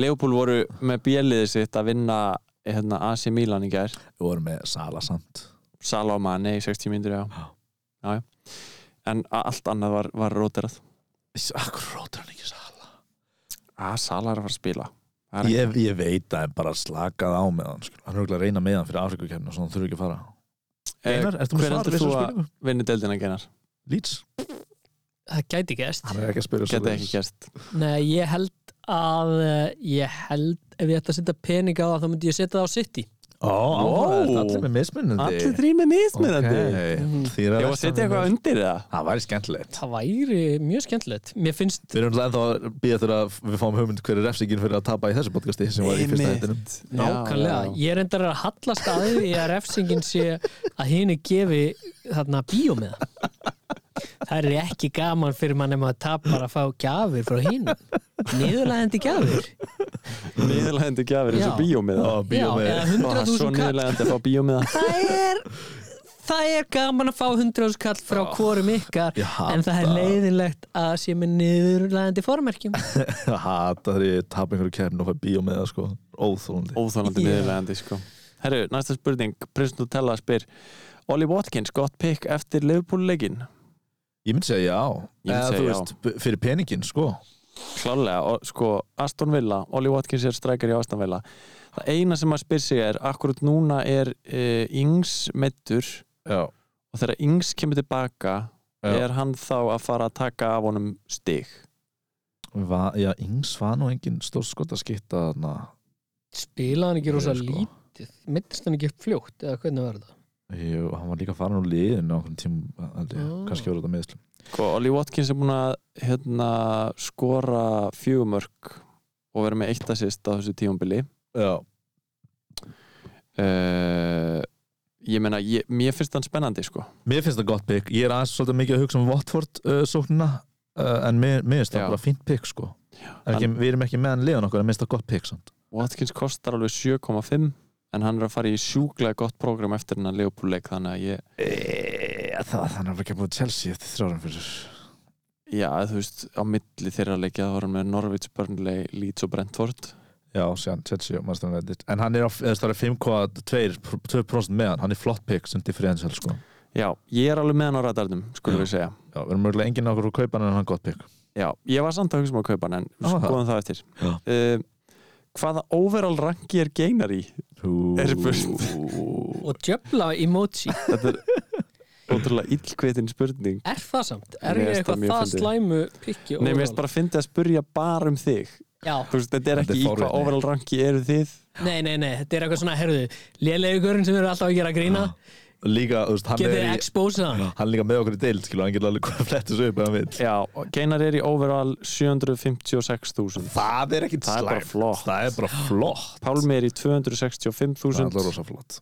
Speaker 6: Leifupúl voru með bjeliði sitt að vinna hérna, AC Milan í gær
Speaker 4: við vorum með Salasand
Speaker 6: Sala og Mane í 60 mínútur já.
Speaker 4: Já.
Speaker 6: Já, já. En a- allt annað var, var róterað
Speaker 4: akkur rótur hann ekki Sala
Speaker 6: að Sala er að fara að spila Það er ekki-
Speaker 4: ég, ég veit að ég bara slakað á með hann sko. hann er auðvitað að reyna með hann fyrir Afrikakefni og svona þurfi ekki að fara
Speaker 6: Eh,
Speaker 4: Einar, ertu með
Speaker 6: Hver
Speaker 4: svar
Speaker 6: heldur
Speaker 4: við
Speaker 6: þú
Speaker 4: þessari
Speaker 6: að
Speaker 4: spurningu?
Speaker 6: vinna deildina genar?
Speaker 4: Leeds
Speaker 3: Það gæti gæst
Speaker 4: hann er ekki að spyrja
Speaker 6: Geta ekki gerst
Speaker 3: Nei, ég held að eh, Ég held, ef ég ætti að setja pening á það þá myndi ég setja það á City
Speaker 4: ó, áhugavert,
Speaker 6: Ó.
Speaker 4: allir með mismunandi
Speaker 6: Allir þrý með mismunandi okay.
Speaker 4: okay.
Speaker 6: Ég var að setja eitthvað undir það
Speaker 4: það væri skemmtilegt
Speaker 3: Það væri mjög skemmtilegt Mér finnst
Speaker 4: við erum ennþá að býja þegar að við fáum hugmynd hverju refsingin fyrir að tapa í þessu podcasti sem var í fyrsta
Speaker 6: Einmitt.
Speaker 4: hættinum
Speaker 3: Nákvæmlega,
Speaker 6: Já, já, já.
Speaker 3: ég er endar að hallast að því að refsingin sé að hini gefi þarna bíómiða Það er ekki gaman fyrir mann ef maður tapar að fá gjafir frá hínu Niðurlæðandi gjafir
Speaker 6: Niðurlægandi gjafir eins og
Speaker 3: Já.
Speaker 6: bíómiða
Speaker 4: Ó, bíómið.
Speaker 3: Já, eða
Speaker 6: Ó, Svo
Speaker 3: 100.000 kall
Speaker 6: niðurlægandi að fá bíómiða
Speaker 3: Það er, það er gaman að fá 100.000 kall frá hvorum ykkar
Speaker 4: Ég hata
Speaker 3: En það er leiðinlegt að sé með niðurlæðandi formerkjum
Speaker 4: ég hata þegar ég tapa einhverju kefni og fæ bíó með það sko óþólandi
Speaker 6: Óþólandi
Speaker 3: Já.
Speaker 6: niðurlegandi sko Herru, næsta spurning, Prins Nutella spyr Ollie Watkins, gott pick eftir Liverpool-leggin
Speaker 4: ég myndi segja já,
Speaker 6: Ég myndi
Speaker 4: Eða,
Speaker 6: segja
Speaker 4: þú
Speaker 6: já.
Speaker 4: veist, b- fyrir peningin sko
Speaker 6: Klálega, og, sko, Aston Villa Ollie Watkins er strækar í Aston Villa Það eina sem maður spyr sig er Akkurat núna er uh, Ings meittur
Speaker 4: já,
Speaker 6: og þegar Ings kemur tilbaka
Speaker 4: Já.
Speaker 6: er hann þá að fara að taka af honum stig
Speaker 4: Va, já yngs var nú engin stór skot að skipta þarna
Speaker 3: Spila hann ekki rosa
Speaker 4: Sko.
Speaker 3: lítið Mittist hann ekki upp fljótt eða hvernig var það?
Speaker 4: Jú, hann var líka farin úr liðinu á okkur tíma aldrei,
Speaker 3: Ó.
Speaker 4: kannski voru þetta meðslum
Speaker 6: Sko, Ollie Watkins er búin að hérna, skora fjögumörk og vera með eitt assist á þessu tíumbili
Speaker 4: Já,
Speaker 6: uh, ég meina, ég, mér finnst hann spennandi sko.
Speaker 4: mér finnst það gott pick ég er aðeins svolítið mikið að hugsa um Watford uh, sóknina uh, en mér, mér finnst
Speaker 6: Já.
Speaker 4: það bara fínt pick sko En ekki, við erum ekki meðan liðan okkur en mér finnst það gott pick samt
Speaker 6: Watkins kostar alveg 7,5 en hann er að fara í sjúklega gott prógram eftir hennar Leopold-leik þannig að ég,
Speaker 4: e, það, þannig að við ekki búið Chelsea eftir þrjárum fyrir
Speaker 6: já, þú veist á milli þeirra leikja þá var hann með Norvits, Burnley, Leeds og Brentford
Speaker 4: Já, síðan Chelsea og Master United En hann er á, eða, það er 5,2% með hann, hann er flott pick sem differential sko
Speaker 6: já, ég er alveg með hann á radarnum skulum við segja,
Speaker 4: Já, við erum mörgulega enginn okkur úr kaupan en hann er gott pick
Speaker 6: já, ég var samt að hugsa um að kaupa hann en
Speaker 4: Já, það.
Speaker 6: skoðum það eftir
Speaker 4: Já.
Speaker 6: uh, hvaða overall ranki er geinar í? Er burt.
Speaker 3: Og djöfla emoji
Speaker 6: þetta er ótrúlega illkvetin spurning
Speaker 3: Er það samt? Er
Speaker 6: Mér
Speaker 3: ég
Speaker 6: finnst það
Speaker 3: eitthvað
Speaker 6: mjög
Speaker 3: það
Speaker 6: fyndið.
Speaker 3: slæmu pikki
Speaker 6: Nei, mér finnst bara að fyndi að spyrja bara um þig
Speaker 3: Já,
Speaker 6: Þú veist, þetta er
Speaker 4: Þetta
Speaker 6: ekki
Speaker 4: er
Speaker 6: í hvað
Speaker 4: forvitni.
Speaker 6: overall ranki eru þið
Speaker 3: nei, nei, nei, þetta er eitthvað svona, herðu Lélegu görun sem eru alltaf að gera
Speaker 6: Ah,
Speaker 3: grína
Speaker 4: Líka, þú veist, hann
Speaker 3: Getið
Speaker 4: er
Speaker 3: þið
Speaker 4: í
Speaker 3: exposað hann
Speaker 4: hann er líka með okkur í deild skilur, hann getur alveg hvað flett þessu upp ef hann vill
Speaker 6: Já, og Geinar er í overall 756.000
Speaker 4: það er ekkit
Speaker 6: Það er bara
Speaker 4: slæmt.
Speaker 6: flott.
Speaker 4: það er bara flott
Speaker 6: Pálmi er í
Speaker 4: það er alltaf
Speaker 6: 265.000
Speaker 4: rosa flott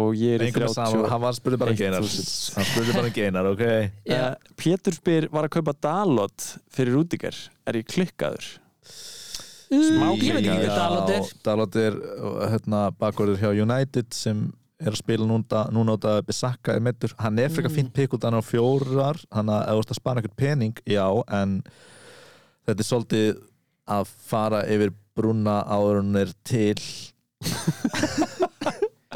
Speaker 6: og ég er í
Speaker 4: Engum er saman,
Speaker 6: 30
Speaker 4: hann var spurði bara um
Speaker 6: 1.000.
Speaker 4: geinar hann spurði bara um geinar, ok
Speaker 6: Eh, Pétur spyr var að kaupa Dalot fyrir Rúdiger er ég klikkaður
Speaker 3: Smá
Speaker 6: Í-
Speaker 3: Ég veit ekki
Speaker 6: Já.
Speaker 3: hvað Dalot er
Speaker 4: Dalot er hérna, bakvarður hjá United sem er að spila núna, núna á það Bissaka er meittur, hann er
Speaker 3: Mm.
Speaker 4: frekar fínt pikk út hann á fjórar, hann að ef þú ert að spara einhvern pening, já, en þetta er svolítið að fara yfir brúna áður en hún er til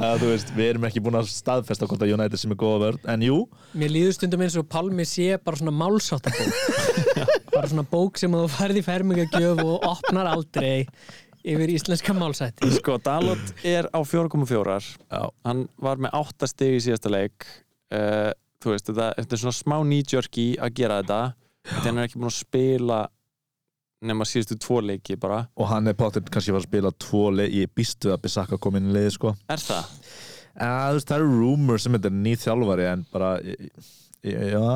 Speaker 4: að þú veist, við erum ekki búin að staðfesta hvort að United sem er góða vörð, en jú
Speaker 3: Mér líður stundum eins og Pálmi sé bara svona málsáttabók Bara svona bók sem þú færði í fermingagjöf og opnar aldrei yfir íslenska málsætti
Speaker 6: Sko, Dalot er á 4,4
Speaker 4: já,
Speaker 6: Hann var með 8 stig í síðasta leik uh, Þú veist, þetta, þetta er svona smá nýjörki að gera þetta Þetta hann er ekki búin að spila nema síðustu tvo leiki bara
Speaker 4: og hann er pátir kannski var að spila tvo leið, ég býstu að Bissaka kom inn í leiði sko
Speaker 6: Er það?
Speaker 4: að, þú veist, það eru rumors sem þetta er nýð þjálfari en bara ég, já,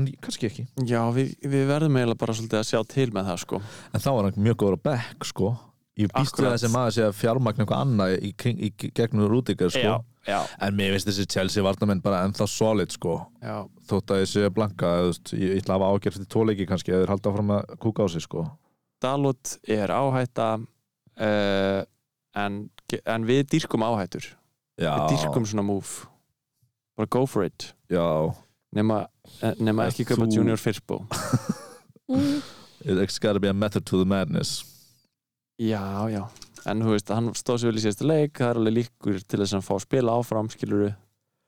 Speaker 4: en kannski ekki
Speaker 6: Já, við, við verðum eiginlega bara svolítið að sjá til með það sko
Speaker 4: en þá er hann mjög góður á bekk sko ég býst við
Speaker 6: Akkurat.
Speaker 4: þessi maður sé að fjármagn eitthvað annað í, kring, í gegnum Rúdíkar sko
Speaker 6: Já, já,
Speaker 4: en mér finnst þessi Chelsea varnamenn bara ennþá solid sko
Speaker 6: já
Speaker 4: þótt að þessi er blanka eða, þú veist, ég ég ætla að hafa ágjörð fyrir tóleiki kannski eða þeir halda áfram að kúka á sig sko
Speaker 6: Dalot er áhætta uh, en, en við dýrkum áhættur
Speaker 4: já,
Speaker 6: Við dýrkum svona move Bara go for it
Speaker 4: já,
Speaker 6: Nema, eh, nema
Speaker 4: En
Speaker 6: ekki köpa
Speaker 4: þú-
Speaker 6: junior fyrstbó
Speaker 4: it's gotta be a method to the madness
Speaker 6: Já, já En þú veist, hann stóð sér vel í síðasta leik Það er alveg líkur til þess að hann fá að spila áfram skiluru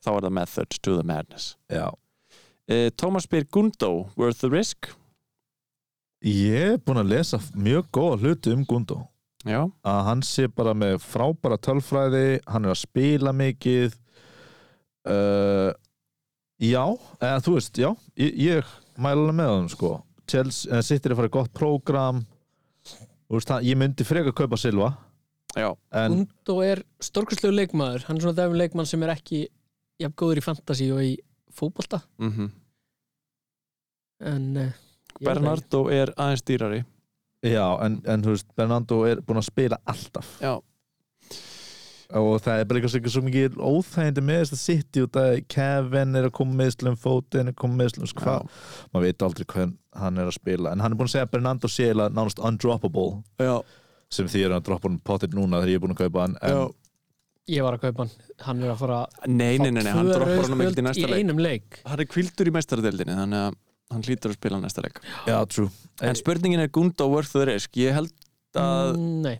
Speaker 6: Þá er það method to the madness
Speaker 4: já,
Speaker 6: uh, Thomas spyr Gundo Worth the risk?
Speaker 4: ég er búin að lesa mjög góða hluti um Gundo
Speaker 6: Já,
Speaker 4: að hann sé bara með frábæra tölfræði hann er að spila mikið uh, já, eða þú veist já, ég, ég mæla alveg með hann sko Chelsea, eh, sittir að fara í gott prógram þú veist, hann- ég myndi freka að kaupa Silva
Speaker 6: já,
Speaker 4: en
Speaker 3: Gundo er stórkurslegu leikmaður hann er svona dæmi um leikmann sem er ekki jafn góður í fantasy og í fótbolta
Speaker 6: mhm
Speaker 3: en eh, ég veit ekki.
Speaker 6: Bernardo er aðeins dýrari
Speaker 4: já, en, en þú veist, Bernardo er búin að spila alltaf
Speaker 6: Já.
Speaker 4: og það er bara eitthvað sem ekki svo mikið óþægindi með þess að sitt í út að Kevin er að koma meðslum fótinn er að koma meðslum, hvað maður veit aldrei hvern hann er að spila en hann er búin að segja að Bernardo sé eiginlega nánast undroppable
Speaker 6: Já,
Speaker 4: sem því er að droppa hann pottir núna þegar ég er búin að kaupa hann en,
Speaker 6: Já.
Speaker 3: ég var að kaupa hann, hann er að fara að
Speaker 6: Nei, nei, nei, nei, hann
Speaker 3: fá tvö
Speaker 6: droppar
Speaker 3: rauð
Speaker 6: honum ekkert í
Speaker 3: spjöld
Speaker 6: næsta
Speaker 3: í
Speaker 6: leik
Speaker 3: einum leik
Speaker 6: Hann er kvildur í mestaradeildinni þannig að hann hlýtur að spila næsta leik
Speaker 4: já, true
Speaker 6: En spurningin er Gundo worth the risk Ég held að,
Speaker 3: Mm, nei,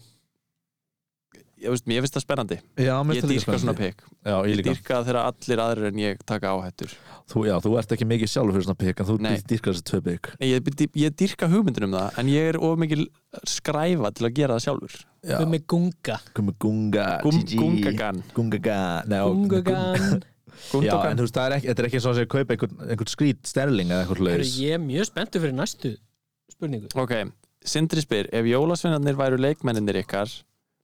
Speaker 6: ég veist, mér finnst það spennandi
Speaker 4: já, mér finnst
Speaker 6: Ég
Speaker 4: það líka
Speaker 6: dýrka svona
Speaker 4: spennandi.
Speaker 6: pick
Speaker 4: já, ég
Speaker 6: Ég
Speaker 4: líka
Speaker 6: dýrka þegar allir aðrir en ég taka áhættur
Speaker 4: þú, já, þú ert ekki mikið sjálfur fyrir svona pikk en þú
Speaker 6: Nei.
Speaker 4: dýrkar þessi tvö pikk
Speaker 6: Nei, ég, ég dýrka hugmyndin um það en ég er of mikil skræfa til að gera það sjálfur
Speaker 4: Já.
Speaker 3: við með Gunga
Speaker 4: komið gunga
Speaker 6: Gum,
Speaker 4: GG.
Speaker 6: Gungagan
Speaker 4: gungaga Nei, ó,
Speaker 3: Gungagan
Speaker 4: já, en
Speaker 6: Gundogan
Speaker 4: þú veist, það er ekki, þetta er ekki eins og að segja kaupa einhvern, einhvern skrít sterling eða eitthvað
Speaker 3: Heru,
Speaker 4: laus
Speaker 3: ég er mjög spenntu fyrir næstu spurningu
Speaker 6: Ok, Sindri spyr ef jólasveinarnir væru leikmenninir ykkar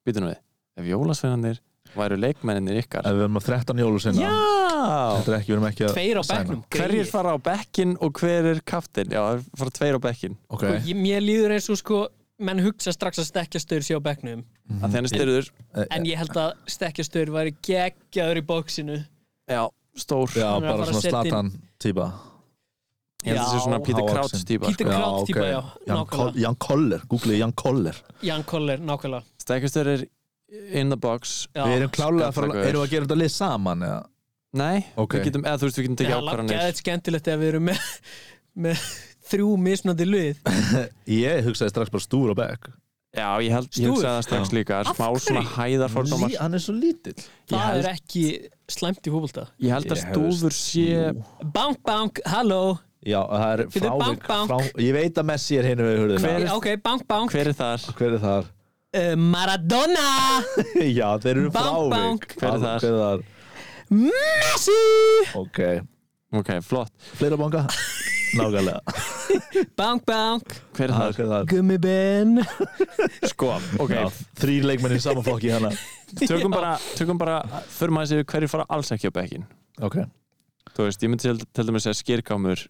Speaker 6: býtum við, ef jólasveinarnir væru leikmenninir ykkar
Speaker 4: ef við erum að 13 jólu sinna
Speaker 6: Já,
Speaker 4: þetta er ekki, við erum ekki að
Speaker 3: tveir á
Speaker 4: Sæma.
Speaker 3: bekknum
Speaker 6: hverjir
Speaker 3: greyið.
Speaker 6: fara á bekkin og hver er kaftin? Já, það fara tveir á bekkin
Speaker 4: ok,
Speaker 3: Og Sko, ég, mér líður eins og sko menn hugsa strax að stekkjastöður sé á bekknum
Speaker 6: að því hann er styrður
Speaker 3: en ég held að stekkjastöður væri geggjaður í bóksinu
Speaker 6: Já, stór
Speaker 4: já,
Speaker 3: Hann er að
Speaker 4: bara
Speaker 3: fara að
Speaker 4: svona
Speaker 3: setja inn-
Speaker 4: slatan típa
Speaker 6: Ég held að það sé
Speaker 3: Já.
Speaker 6: svona Peter
Speaker 4: Hávaxinn.
Speaker 6: Krauts típa
Speaker 3: Peter
Speaker 6: sko.
Speaker 3: Crouch típa,
Speaker 4: ok.
Speaker 3: já,
Speaker 4: Jan,
Speaker 3: nákvæmlega.
Speaker 4: Kol Jan Koller, googlið Jan Koller
Speaker 3: Jan Koller, nákvæmlega
Speaker 6: Stækjastur er in the box
Speaker 3: já.
Speaker 4: Við erum klálega að fara,
Speaker 6: Skallakur.
Speaker 4: erum við að gera þetta lið saman eða?
Speaker 6: Nei,
Speaker 4: Ok.
Speaker 6: við getum, eða þú veist, við getum
Speaker 3: það
Speaker 6: tekið
Speaker 3: er langt
Speaker 6: ákvarðanir
Speaker 3: geðið skemmtilegt ef við erum með, með þrjú misnandi lið
Speaker 4: Ég hugsaði strax bara stúr og bekk
Speaker 6: Já, ég held, ég
Speaker 3: Stúf.
Speaker 6: hugsaði það strax líka
Speaker 3: Af
Speaker 6: smá svona
Speaker 3: hverju?
Speaker 6: hæðarfordómar
Speaker 4: Lí- Hann er svo lítill
Speaker 3: það
Speaker 6: held-
Speaker 3: er ekki slæmt í fútbolta
Speaker 6: Ég held að
Speaker 4: Ég hefði-
Speaker 6: stúfur sé
Speaker 3: Bank, bank, halló
Speaker 4: Já, það er
Speaker 3: Fyrir
Speaker 4: frávik
Speaker 3: bank, bank.
Speaker 4: frá, Ég veit að Messi er hinu við hurðina
Speaker 6: Hver
Speaker 4: Hver,
Speaker 6: er-
Speaker 3: Ok, bank, bank
Speaker 6: Hver er þar?
Speaker 4: er þar?
Speaker 3: uh, Maradona
Speaker 4: Já, þeir eru
Speaker 3: Bank,
Speaker 4: frávik
Speaker 3: bank.
Speaker 6: Hver er þar?
Speaker 4: Hver er þar?
Speaker 3: Messi
Speaker 4: Ok,
Speaker 6: Ok, flott
Speaker 4: fleira banka Nákvæmlega
Speaker 3: Bank, bank
Speaker 6: Hver er þar?
Speaker 4: Hver er þar?
Speaker 3: Gummi Ben
Speaker 6: Sko, ok
Speaker 4: Já, Þrý leikmenn í sama flokki hérna. hana
Speaker 6: Tökum bara, tökum bara Förum aðeins yfir hverju fara alls ekki á bekkin
Speaker 4: Ok,
Speaker 6: Þú veist, ég myndi til, til dæmis að skýrkámur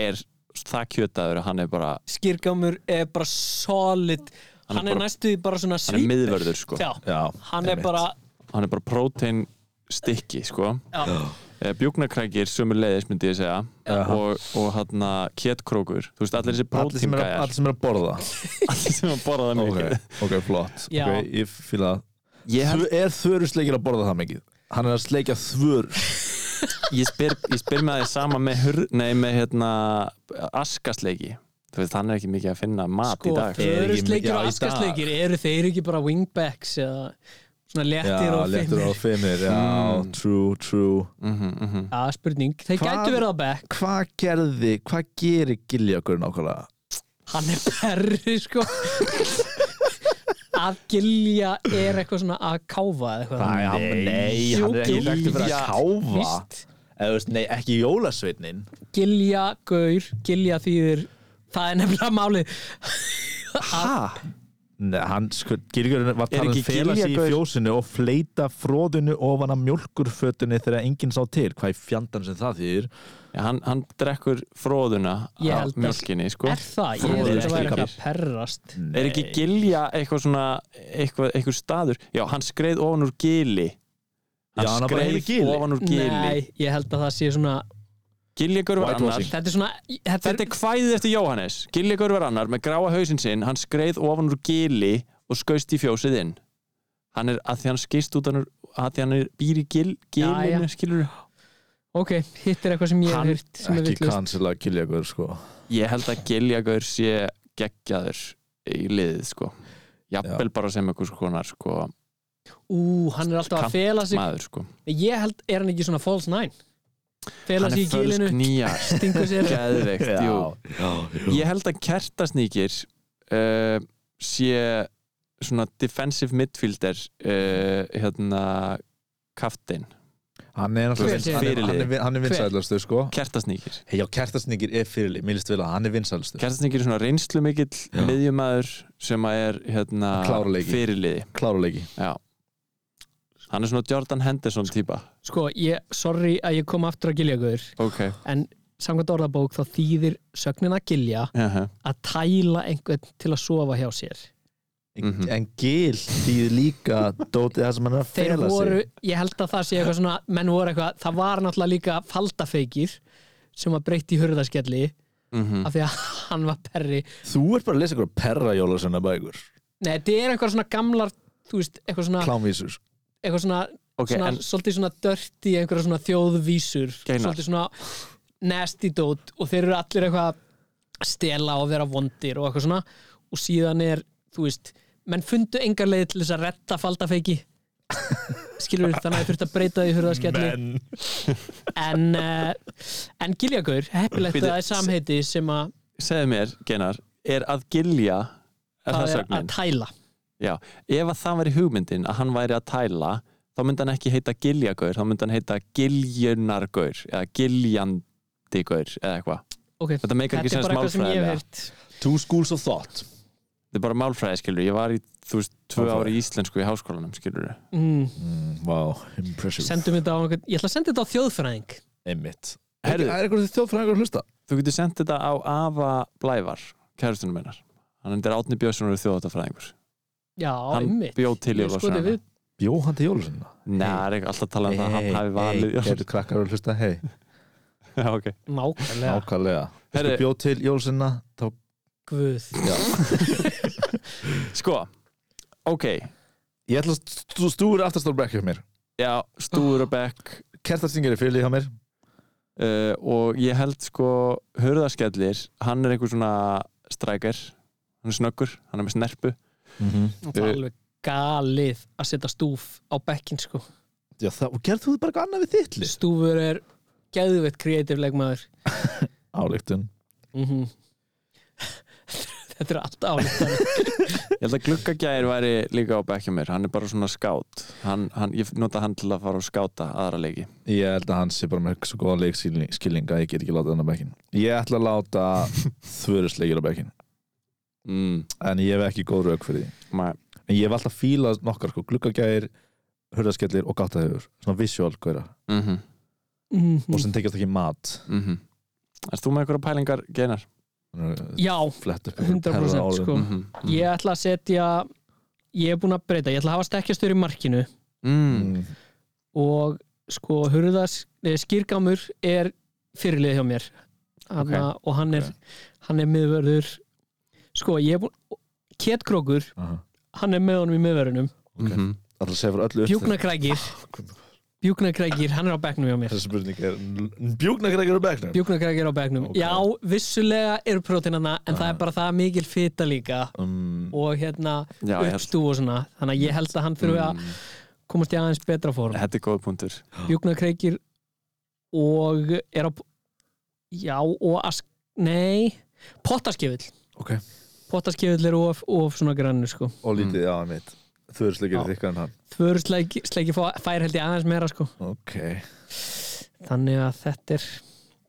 Speaker 6: er það kjötaður að hann er bara
Speaker 3: Skýrgámur er bara solid
Speaker 6: Hann er
Speaker 3: Hann er
Speaker 6: bara-
Speaker 3: næstu í bara svona
Speaker 6: hann er
Speaker 3: svíp
Speaker 6: miðvörður sko
Speaker 3: Já,
Speaker 4: já
Speaker 3: hann er bara
Speaker 6: hann er bara prótein stikki sko
Speaker 3: Já.
Speaker 6: Eh, bjúknakrækir sömur leiðis myndi ég segja og, og hann að kétkrókur þú veist allir þessi
Speaker 4: Allir sem,
Speaker 6: prótein
Speaker 4: er, að-
Speaker 6: gæjar
Speaker 4: allir sem er að borða
Speaker 6: allir sem að borða það mikið
Speaker 4: Ok, ok, flott
Speaker 3: Já.
Speaker 4: Ok, ég fýla það
Speaker 6: ég, held,
Speaker 4: Þvö- Er þvörusleikir að borða það mikið? Hann er að sleikja þvör
Speaker 6: ég, spyr, ég spyr með því sama með, hur, nei, með hérna, askasleiki þú veist hann er ekki mikið að finna mat
Speaker 3: sko,
Speaker 6: í
Speaker 4: Er
Speaker 6: dag
Speaker 4: ekki-
Speaker 3: Förusleikir
Speaker 4: já, í dag.
Speaker 3: og askasleikir Eru þeir ekki bara wingbacks eða svona léttir og
Speaker 4: léttir
Speaker 3: fimmir
Speaker 4: og fimmir Já, true, true
Speaker 6: mm -hmm, mm -hmm.
Speaker 3: Já, spurning, þeir
Speaker 4: Hvað-
Speaker 3: gætu verið á bekk
Speaker 4: Hvað gerði, hvað gerir Giljagur nákvæmlega?
Speaker 3: Hann er perri sko Að gilja er eitthvað svona að káfa eða eitthvað
Speaker 4: Æ, hann, nei,
Speaker 3: Jú,
Speaker 4: hann er ekki
Speaker 3: Gylfi.
Speaker 4: þekktur fyrir að káfa
Speaker 3: Víst.
Speaker 4: Eða, þú veist, Nei, ekki jólasveitnin
Speaker 3: Gilja gaur, gilja þýðir Það er nefnilega málið
Speaker 4: Ha? Nei, hann sko, Gyrgjörn var
Speaker 6: Er
Speaker 4: talað um
Speaker 6: ekki
Speaker 4: fela sig í
Speaker 6: Gilja gaur-
Speaker 4: fjósinu og fleita fróðinu ofan af mjólkurfötunni þegar enginn sá til, hvað í fjandan sem það þýðir
Speaker 6: Já, hann, hann drekkur fróðuna
Speaker 3: Ég
Speaker 6: af
Speaker 3: held að-
Speaker 6: mjölkinni sko.
Speaker 3: Er það? Ég held að það væri ekki að perrast
Speaker 6: er ekki gilja eitthvað svona eitthvað, eitthvað staður, já hann skreið ofan úr gili
Speaker 4: Já, hann
Speaker 6: hann
Speaker 4: var bara
Speaker 6: skreið
Speaker 4: yfir gili.
Speaker 6: ofan úr gili
Speaker 3: Nei, ég held að það sé svona
Speaker 6: giljagur var annar
Speaker 4: Whitewashing.
Speaker 3: Þetta er svona Þetta er
Speaker 6: þetta er kvæðið eftir Jóhannes giljagur var annar með gráa hausinn sinn hann skreið ofan úr gili og skaust í fjósið inn hann er að því hann skist út hann úr að því hann er býr í gil,
Speaker 3: Já, já.
Speaker 6: gilinu skilur
Speaker 3: Ok, hitt er eitthvað sem ég hef
Speaker 6: Hann-
Speaker 3: hýrt sem er
Speaker 4: ekki
Speaker 3: vittlust
Speaker 4: cancela Giljagur sko
Speaker 6: ég held að giljagur sé geggjaður í liðið sko jafnvel bara sem eitthvað svona sko,
Speaker 3: Ú, hann er alltaf að fela sig
Speaker 6: maður sko
Speaker 3: Ég held, er hann ekki svona false nine? Fela
Speaker 6: hann
Speaker 3: sig
Speaker 6: er
Speaker 3: í gilinu,
Speaker 6: fölsk nýjar
Speaker 3: stingu sér
Speaker 6: Geðveikt, jú Ég held að kertasníkir uh, sé svona defensive midfielder uh, hérna kaftin,
Speaker 4: hann er
Speaker 3: Hver
Speaker 4: náttúrulega
Speaker 3: segir
Speaker 4: hann er,
Speaker 6: fyrirliði?
Speaker 4: hann er, vin- hann er vinsælustu sko
Speaker 6: kertasníkir
Speaker 4: hey, já, kertasningir er fyrirli, mér líst vel að hann er vinsælustu
Speaker 6: Kertasníkir er svona reynslu mikill
Speaker 4: Já.
Speaker 6: miðjumæður sem að er hérna
Speaker 4: Að klára leiki.
Speaker 6: fyrirliði
Speaker 4: kláruleiki
Speaker 6: Já. Hann er svona Jordan Henderson típa
Speaker 3: Sko, ég, sorry að ég kom aftur að gilja guður
Speaker 6: Ok
Speaker 3: En samkvæmt orðabók þá þýðir sögnin að gilja að tæla einhvern til að sofa hjá sér
Speaker 6: Mhm.
Speaker 4: en Gil þýð líka dótið það sem hann er að
Speaker 3: Þeir
Speaker 4: fela
Speaker 3: voru, ég held að það sé eitthvað svona menn voru eitthvað, það var náttúrulega líka faldafeikir sem var breytt í hurðaskelli
Speaker 6: Mhm.
Speaker 3: af því að hann var perri
Speaker 4: sig þú ert bara að lesa ykkur perra jólasunna bækur
Speaker 3: Nei, þetta er eitthvað svona gamlar þú veist, eitthvað svona,
Speaker 4: klámvísus
Speaker 3: eitthvað svona,
Speaker 6: Ok,
Speaker 3: svona
Speaker 6: en
Speaker 3: svolítið svona dörti einhverja svona þjóðvísur
Speaker 6: Geinar.
Speaker 3: svolítið svona nasty dót og þeir eru allir eitthvað að stela og vera vondir og eitthvað svona og síðan er, þú veist menn fundu engar leið til þess að retta faldafeiki skilur við þannig að þurft að breyta því hurðaskelli
Speaker 4: menn
Speaker 3: en, uh, en giljagur, heppilegt að
Speaker 6: Bíddu,
Speaker 3: það er samheiti sem að
Speaker 6: segðu mér, Genar er að gilja er það
Speaker 3: það er
Speaker 6: sögnin?
Speaker 3: að tæla
Speaker 6: Já, ef að það væri hugmyndin að hann væri að tæla þá myndi hann ekki heita giljagaur þá myndi hann heita giljunargaur eða giljandigaur eða eitthvað
Speaker 3: okay.
Speaker 6: Þetta meikar ekki sens
Speaker 3: ég hef
Speaker 6: málfræðilega.
Speaker 3: heyrt
Speaker 4: two schools of thought
Speaker 6: Þetta er bara málfræði skilur, ég var í þú veist, tvö
Speaker 4: Málfræði.
Speaker 6: ári í íslensku í háskólanum skilur
Speaker 3: mm,
Speaker 4: wow, impressive
Speaker 3: sendum þetta á einhvern ég ætla að senda þetta á þjóðfræðing
Speaker 4: einmitt
Speaker 6: Herðu.
Speaker 4: er eitthvað þjóðfræðingur að hlusta
Speaker 6: Þú getur sendt þetta á Ava Blævar kærustunum minnar, hann hendur Átni Björnsson og þjóðatafræðingur,
Speaker 3: já,
Speaker 6: hann
Speaker 3: einmitt
Speaker 6: bjó til
Speaker 3: Ég skoði
Speaker 6: Jólasveinana.
Speaker 3: við-
Speaker 4: Jóhann til jólasunna
Speaker 6: Nei, það er ekki alltaf að tala um það að hann hafi valið
Speaker 4: gerðu krakkar að hlusta hei
Speaker 6: Já, ok.
Speaker 3: nákvæmlega
Speaker 4: Nákvæmlega Herri,
Speaker 6: Herri.
Speaker 4: Bjóð til jólusinna þá...
Speaker 3: guð
Speaker 6: Sko, ok
Speaker 4: Ég ætla að stú, stúra aftastór brekk hjá mér
Speaker 6: Já, Stúrabekk
Speaker 4: Kertastingur er fyrirlið hjá mér
Speaker 6: uh, og ég held sko Hörðarskellir, hann er einhver svona strækir, hann er snöggur hann er með snerpu
Speaker 4: Mhm.
Speaker 3: og það er alveg galið að setja stúf á bekkin sko
Speaker 4: Já, það, og gerðu þú bara eitthvað annað við þitt lið
Speaker 3: stúfur er geðveitt kreatív leikmaður
Speaker 4: Álíktun
Speaker 3: mm
Speaker 6: Mhm.
Speaker 3: þetta er allt álítan
Speaker 6: ég held að gluggagæðir væri líka á bekkjum mér hann er bara svona skát hann, hann, ég nota hann til að fara og skáta aðra leiki
Speaker 4: Ég held að hann sé bara með svo góða leikskilling að ég get ekki láta hann á bekkin Ég ætla að láta þvörusleikir á bekkin
Speaker 6: mm.
Speaker 4: En ég hef ekki góð rauk fyrir því
Speaker 6: Nei.
Speaker 4: En ég hef alltaf fílað nokkar sko Gluggagæðir, hurðaskellir og gáttaðhefur Svona visual góðra
Speaker 6: mm -hmm.
Speaker 3: Mhm. Mm.
Speaker 4: Og sem tekjast ekki mat
Speaker 6: Erst Mhm. þú með einhverja pælingar, Geinar?
Speaker 3: já,
Speaker 4: Flett upp
Speaker 3: 100% sko
Speaker 6: Mm
Speaker 4: Mhm.
Speaker 6: -hmm.
Speaker 3: ég ætla að setja ég er búin að breyta, ég ætla að hafa stekkjastur í markinu
Speaker 6: mm.
Speaker 4: mm.
Speaker 3: og sko hurðas eh, skýrgámur er fyrirlið hjá mér Hanna, og hann er, hann er miðvörður sko ég er búin Ketkrókur,
Speaker 4: Aha.
Speaker 3: hann er með honum í miðvörðunum
Speaker 6: Mm -hmm.
Speaker 4: Alltaf segja fyrir öllu upp
Speaker 3: Bjúknakrækir Bjúknakrækir, hann er á bekknum hjá mér
Speaker 4: Þessi spurning er Bjúknakrækir á bekknum
Speaker 3: Bjúknakrækir á bekknum,
Speaker 4: Ok.
Speaker 3: já, vissulega eru prótínana, en það er bara það mikil fita líka
Speaker 4: um,
Speaker 3: og hérna
Speaker 6: Já, ég held
Speaker 3: uppstú og svona þannig að ég held að hann þurfi að
Speaker 6: Mm.
Speaker 3: komast í aðeins betra form
Speaker 6: Þetta er góð punktur
Speaker 3: Bjúknakreikir og er á já og ask, nei pottaskjöfull
Speaker 4: Ok.
Speaker 3: pottaskjöfull er of, of svona grannur sko
Speaker 4: Og lítið á hann mitt Þau eru slikir
Speaker 3: Já.
Speaker 4: þykkar en hann
Speaker 3: þvörursleiki fær held ég aðeins meira sko
Speaker 4: Ok
Speaker 3: þannig að þetta er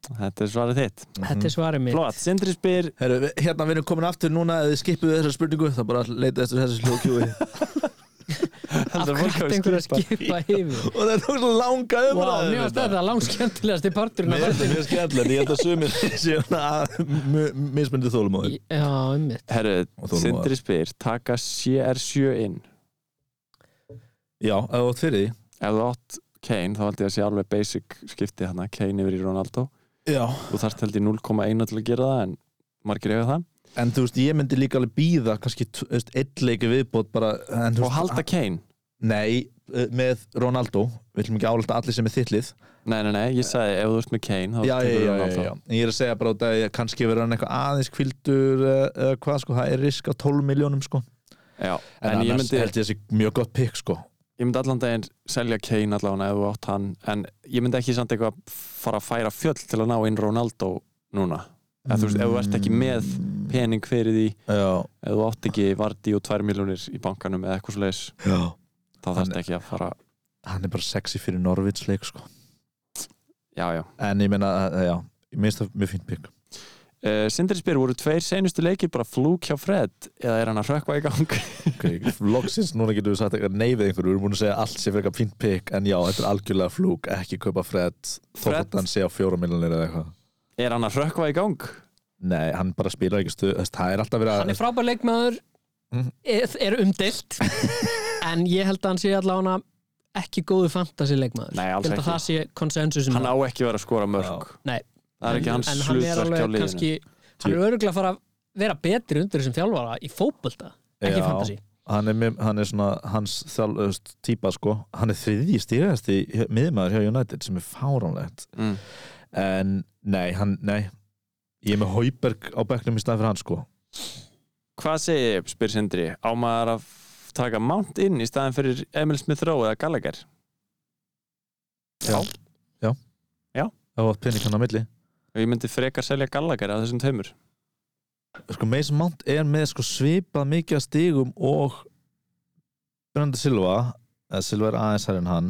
Speaker 6: Þetta er svarið þitt
Speaker 3: Þetta er svarið mitt
Speaker 6: Flott, Sindri spyr
Speaker 4: Heru, hérna við erum komin aftur núna eða skipuðu þessar spurningu þá bara leita eftir þessu hljóðkjúi
Speaker 3: Af hverju ætti einhver að skipa yfir
Speaker 4: og það er tók svo langa
Speaker 3: Vá,
Speaker 4: umræðu
Speaker 3: mér varst þetta langskemmtilegast í parturinn
Speaker 4: Mér finnst það mjög skemmtilegt, ég held að sumir séu mismundið þólum á þér
Speaker 3: Já, einmitt
Speaker 6: Herru,
Speaker 4: Og þolinmóður.
Speaker 6: Sindri spyr Taka CR7 inn
Speaker 4: Já, eða átt fyrir því
Speaker 6: Ef þú átt Kane, þá held ég að sé alveg basic skipti hana Kane yfir í Ronaldo
Speaker 4: Já,
Speaker 6: Þú þarft held ég 0,1 til að gera það en margir eiga það
Speaker 4: en þú veist, ég myndi líka alveg býða kannski t- þú veist, eitt leiki viðbót bara en, þú
Speaker 6: Og
Speaker 4: veist,
Speaker 6: halda Kane
Speaker 4: Nei, eh, með Ronaldo Við viljum ekki álita allir sem er þittlið
Speaker 6: Nei, nei, nei, ég sagði ef þú ert með Kane þá
Speaker 4: já, já, já,
Speaker 6: tekur
Speaker 4: já,
Speaker 6: Ronaldo.
Speaker 4: já, En Ég er að segja bara út að ég- kannski verður hann eitthvað aðeins kvildur uh, uh, hvað sko, það er risk á 12 miljónum sko
Speaker 6: Já,
Speaker 4: En,
Speaker 6: en ég
Speaker 4: annars
Speaker 6: myndi,
Speaker 4: held ég þessi mjög gott pikk sko
Speaker 6: ég myndi allan daginn selja Kane allan ef þú átt hann en ég myndi ekki samt eitthvað fara að færa fjöll til að ná inn Ronaldo núna eða þú veist, ef þú ert ekki með pening fyrir því
Speaker 4: Já,
Speaker 6: ef þú átt ekki vardi og 2 miljónir í bankanum eða eitthvað svo leiðis
Speaker 4: já
Speaker 6: þá þarfst ekki að fara
Speaker 4: Hann er bara sexy fyrir Norvits leik sko
Speaker 6: já, já.
Speaker 4: En ég meina, eh, já, ég minnst það mjög fínt pikk
Speaker 6: Uh, Sindri spyr, voru tveir seinustu leikir bara flúk hjá Fred eða er hann að hrökkva í gang
Speaker 4: okay, Loksins núna getum við sagt eitthvað nei við einhverju Við erum búin að segja allt sé fyrir eitthvað fínt pikk En já, þetta er algjörlega flúk, ekki kaupa Fred Þótt
Speaker 6: Fred?
Speaker 4: að hann sé á fjóra miljonir eða eitthvað
Speaker 6: er hann að hrökkva í gang
Speaker 4: Nei, hann bara spilar ekki stuð þess, Það er alltaf verið að
Speaker 3: Hann er frábær leikmaður
Speaker 4: Mhm.
Speaker 3: er, er umdilt en ég held að hann sé allavega ekki góðu fantasy leikmaður
Speaker 6: Nei, alls
Speaker 3: Ég held að
Speaker 6: ekki.
Speaker 3: það sé konsensusum
Speaker 6: hann á ekki verið að skora mörg
Speaker 3: Nei.
Speaker 6: það er ekki hans
Speaker 3: en hann er
Speaker 6: slutverk á
Speaker 3: alveg
Speaker 6: liðinu
Speaker 3: kannski hann er öruglega að fara að vera betri undir þessum þjálfara í fótbolta ekki
Speaker 4: Já.
Speaker 3: fantasy
Speaker 4: hann er, með- hann er svona hans þjálfust típa sko hann er þriðji stýrjast í miðmaður hjá United sem er fáránlegt
Speaker 6: Mm.
Speaker 4: en nei, hann, nei ég er með Hauberg á bekknum í stað fyrir hann sko
Speaker 6: hvað segi ég, spyr Sindri á maður að taka Mount inn í staðan fyrir Emil Smith Rowe eða Gallagher
Speaker 4: það var pening hann á milli
Speaker 6: og ég myndi frekar selja Gallagher af þessum taumur
Speaker 4: sko Mason Mount er með sko svipað mikið að stigum og Brenda Silva eða Silva er aðeins hær en hann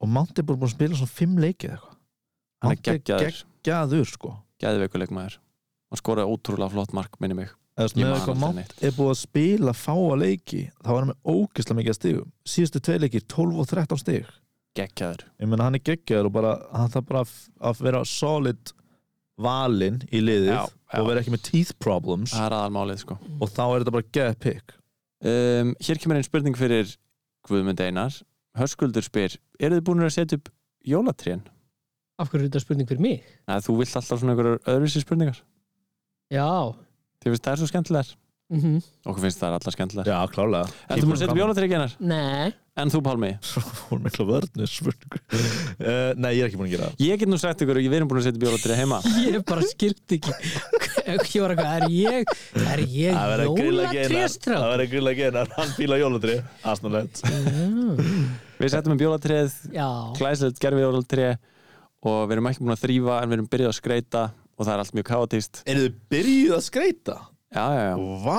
Speaker 4: og Mount er bara búin að spila svona fimm leikið eitthvað
Speaker 6: hann er
Speaker 4: Mount
Speaker 6: geggjaður,
Speaker 4: geggjaður sko
Speaker 6: geðveikuleikmaður hann skoraði ótrúlega flott mark, minni mig
Speaker 4: eða þú veist,
Speaker 6: Ég
Speaker 4: með
Speaker 6: man
Speaker 4: eitthvað
Speaker 6: aldrei
Speaker 4: mátt
Speaker 6: neitt.
Speaker 4: er búið að spila fáa leiki þá er hann með ógeðslega mikið að stigum síðustu tvei leiki 12 og 13 stig
Speaker 6: geggjaður,
Speaker 4: ég meina hann er geggjaður og bara hann þarf bara að f- að vera solid valinn í liðið
Speaker 6: Já, já.
Speaker 4: og vera ekki með teeth problems
Speaker 6: það er aðalmálið sko
Speaker 4: og þá er þetta bara get pick
Speaker 6: um, hér kemur einn spurning fyrir Guðmund Einar, Hörskuldur spyr eru þið búin að setja upp jólatrén?
Speaker 3: af hverju er þetta spurning fyrir mig?
Speaker 6: Nei, þú vilt alltaf svona einhverjar öðruvísi spurningar
Speaker 3: Já
Speaker 6: þið finnst það er svo skemmtilegar
Speaker 3: mm
Speaker 6: okkur finnst það er alltaf skemmtilegar
Speaker 4: já klárlega
Speaker 6: Ertu búin að setja upp jólatrén Einar?
Speaker 3: Nei
Speaker 6: En þú Pálmi?
Speaker 4: hún er mikla vörðnir spurningu uh, nei ég er ekki búin að gera það
Speaker 6: Ég get nú sagt ykkur, við erum búin að setja bjólatrið heima
Speaker 3: ég bara skildi ekki ég var eitthvað, er ég er ég
Speaker 4: Það verður að grilla genar Það
Speaker 3: jólatréstrá
Speaker 4: verður að grilla genar Hann fíla jólatri Asnulegt
Speaker 6: Við setjum um bjólatrið,
Speaker 3: já,
Speaker 6: glæsilegt gerfi jólatrið og við erum ekki búin að þrýfa en við erum byrjuð að skreita og það er allt mjög káatíst
Speaker 4: Eru þið byrjuð að skreita?
Speaker 6: Já, já, já
Speaker 4: Vá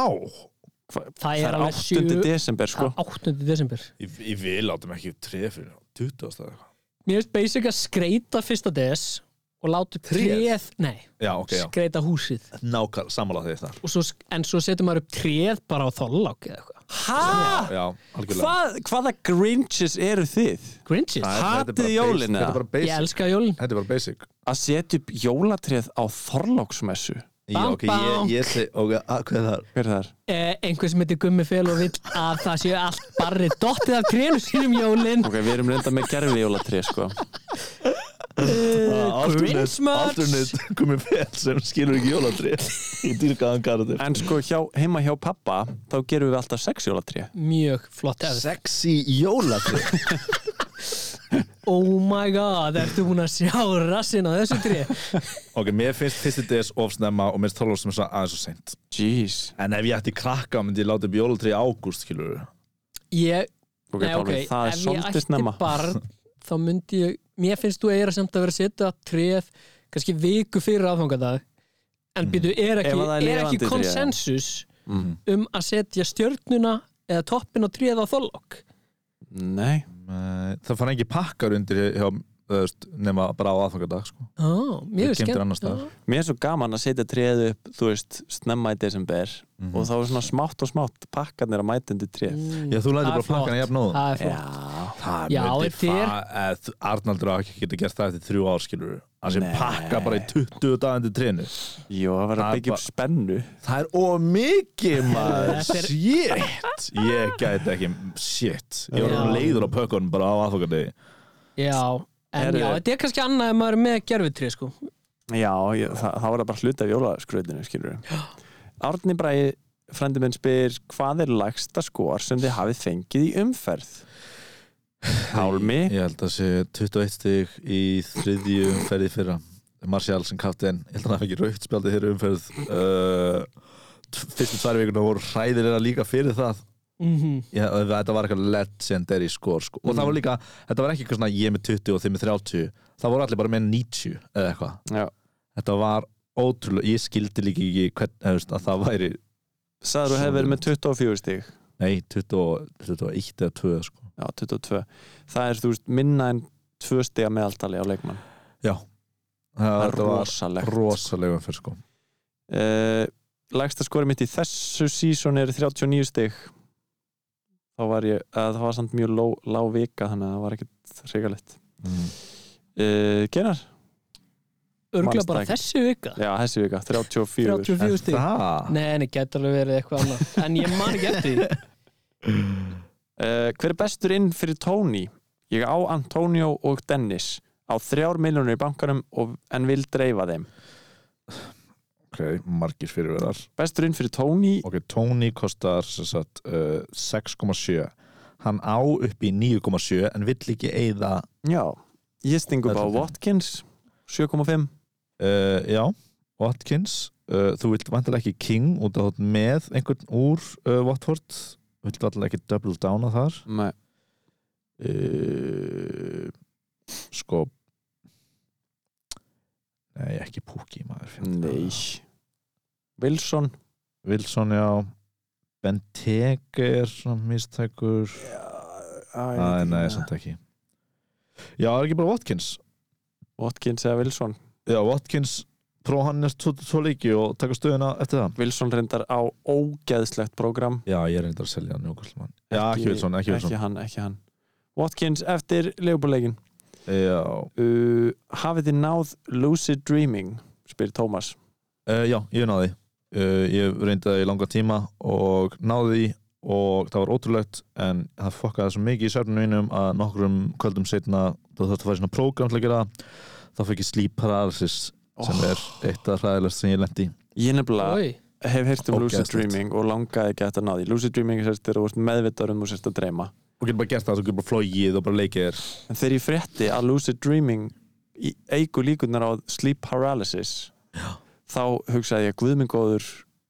Speaker 6: Hva,
Speaker 3: Það er alveg
Speaker 6: 8.
Speaker 3: sjö-
Speaker 6: desember sko
Speaker 3: 8. desember
Speaker 4: Ég, ég vil látum ekki treð fyrir 20 ástæð
Speaker 3: mér finnst basic að skreita fyrsta des og láta
Speaker 4: Tréð?
Speaker 3: tréð, nei,
Speaker 4: Já, ok, já
Speaker 3: skreita húsið
Speaker 4: Nákvæm, sammála því þar
Speaker 3: Og svo, en svo setur maður upp tréð bara á þollák eða eitthvað
Speaker 6: Hæ?
Speaker 4: Já, algjörlega
Speaker 6: Hvað, hvaða grinches eru þið?
Speaker 3: Grinches,
Speaker 4: Nei, þetta er bara
Speaker 6: Hatið
Speaker 4: basic-
Speaker 6: jólin,
Speaker 4: Þetta er
Speaker 6: eða?
Speaker 4: bara
Speaker 3: ég
Speaker 4: basic
Speaker 3: elska jólin
Speaker 4: Þetta er bara basic
Speaker 6: Að setja upp jólatrið á Þorlóksmessu
Speaker 4: Já, ok, ég, ég sé Ok, að, hvað er það?
Speaker 6: Hver er það? er?
Speaker 3: eh, einhver sem heitir Gummi Fel og vill að það séu allt barri dottið af trénu sínum jólin
Speaker 6: Ok, við erum reynda með gerfi jólatrið sko
Speaker 3: Grinchmas.
Speaker 4: Alternate komið fel sem skilur ekki jólatri Ég dýrka hann karatir
Speaker 6: En sko hjá, heima hjá pappa þá gerum við alltaf sex jólatrið
Speaker 3: mjög flott hefð
Speaker 4: Sexy jólatri
Speaker 3: oh my god, ertu búin að sjá rassin á þessu tré
Speaker 4: Ok, mér finnst fyrsti DS ofsnemma og mér finnst þólar sem aðeins og seint
Speaker 6: Jeez
Speaker 4: En ef ég ætti krakka myndi ég láta upp jólatri í ágúst, skilur
Speaker 3: ég,
Speaker 6: Ok,
Speaker 3: nei, ok,
Speaker 6: Pálmi, það er
Speaker 3: ef ég
Speaker 6: svolítið
Speaker 3: ætti
Speaker 6: snemma
Speaker 3: barn þá myndi ég, mér finnst þú eira samt að vera að setja tréð kannski viku fyrir aðfangadag en mm. býtu, er
Speaker 6: Mhm. Ef það er
Speaker 3: ekki, er
Speaker 6: lifandi tré,
Speaker 3: ekki
Speaker 6: já.
Speaker 3: konsensus
Speaker 6: Mm.
Speaker 3: um að setja stjörnuna eða toppin á tréð á þollokk
Speaker 6: Nei,
Speaker 4: Nei, það fann ekki pakkar undir hjá þú veist, nema bara á aðfangadag sko.
Speaker 3: Ó,
Speaker 4: Þeir
Speaker 3: mér er
Speaker 4: geymdir
Speaker 3: skemmt
Speaker 4: annars staðar.
Speaker 6: Mér er svo gaman að setja treð upp þú veist, snemma í desember
Speaker 4: Mhm.
Speaker 6: og þá er svona smátt og smátt pakkarnir að mæta undir treð
Speaker 3: Mm.
Speaker 4: Já, þú lætur
Speaker 3: Það er
Speaker 4: bara plakkana
Speaker 3: flott.
Speaker 4: jafnóðum
Speaker 3: Það er flott.
Speaker 6: Mm. Já,
Speaker 4: Það
Speaker 3: Já,
Speaker 4: myndi
Speaker 3: þetta er-
Speaker 4: fa- eða þú- Arnaldur á ekki geta gert það eftir þrjú ár skilur hann sem
Speaker 6: Nei.
Speaker 4: pakka bara í 20 dagandi trénu
Speaker 6: jú, það var
Speaker 4: Það
Speaker 6: að
Speaker 4: er
Speaker 6: byggja upp
Speaker 4: bara-
Speaker 6: spennu
Speaker 4: það er ómikið maður
Speaker 3: Þetta er-
Speaker 4: shit, ég gæti ekki shit, ég var
Speaker 3: Já.
Speaker 4: orðinn leiður á pökkunum bara á aðfokandi
Speaker 3: Já, en
Speaker 6: Herðu.
Speaker 3: já, þetta er kannski annað ef maður er með gerfitri, sko
Speaker 6: Já, ég, það, það var það bara hluti af jólaskrautinu skilur Árni Bræði, frendi minn spyr hvað er lagsta skor sem þið hafið fengið í umferð? Hálmi
Speaker 4: ég held að sé 21 stig í þriðju umferði fyrra Marcial sem kaptinn, ég held að hann hafi ekki raukt spjaldið þeirra umferð uh, t- fyrstu tvær vikuna voru hræðilega líka fyrir það
Speaker 3: mm
Speaker 4: Já, þetta var eitthvað legendary score sko. og það var líka, þetta var ekki eitthvað svona ég með 20 og þið með 30 það voru allir bara með 90 eða eitthvað
Speaker 6: Já.
Speaker 4: þetta var ótrúlega, ég skildi líka ekki hvern, eða, þú veist, að það væri
Speaker 6: Sæður þú hefur verið með 24 stig
Speaker 4: nei, 20, og- 21 eða 2 sko.
Speaker 6: Já, 22 Það er, þú veist, minna en 2 stiga meðaltali á leikmann
Speaker 4: já,
Speaker 6: Það
Speaker 4: það,
Speaker 6: er
Speaker 4: þetta var
Speaker 6: rosalegt
Speaker 4: rosalega umferð sko.
Speaker 6: uh, Lægsta skori mitt í þessu sísón er 39 stig Þá var ég, að það var samt mjög ló, lág vika þannig að það var ekkert hrigalegt
Speaker 4: mm.
Speaker 6: uh, Genar?
Speaker 3: Örgla
Speaker 6: Manst
Speaker 3: bara
Speaker 6: það ekki.
Speaker 3: þessi vika
Speaker 6: Já, þessi vika, 34
Speaker 4: En
Speaker 3: 34 stík
Speaker 4: það
Speaker 3: Nei, en það gæti alveg verið eitthvað annað En ég man ekki eftir því.
Speaker 6: Uh, hver er bestur inn fyrir Tony? Ég á Antonio og Dennis á þrjár miljónur í bankanum og, en vil dreifa þeim.
Speaker 4: ok, margir fyrirverðar
Speaker 6: Bestur inn fyrir Tony
Speaker 4: ok, Tony kostar sem sagt, uh, 6,7 hann á upp í 9,7 en vill ekki eigða
Speaker 6: Já, ég sting upp á
Speaker 4: Þetta er-
Speaker 6: Watkins 7,5
Speaker 4: uh, já, Watkins uh, þú vilt vantilega ekki King út af þátt með einhvern úr uh, Watford vilt vantilega ekki double downa þar
Speaker 6: Nei.
Speaker 4: uh, sko nei, ekki Pukki maður fjandinn.
Speaker 6: Nei Wilson
Speaker 4: Wilson já Benteke er svona mistækur Æ, nei, samt ekki já, er ekki bara Watkins
Speaker 6: Watkins eða Wilson
Speaker 4: já, Watkins prófa hann er tvo, tvo leiki og taka stöðuna eftir það
Speaker 6: Wilson reyndar á ógeðslegt program
Speaker 4: Já, ég er reyndar að selja hann Jókulsmann Já, ekki Wilson, ekki Wilson
Speaker 6: ekki hann, ekki hann Watkins eftir leifbúrleikin
Speaker 4: Já,
Speaker 6: uh, Hafið þið náð Lucid Dreaming spyr Tómas
Speaker 4: uh, já ég náði uh, Ég reyndi það í langa tíma og náði því og það var ótrúlegt en það fokkaði svo mikið í sérfnum mínum að nokkrum kvöldum setna þú þarfst að fara í svona prógram til að gera það. þá fekk ég sleep paralysis sem er eitt af hræðilegst sem ég lendi
Speaker 6: Oh, Ég nefnilega
Speaker 3: Oj,
Speaker 6: hef heyrt um Lucid
Speaker 4: Ógeðslegt.
Speaker 6: Dreaming og langaði ekki að þetta náði Lucid Dreaming er sérst þegar þú ert meðvitaður um og sérst að dreyma
Speaker 4: og getur bara gert það, þú getur bara flogið og bara leikið þér
Speaker 6: en þegar ég frétti að Lucid Dreaming í- eykur líkunar á sleep paralysis þá hugsaði ég guðmengóður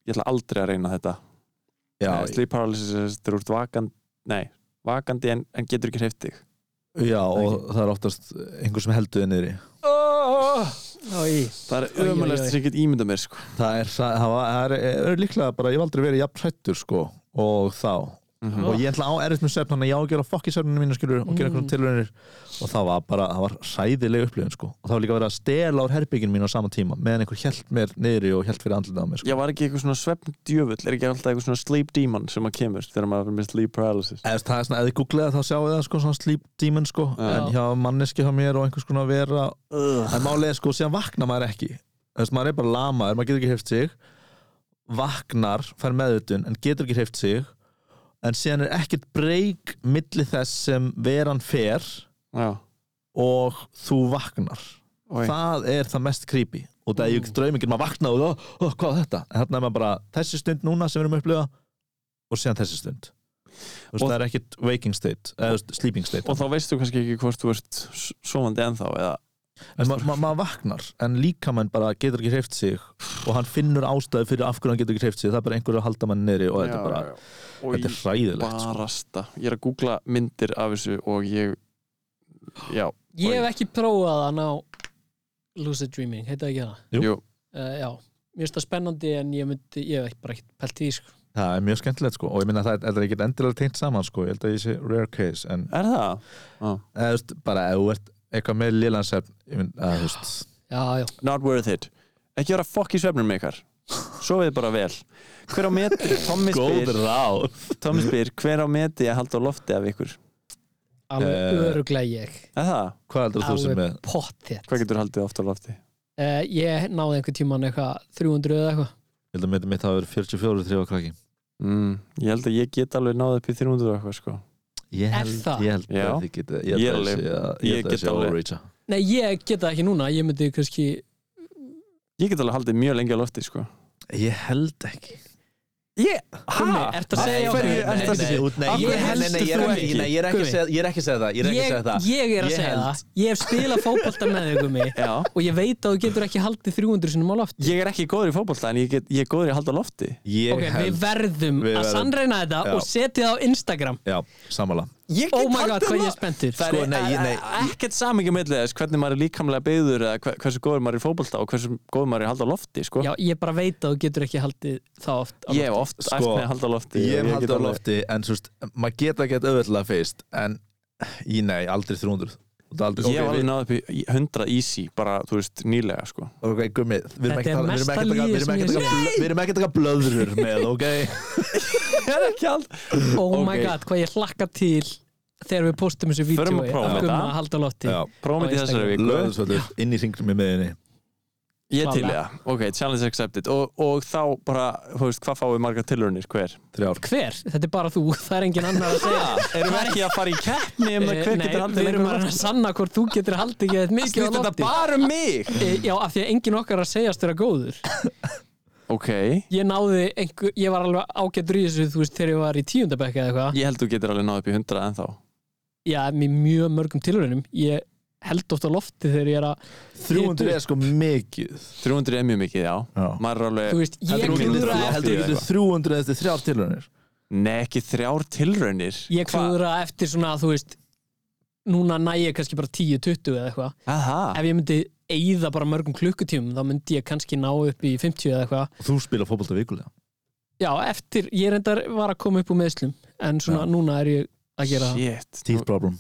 Speaker 6: ég ætla aldrei að reyna þetta Eh,
Speaker 4: Já,
Speaker 6: sleep paralysis er sérst þegar þú ert vakandi nei, vakandi en, en getur ekki hreyft þig
Speaker 4: já og það er oftast einhver sem heldur þið niðri
Speaker 3: oj,
Speaker 6: það
Speaker 3: Oj,
Speaker 6: er
Speaker 3: oj,
Speaker 6: ömulegst
Speaker 3: oj.
Speaker 6: sem ég get ímynda mér sko.
Speaker 4: Það er, það, það var, það er, er líklega bara, ég hef aldrei verið jafn hrættur sko og þá
Speaker 6: Mhm.
Speaker 4: og ég ætla á erfitt með svefn þannig að ég á að gera fokk í svefninu mínu skilur og gera
Speaker 3: Mm.
Speaker 4: eitthvað tilraunir og það var bara, það var sæðileg upplifun sko og það var líka verið að stela úr herbyggin mínu á sama tíma meðan einhver hjælt mér niðri og hjælt fyrir andlitað á mér sko.
Speaker 6: ég var ekki eitthvað svona svefndjöfull er ekki alltaf eitthvað svona sleep demon sem að kemur þegar maður er með sleep paralysis
Speaker 4: Eða, það er svona, ef þið googlaði þá sjáu það sko svona sleep demon sko,
Speaker 6: Já.
Speaker 4: en hjá manneski hjá mér og einhvers konar vera en málið er sko, síðan vaknar maður ekki þess maður er bara lamaður, maður getur ekki hreift sig vaknar, fær meðutun en getur ekki hreift sig en síðan er ekkert breyk milli þess sem veran fer
Speaker 6: já,
Speaker 4: og þú vaknar
Speaker 6: Oj.
Speaker 4: það er það mest creepy og það er ekki draumingir, maður vaknar og oh, oh, hvað er þetta, en þarna er maður bara þessi stund núna sem við erum að upplifa og síðan þessi stund Þú veist,
Speaker 6: Og-
Speaker 4: það er ekkert waking state, eða þú veist, sleeping state
Speaker 6: og þá veistu kannski ekki hvort þú ert s- sofandi ennþá eða
Speaker 4: en ma- ma- maður vaknar, en líkamenn bara getur ekki hreift sig og hann finnur ástæði fyrir af hverju hann getur ekki hreift sig, það er bara einhverju að halda mann niðri og þetta er bara,
Speaker 6: og
Speaker 4: þetta er hræðilegt sko.
Speaker 6: barasta ég er að googla myndir af þessu og ég já,
Speaker 3: ég hef ekki prófað að ná Lucid Dreaming, heita ekki hana
Speaker 4: Jú.
Speaker 6: Jú.
Speaker 3: Eh, Já, mér finnst það spennandi en ég myndi, ég hef ekki bara ekkert pælt í því, sko
Speaker 4: það er mjög skemmtilegt sko, og ég minna að það er- þetta er ekkert endilega tengt saman sko, ég held að ég sé rare case en
Speaker 6: er það?
Speaker 4: eða, þú veist, bara ef þú ert eitthvað með lélansefn ég mynd, að, þú veist,
Speaker 3: já, já,
Speaker 6: not worth it ekki vera fokk í svefnum ykkar sofið bara vel hver á meti, Tommi
Speaker 4: góð
Speaker 6: spyr,
Speaker 4: ráð
Speaker 6: Tommi spyr hver á meti að halda á lofti af ykkur
Speaker 3: alveg
Speaker 4: Eh,
Speaker 3: öruglega ég
Speaker 6: eða það,
Speaker 4: hvað heldur þú sem
Speaker 3: alveg
Speaker 4: með
Speaker 3: pottþétt
Speaker 6: hvað getur haldið oft á lofti
Speaker 3: Eh, ég náði einhvern tíman eitthvað 300 eða eitthvað
Speaker 4: ég held að mitt mitt hafa verið 44 þrjóða krakki
Speaker 6: mm, ég held að ég get alveg náð upp í 300 og eitthvað sko
Speaker 4: ég
Speaker 3: Er
Speaker 4: held,
Speaker 3: það?
Speaker 4: ég held
Speaker 6: Já.
Speaker 4: að þið geta ég
Speaker 6: Ég
Speaker 4: held að
Speaker 6: alveg.
Speaker 4: þessi að-
Speaker 6: Ég
Speaker 4: ég held að
Speaker 6: get
Speaker 4: þessi
Speaker 6: alveg.
Speaker 4: overreacha
Speaker 3: nei, ég geta ekki núna, ég myndi kannski
Speaker 6: ég get alveg haldið mjög lengi á lofti sko
Speaker 4: ég held ekki
Speaker 6: ég,
Speaker 3: Gummi, ertu að segja
Speaker 4: Hverju
Speaker 3: okkur-
Speaker 4: ertu að
Speaker 3: Nei,
Speaker 4: segja út? Nei,
Speaker 3: Af
Speaker 4: ég-
Speaker 3: hverju
Speaker 4: nei, nei,
Speaker 3: heldur
Speaker 4: ég er
Speaker 3: þú
Speaker 4: ekki-
Speaker 3: ekki?
Speaker 4: nei, ég er ekki að
Speaker 3: Gummi.
Speaker 4: segja- ég er ekki að segja það Ég er ekki að
Speaker 3: ég,
Speaker 4: segja það
Speaker 3: ég er að
Speaker 4: Ég
Speaker 3: segja
Speaker 4: held-
Speaker 3: það ég hef spilað fótbolta með þig Gummi
Speaker 6: já
Speaker 3: og ég veit að þú getur ekki haldið 300 sinum á loft
Speaker 6: ég er ekki góður í fótbolta en ég, get, ég er góður í að halda á lofti
Speaker 4: Ég
Speaker 3: ok, við
Speaker 4: held
Speaker 3: verðum
Speaker 4: Við
Speaker 3: að
Speaker 4: verðum-
Speaker 3: sannreina þetta
Speaker 4: Já.
Speaker 3: og setja það á Instagram
Speaker 4: Já, samanlega
Speaker 6: ég
Speaker 3: oh my god, hvað ég er spenntur
Speaker 6: Það
Speaker 4: Sko,
Speaker 6: er
Speaker 4: nei,
Speaker 6: e-
Speaker 4: nei.
Speaker 6: e- ekkert samingi millið þess hvernig maður er líkamlega beigður eða hve- hversu góður maður er í fótbolta og hversu góður maður er í að halda á lofti sko.
Speaker 3: já, ég bara veit að þú getur ekki haldið það oft á lofti.
Speaker 6: ég hef oft
Speaker 4: Sko,
Speaker 6: æft með að halda á lofti
Speaker 4: Ég
Speaker 6: og
Speaker 4: hef haldið
Speaker 6: get
Speaker 4: á
Speaker 6: alveg-
Speaker 4: lofti En svo veist, maður geta gett auðvitað fyrst En, ég nei, aldrei 300 Þú ert aldrei,
Speaker 6: ég
Speaker 4: ok,
Speaker 6: hef alveg
Speaker 4: við-
Speaker 6: náð upp í 100 easy bara, þú veist, nýlega sko.
Speaker 4: ok, gummi Við erum ekki
Speaker 3: Þetta er
Speaker 4: að tala- við erum ekki
Speaker 3: mesta
Speaker 4: að taka- við
Speaker 3: lygi
Speaker 4: erum
Speaker 3: sem
Speaker 4: ekki
Speaker 3: ég
Speaker 4: að taka blö- við erum ekki að taka blöðrur með, ok
Speaker 6: ég er ekki all
Speaker 3: oh my
Speaker 6: ok.
Speaker 3: god, hvað ég hlakka til þegar við postum þessu vídeo
Speaker 6: Förum að prófa þetta.
Speaker 3: að halda á lofti
Speaker 4: Já,
Speaker 3: Á
Speaker 6: prófum í þessari viku
Speaker 4: Blöðsvöldur, inn í hringnum í miðinni
Speaker 6: ég til
Speaker 3: Klálega.
Speaker 6: það, ok, challenge accepted og, og þá bara, þú veist, hvað fáum við margar tilurnir hver?
Speaker 4: Þrjár
Speaker 3: hver, þetta er bara þú, það er engin annar að segja
Speaker 6: erum við ekki að fara í keppni um það
Speaker 3: Eh,
Speaker 6: hver
Speaker 3: Nei,
Speaker 6: getur
Speaker 3: við
Speaker 6: haldið
Speaker 3: erum
Speaker 6: lengur
Speaker 3: að
Speaker 6: á
Speaker 3: reyna að
Speaker 6: lofti?
Speaker 3: sanna hvort þú getur haldið ekki þetta mikið á
Speaker 6: snýst þetta
Speaker 3: lofti
Speaker 6: bara um mig
Speaker 3: Eh, Já, af því að enginn okkar er að segjast vera góður
Speaker 6: ok,
Speaker 3: Ég náði einhver, ég var alveg ágættur í þessu þú veist þegar ég var í tíundabekka eða eitthvað
Speaker 6: ég held þú getur alveg náð upp í 100 ennþá
Speaker 3: Já, með mjög mörgum tilraunum Ég held oft á lofti þegar ég er að
Speaker 4: 300 er sko mikið
Speaker 6: 300 er mjög mikið, já,
Speaker 4: Já.
Speaker 6: maður er
Speaker 3: Þú
Speaker 6: alveg
Speaker 3: veist,
Speaker 4: Heldur
Speaker 3: ég
Speaker 4: þú getur-
Speaker 3: klúðra
Speaker 6: klúðraði
Speaker 4: heldur þú
Speaker 6: eftir
Speaker 4: getur 300 eftir þrjár tilhörnir
Speaker 6: nei, ekki þrjár tilraunir
Speaker 3: Ég klúðra eftir svona, þú veist Núna næ ég kannski bara 10-20 eða eitthvað
Speaker 6: Aha.
Speaker 3: Ef ég myndi eyða bara mörgum klukkutímum þá myndi ég kannski ná upp í 50 eða eitthvað
Speaker 4: Þú spila fótbolta vikulega
Speaker 3: Já, eftir, ég reyndar var að koma upp úr meðslum en svona
Speaker 4: Já.
Speaker 3: núna er ég að gera það
Speaker 6: Shit, nú,
Speaker 4: Teeth problem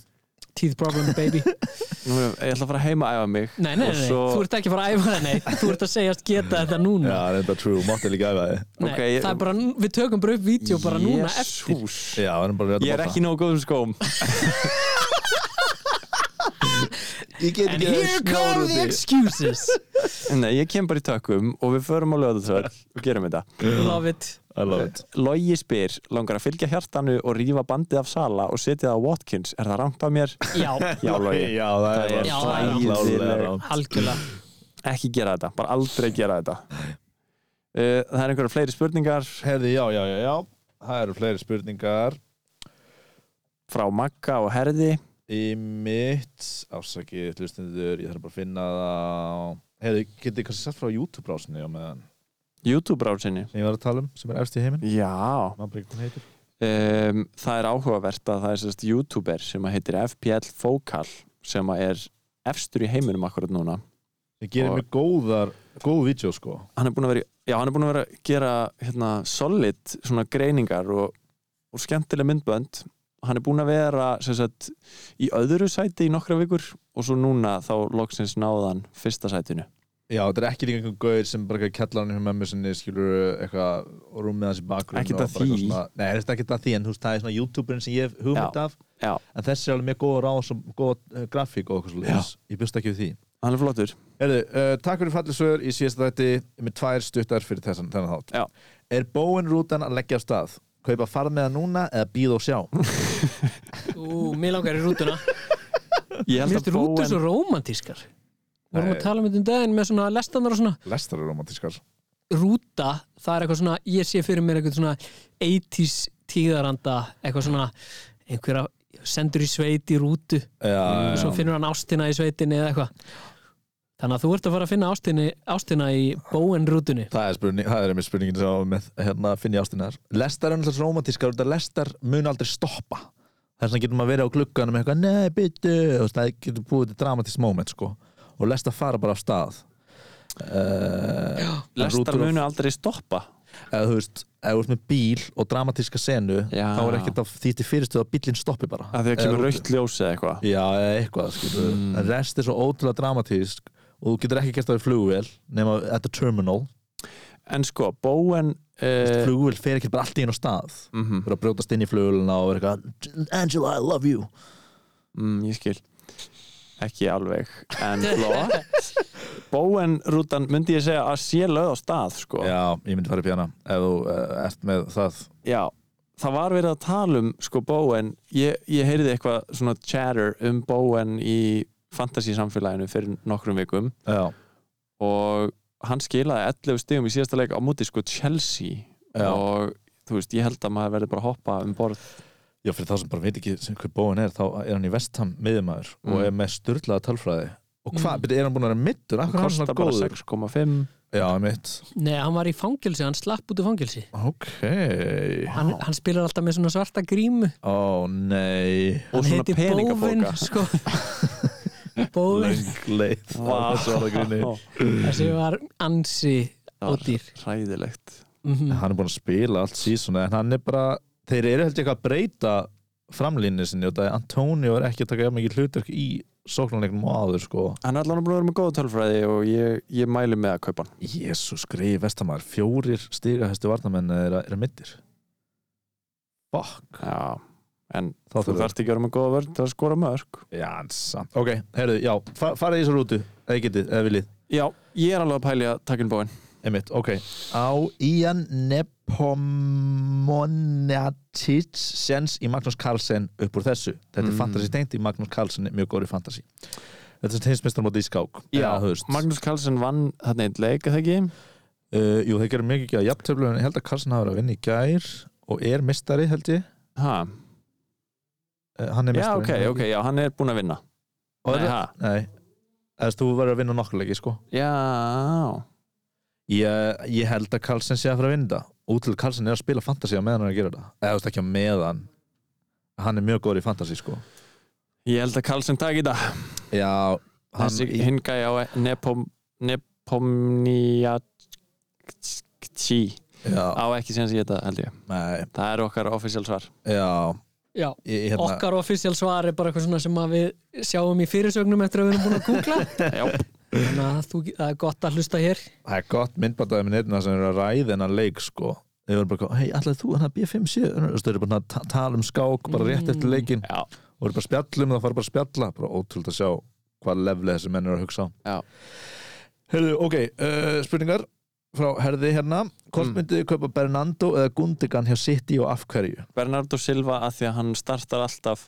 Speaker 3: Teeth problem baby
Speaker 6: nú, er- ég ætla að fara heima að æfa mig
Speaker 3: Nei, nei,
Speaker 6: Og
Speaker 3: nei,
Speaker 6: svo-
Speaker 3: þú ert ekki að fara að æfa það, nei Þú ert að segjast geta þetta núna
Speaker 4: Já, reynda true, mátti líka æfa þig
Speaker 3: nei,
Speaker 6: ok, ég-
Speaker 3: Það er bara, við tökum bara upp vídeo bara núna eftir
Speaker 6: Jesús.
Speaker 4: Já, erum bara
Speaker 6: Ég er ekki nógu góðum skóm
Speaker 4: Ég get
Speaker 3: And
Speaker 4: ekki
Speaker 3: here come the excuses
Speaker 6: Nei, ég kem bara í tökum og við förum á löðatröð og gerum þetta
Speaker 3: Love it
Speaker 4: I love it
Speaker 6: Logi spyr, langar að fylgja hjartanu og rífa bandið af Sala og setja það á Watkins Er það rangt af mér?
Speaker 3: Já,
Speaker 6: Já, Logi
Speaker 4: Já, það
Speaker 6: Það
Speaker 4: er
Speaker 6: er
Speaker 3: Já,
Speaker 4: klálega
Speaker 6: hlægileg.
Speaker 4: rámt.
Speaker 3: algjörlega
Speaker 6: Ekki gera þetta, bara aldrei gera þetta uh, Það er einhverja fleiri spurningar
Speaker 4: Herði, já, já, já, já Það eru fleiri spurningar
Speaker 6: frá Magga og Herði
Speaker 4: Í mitt Ásakið, hlustendur, ég þarf bara að finna það Herði, getið kannski sett frá YouTube-rásinni á meðan
Speaker 6: YouTube rásinni
Speaker 4: sem ég var að tala um, sem er efst í heiminn
Speaker 6: Já,
Speaker 4: Man bara ekki hvað hún heitir
Speaker 6: um, það er áhugavert að það er sérst YouTuber sem að heitir FPL Focal sem að er efstur í heiminum akkurat núna
Speaker 4: Sem gerir
Speaker 6: Og-
Speaker 4: mjög góðar, góð vídeo sko
Speaker 6: hann er búin að vera, já, hann er búin að vera að gera hérna, solid svona greiningar og, og skemmtileg myndbönd hann er búin að vera sem sagt, í öðru sæti í nokkra vikur og svo núna þá loksins náðan fyrsta sætinu
Speaker 4: Já, þetta er ekki líka einhvern gauður sem bara kallar hann hjá mömmu sinni, skilur eitthvað og rúmið hans í bakgrunn
Speaker 6: Ekkert
Speaker 4: og
Speaker 6: að
Speaker 4: bara eitthvað
Speaker 6: því.
Speaker 4: svona, Nei, þetta er ekkert að því, en þú veist, það er svona youtuberinn sem ég hef hugmynd
Speaker 6: Já,
Speaker 4: af
Speaker 6: já.
Speaker 4: En þessi er alveg mjög góð ráð og góð uh, grafík og eitthvað svo Ég bjóst ekki við því
Speaker 6: hann er flottur
Speaker 4: Herðu, uh, takk fyrir fallið sögur í síðasta þætti með tvær stuttar fyrir þessan þennan þátt
Speaker 6: Já.
Speaker 4: Er bóin rútan að leggja af stað? Kaupa farð með það núna eða býð og sjá?
Speaker 3: Ú, mér langar í rútuna
Speaker 6: ég
Speaker 3: Mér
Speaker 6: held
Speaker 3: finnst
Speaker 6: að
Speaker 3: rútur
Speaker 6: bóen
Speaker 3: svo rómantískar Við vorum
Speaker 4: Nei.
Speaker 3: að tala um þetta um daginn með svona lestanar og svona
Speaker 4: Lestar er romantískar
Speaker 3: Rúta, það er eitthvað svona Ég sé fyrir mér eitthvað svona 80s tíðaranda Eitthvað svona, einhverja sendur í sveit í rútu
Speaker 4: Já,
Speaker 3: svo finnur hann ástina í sveitinni eða eitthvað þannig að þú ert að fara að finna ástina, ástina í bóenrútunni
Speaker 4: Það er, spurning, það er einmitt spurningin sem var með hérna, finn ég ástunar. Lestar er náttúrulega romantískar út að lestar mun aldrei stoppa. Þess vegna getur maður verið á glugganum með eitthvað, nei, byttu, og svona, það getur búið til dramatísk moment, sko. Og lestar fara bara af stað. Uh,
Speaker 6: lestar munu aldrei stoppa
Speaker 4: eða þú veist, eða þú veist með bíl og dramatíska senu,
Speaker 6: Já.
Speaker 4: þá er ekkert að því til fyrirstuð að bílinn stoppi bara
Speaker 6: að því að
Speaker 4: Eða
Speaker 6: kemur
Speaker 4: þú-
Speaker 6: raukt ljósi eða eitthvað
Speaker 4: Já, eða eitthvað, skilur mm. En rest er svo ótrúlega dramatísk og þú getur ekki gert það í flugvél nema at the terminal
Speaker 6: en sko, Bowen
Speaker 4: uh,
Speaker 6: uh,
Speaker 4: flugvél fer ekkert bara allt í einu á stað
Speaker 6: mm
Speaker 4: þú er að brjótast inn í flugvélina og vera eitthvað Angela, I love you
Speaker 6: mm, ég skil ekki alveg en flott Bowen rútan myndi ég segja að sé löð á stað sko.
Speaker 4: Já, ég myndi fara upp í hana ef þú uh, ert með það
Speaker 6: Já, það var verið að tala um sko Bowen, ég, ég heyrði eitthvað svona chatter um Bowen í fantasísamfélaginu fyrir nokkrum vikum
Speaker 4: Já,
Speaker 6: og hann skilaði 11 stigum í síðasta leik á móti sko Chelsea
Speaker 4: Já.
Speaker 6: og þú veist, ég held að maður verði bara að hoppa um borð
Speaker 4: Já fyrir þá sem bara veit ekki sem hver bóin er þá er hann í vestam miðumæður
Speaker 6: Mm.
Speaker 4: og er með styrlaða talfræði og hvað, mm. er hann búin að vera middur? Akkur er hann
Speaker 6: kostar
Speaker 4: svona
Speaker 6: bara
Speaker 4: góður?
Speaker 6: 6,5
Speaker 4: Já, mitt
Speaker 3: Nei, hann var í fangelsi, hann slapp út úr fangelsi
Speaker 4: Ok
Speaker 3: hann, hann spilar alltaf með svona svarta grímu
Speaker 4: Ó, nei
Speaker 6: og
Speaker 3: Hann sko.
Speaker 6: svona
Speaker 3: heiti Bóvin
Speaker 6: peningabóka
Speaker 3: sko. Bóvin,
Speaker 4: Löng leið á þessu orðagríni.
Speaker 3: þessi var ansi
Speaker 6: Það var
Speaker 3: ódýr
Speaker 6: ræðilegt
Speaker 3: Mhm.
Speaker 4: hann er búin að spila allt síðan en hann er bara, þeir eru heldur eitthvað að breyta framlínu sinni og það er Antonio er ekki að taka jafn mikið hlutverk í sóknarleiknum og áður sko
Speaker 6: hann er allan að vera með góða tölfræði og ég, ég mæli með að kaupa hann
Speaker 4: Jésús greið vestamæður, fjórir stigahæstu varnamenn eru er mittir Fuck
Speaker 6: Já, en
Speaker 4: Þá
Speaker 6: þú
Speaker 4: þurfum við-
Speaker 6: þarft ekki að vera með góða vörð til að skora mörg
Speaker 4: Já, en samt Ok, heyrðu, já, fa farið í þessu rútu eða þið getið, eða viljið
Speaker 6: Já, ég er alveg að pæli að taka inn bóin
Speaker 4: Einmitt, ok Á Ian Nepomonatits sens í Magnús Carlsen upp úr þessu Þetta er
Speaker 6: Mm.
Speaker 4: fantasy tengt í Magnús Carlsen er mjög góri fantasy Þetta er heimsmeistar móti í skák
Speaker 6: Já,
Speaker 4: eða, þú veist.
Speaker 6: Magnús Karlsson vann þarna einn leik, er það ekki?
Speaker 4: uh, Jú, þeir gerum mikið ekki að jafntöflu en ég held að Carlsen hafa verið að vinna í gær og er mistari held ég
Speaker 6: Ha,
Speaker 4: uh, Hann er
Speaker 6: já, ok,
Speaker 4: mistari
Speaker 6: ok, já, hann er búinn að vinna
Speaker 4: Og
Speaker 6: Nei,
Speaker 4: er,
Speaker 6: ha,
Speaker 4: nei, eða þú verður að vinna nokkuleiki sko
Speaker 6: já
Speaker 4: ég, ég held að Carlsen sé að fara að vinna þetta. út til Carlsen er að spila fantasy á meðan hann er að gera þetta eða þú veist ekki á meðan hann er mjög góri í fantasy sko
Speaker 6: Ég held að Karlsson taki þetta
Speaker 4: Já, hann,
Speaker 6: Þessi hingæði á Nepom, Nepomniachtchi
Speaker 4: já,
Speaker 6: á ekki sem ég þetta, held ég
Speaker 4: nei,
Speaker 6: Það er okkar offisjál svar
Speaker 4: já,
Speaker 3: Já,
Speaker 4: ég, hérna,
Speaker 3: okkar offisjál svar er bara eitthvað svona sem að við sjáum í fyrirsögnum eftir að við erum búin að googla
Speaker 6: Já,
Speaker 3: þannig að þú, það er gott að hlusta hér
Speaker 4: það er gott myndbandaði minn einna sem eru að ræða hennar leik sko Þau eru bara, hei, allir þú hann að B5 síðan Þau eru bara að ta- tala um skák bara rétt eftir leikin
Speaker 6: já,
Speaker 4: og eru bara að spjallum og það fara bara að spjalla bara ótrúld að sjá hvað levli þessi menn eru að hugsa á.
Speaker 6: Já.
Speaker 4: Heyrðu, ok, uh, spurningar frá herði hérna Hvort
Speaker 6: Mm.
Speaker 4: mynduðu kaupa Bernando eða Gundogan hjá City og af hverju?
Speaker 6: Bernardo Silva að því að hann startar alltaf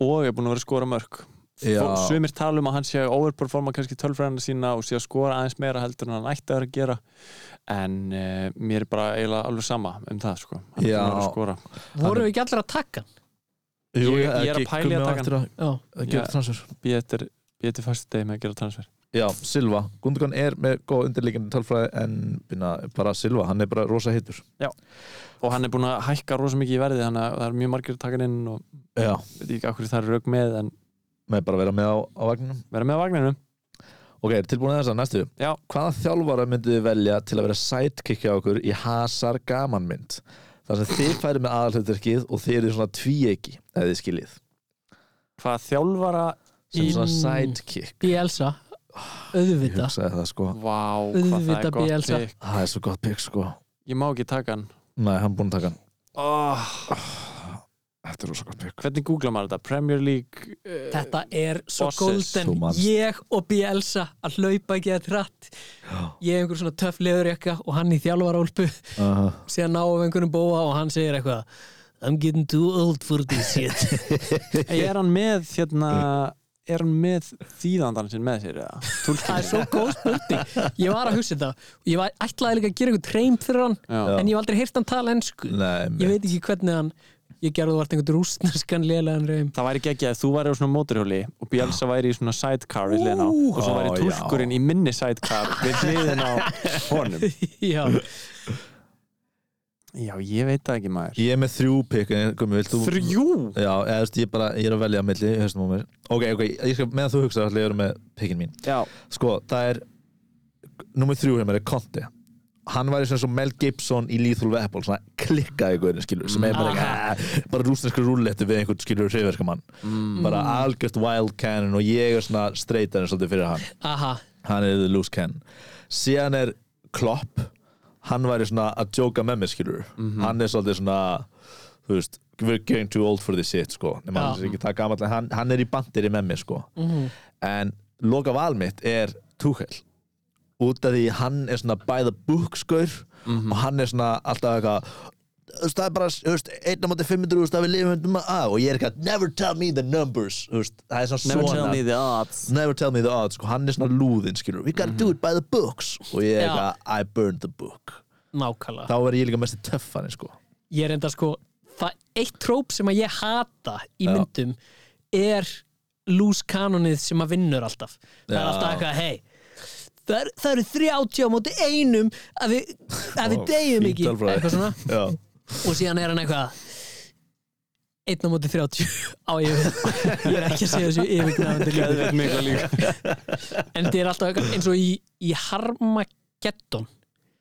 Speaker 6: og er búinn að vera að skora mörg
Speaker 4: Já.
Speaker 6: Fó- sumir tala um að hann sé að overperforma kannski tölfræðina sína og sé að skora aðeins meira heldur en hann ætti að vera að gera en uh, mér er bara eiginlega alveg sama um það sko, hann er
Speaker 4: Já.
Speaker 6: búinn að vera að skora
Speaker 3: voru við ekki allir að taka hann?
Speaker 6: Ég-
Speaker 4: Jú,
Speaker 6: ég er að
Speaker 4: ekki
Speaker 6: pæla í að
Speaker 4: komið á
Speaker 6: taka
Speaker 4: eftir að,
Speaker 3: Já,
Speaker 4: að gera
Speaker 6: Já.
Speaker 4: transfer
Speaker 6: býttir býttir fyrstu degi með að gera transfer
Speaker 4: Já, Silva, Gundogan er með góð undirleikandi tölfræði en byrna, bara Silva, hann er bara rosa hittur
Speaker 6: og hann er búinn að hækka rosa mikið í verði þannig að það er mjög margir að taka hann inn og
Speaker 4: Já,
Speaker 6: veit ekki okkur það er rauk með en
Speaker 4: með bara að vera með á, á vagninum
Speaker 6: vera með á vagninum
Speaker 4: Ok, tilbúin að þess að næstu
Speaker 6: Já.
Speaker 4: Hvaða þjálfara myndu þið velja til að vera sidekickja okkur í Hazar gamanmynd? Þar sem þið færi með aðalhutverkið og þið eru svona tvíegi eða þið skiljið
Speaker 6: hvað þjálfara
Speaker 4: sem
Speaker 3: Í-
Speaker 4: svona sidekick
Speaker 3: Bielsa,
Speaker 4: Ég
Speaker 3: auðvita
Speaker 4: hugsaði það sko,
Speaker 6: Vá, hvað það
Speaker 3: Auðvitað
Speaker 6: er gott
Speaker 3: Bielsa.
Speaker 6: pick.
Speaker 4: það er svo gott pick sko
Speaker 6: ég má ekki taka hann
Speaker 4: Nei, hann búin að taka hann
Speaker 6: oh,
Speaker 4: Þetta er rosa gott pick
Speaker 6: hvernig googla maður þetta? Premier League uh,
Speaker 3: Þetta er svo
Speaker 6: Bosses,
Speaker 4: þú
Speaker 3: golden
Speaker 4: manst.
Speaker 3: Ég og Bielsa að hlaupa ekki að tratt Ég einhver svona töff leðurjakka og hann í þjálfarólpu
Speaker 4: uh,
Speaker 3: síðan ná af einhvernum bóa og hann segir eitthvað I'm getting too old for this shit
Speaker 6: Er hann með hérna er hann með þýðandan sinn með sér eða?
Speaker 3: Það er svo góð spurning Ég var að hugsa þetta og Ég var ætlaði líka að gera eitthvað treym fyrir hann
Speaker 6: Já.
Speaker 3: en ég hef aldrei heyrt hann tala ennsku
Speaker 4: Nei,
Speaker 3: Ég veit ekki hvernig hann Ég gerði þú vart einhvern rúsneskan lélegan reym
Speaker 6: Það væri geggjað að þú væri á svona móturhjóli og Bjálsa væri í svona sidecar við hliðina á og svo væri
Speaker 4: Ó,
Speaker 6: tulkurinn í minni sidecar við hliðin á honum
Speaker 3: Já,
Speaker 6: Já, ég veit það ekki maður
Speaker 4: Ég er með þrjú pick en Gumi, vilt þú
Speaker 6: Þrjú?
Speaker 4: Já, eða, þú veist, ég, bara, ég er að velja að milli í hausnum á mér. Ok, ok, ég skal, meðan þú hugsa ætla ég að vera með pickin mín
Speaker 6: Já,
Speaker 4: Sko, það er Númer þrjú hjá mér er Conte hann væri sem svo Mel Gibson í Lethal Weapon svona klikkaði guðinu skilur sem er bara, ekki, bara rúsneska rúlletti við einhvern skilur hrifarkamann mm. bara algjört wild cannon og ég er svona streytarinn svolítið fyrir hann
Speaker 3: Aha,
Speaker 4: hann er the loose can síðan er Klopp hann væri svona að djóka með mér skilur
Speaker 6: Mhm.
Speaker 4: hann er svolítið svona þú veist, we're getting too old for this shit sko. Nema,
Speaker 3: Já.
Speaker 4: hann, er ekki það gamall, en hann, hann er í bandiri með mér sko.
Speaker 6: Mhm.
Speaker 4: en loka val mitt er Tuchel út af því hann er svona by the book skaur
Speaker 6: Mhm.
Speaker 4: og hann er svona alltaf eitthvað þú veist, það er bara, þú veist, 1.500 þú veist, það við lifum að og ég er eitthvað never tell me the numbers þú veist, það er svona
Speaker 6: Never
Speaker 4: svona
Speaker 6: tell me the odds
Speaker 4: never tell me the odds sko, hann er svona lúðinn skilur we gotta do it by the books og ég er
Speaker 3: Já.
Speaker 4: eitthvað I burned the book
Speaker 3: nákvæmlega
Speaker 4: þá verður ég líka mest í töffanni sko
Speaker 3: Ég er enda sko, það eitt tróp sem að ég hata í myndum er lús kanonið sem að vinnur alltaf Það er
Speaker 4: Já.
Speaker 3: alltaf eitthvað, hei Það, er, það eru 30 á móti einum að við, að við
Speaker 4: Ó,
Speaker 3: deyjum
Speaker 4: fínt
Speaker 3: ekki
Speaker 4: alfræði.
Speaker 3: eitthvað svona
Speaker 4: já,
Speaker 3: og síðan er hann eitthvað einn á móti 30 á ég ég er ekki að segja þessu yfirgnafandi líka
Speaker 6: Mikla líka
Speaker 3: en þetta er alltaf eitthvað eins og í, í Harmageddon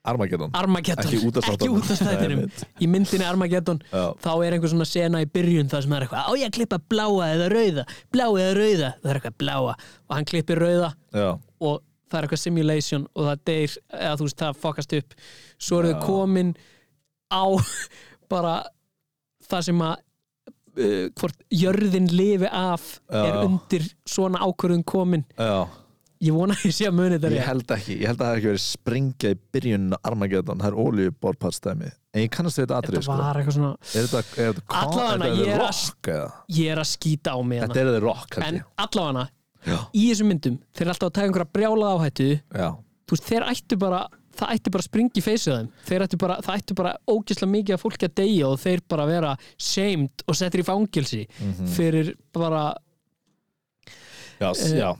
Speaker 4: Armageddon
Speaker 3: Armageddon,
Speaker 4: Ekki í útvarpsþáttunum.
Speaker 3: ekki útastættinum í myndinni Armageddon
Speaker 4: Já.
Speaker 3: þá er einhver svona sena í byrjun það sem er eitthvað, á ég að klippa bláa eða rauða bláa eða rauða, það er eitthvað bláa og hann klippir rauða
Speaker 4: já,
Speaker 3: og það er eitthvað simulation og það deyr, eða þú veist, það fokast upp svo eru þau komin á bara það sem að Uh, hvort jörðin lifi af er
Speaker 4: Já.
Speaker 3: undir svona ákvörðun komin
Speaker 4: já,
Speaker 3: ég vona að ég sé að muni þetta
Speaker 4: ég held ekki ég held að það hef ekki verið springja í byrjun á Armageddon, það er olíuborpartstæmi en ég kannast við þetta
Speaker 3: þetta
Speaker 4: atrið sko
Speaker 3: var eitthvað svona
Speaker 4: er þetta, er þetta, kon-
Speaker 3: Allavega,
Speaker 4: er
Speaker 3: ég
Speaker 4: þetta
Speaker 3: er að-
Speaker 4: rock eða?
Speaker 3: ég er að skýta á mig
Speaker 4: þetta
Speaker 3: hana.
Speaker 4: er þetta rock held
Speaker 3: en
Speaker 4: ég
Speaker 3: allavega
Speaker 4: Já.
Speaker 3: í þessum myndum þeir eru alltaf að taka einhverja brjála áhættu
Speaker 4: já,
Speaker 3: þú veist, þeir ættu bara það ætti bara að springa í feysið þeim þeir ættu bara, það ættu bara ógislega mikið að fólki að deyja og þeir bara vera shamed og settir í fangilsi
Speaker 4: Mhm. Mm.
Speaker 3: fyrir bara,
Speaker 4: já, s- já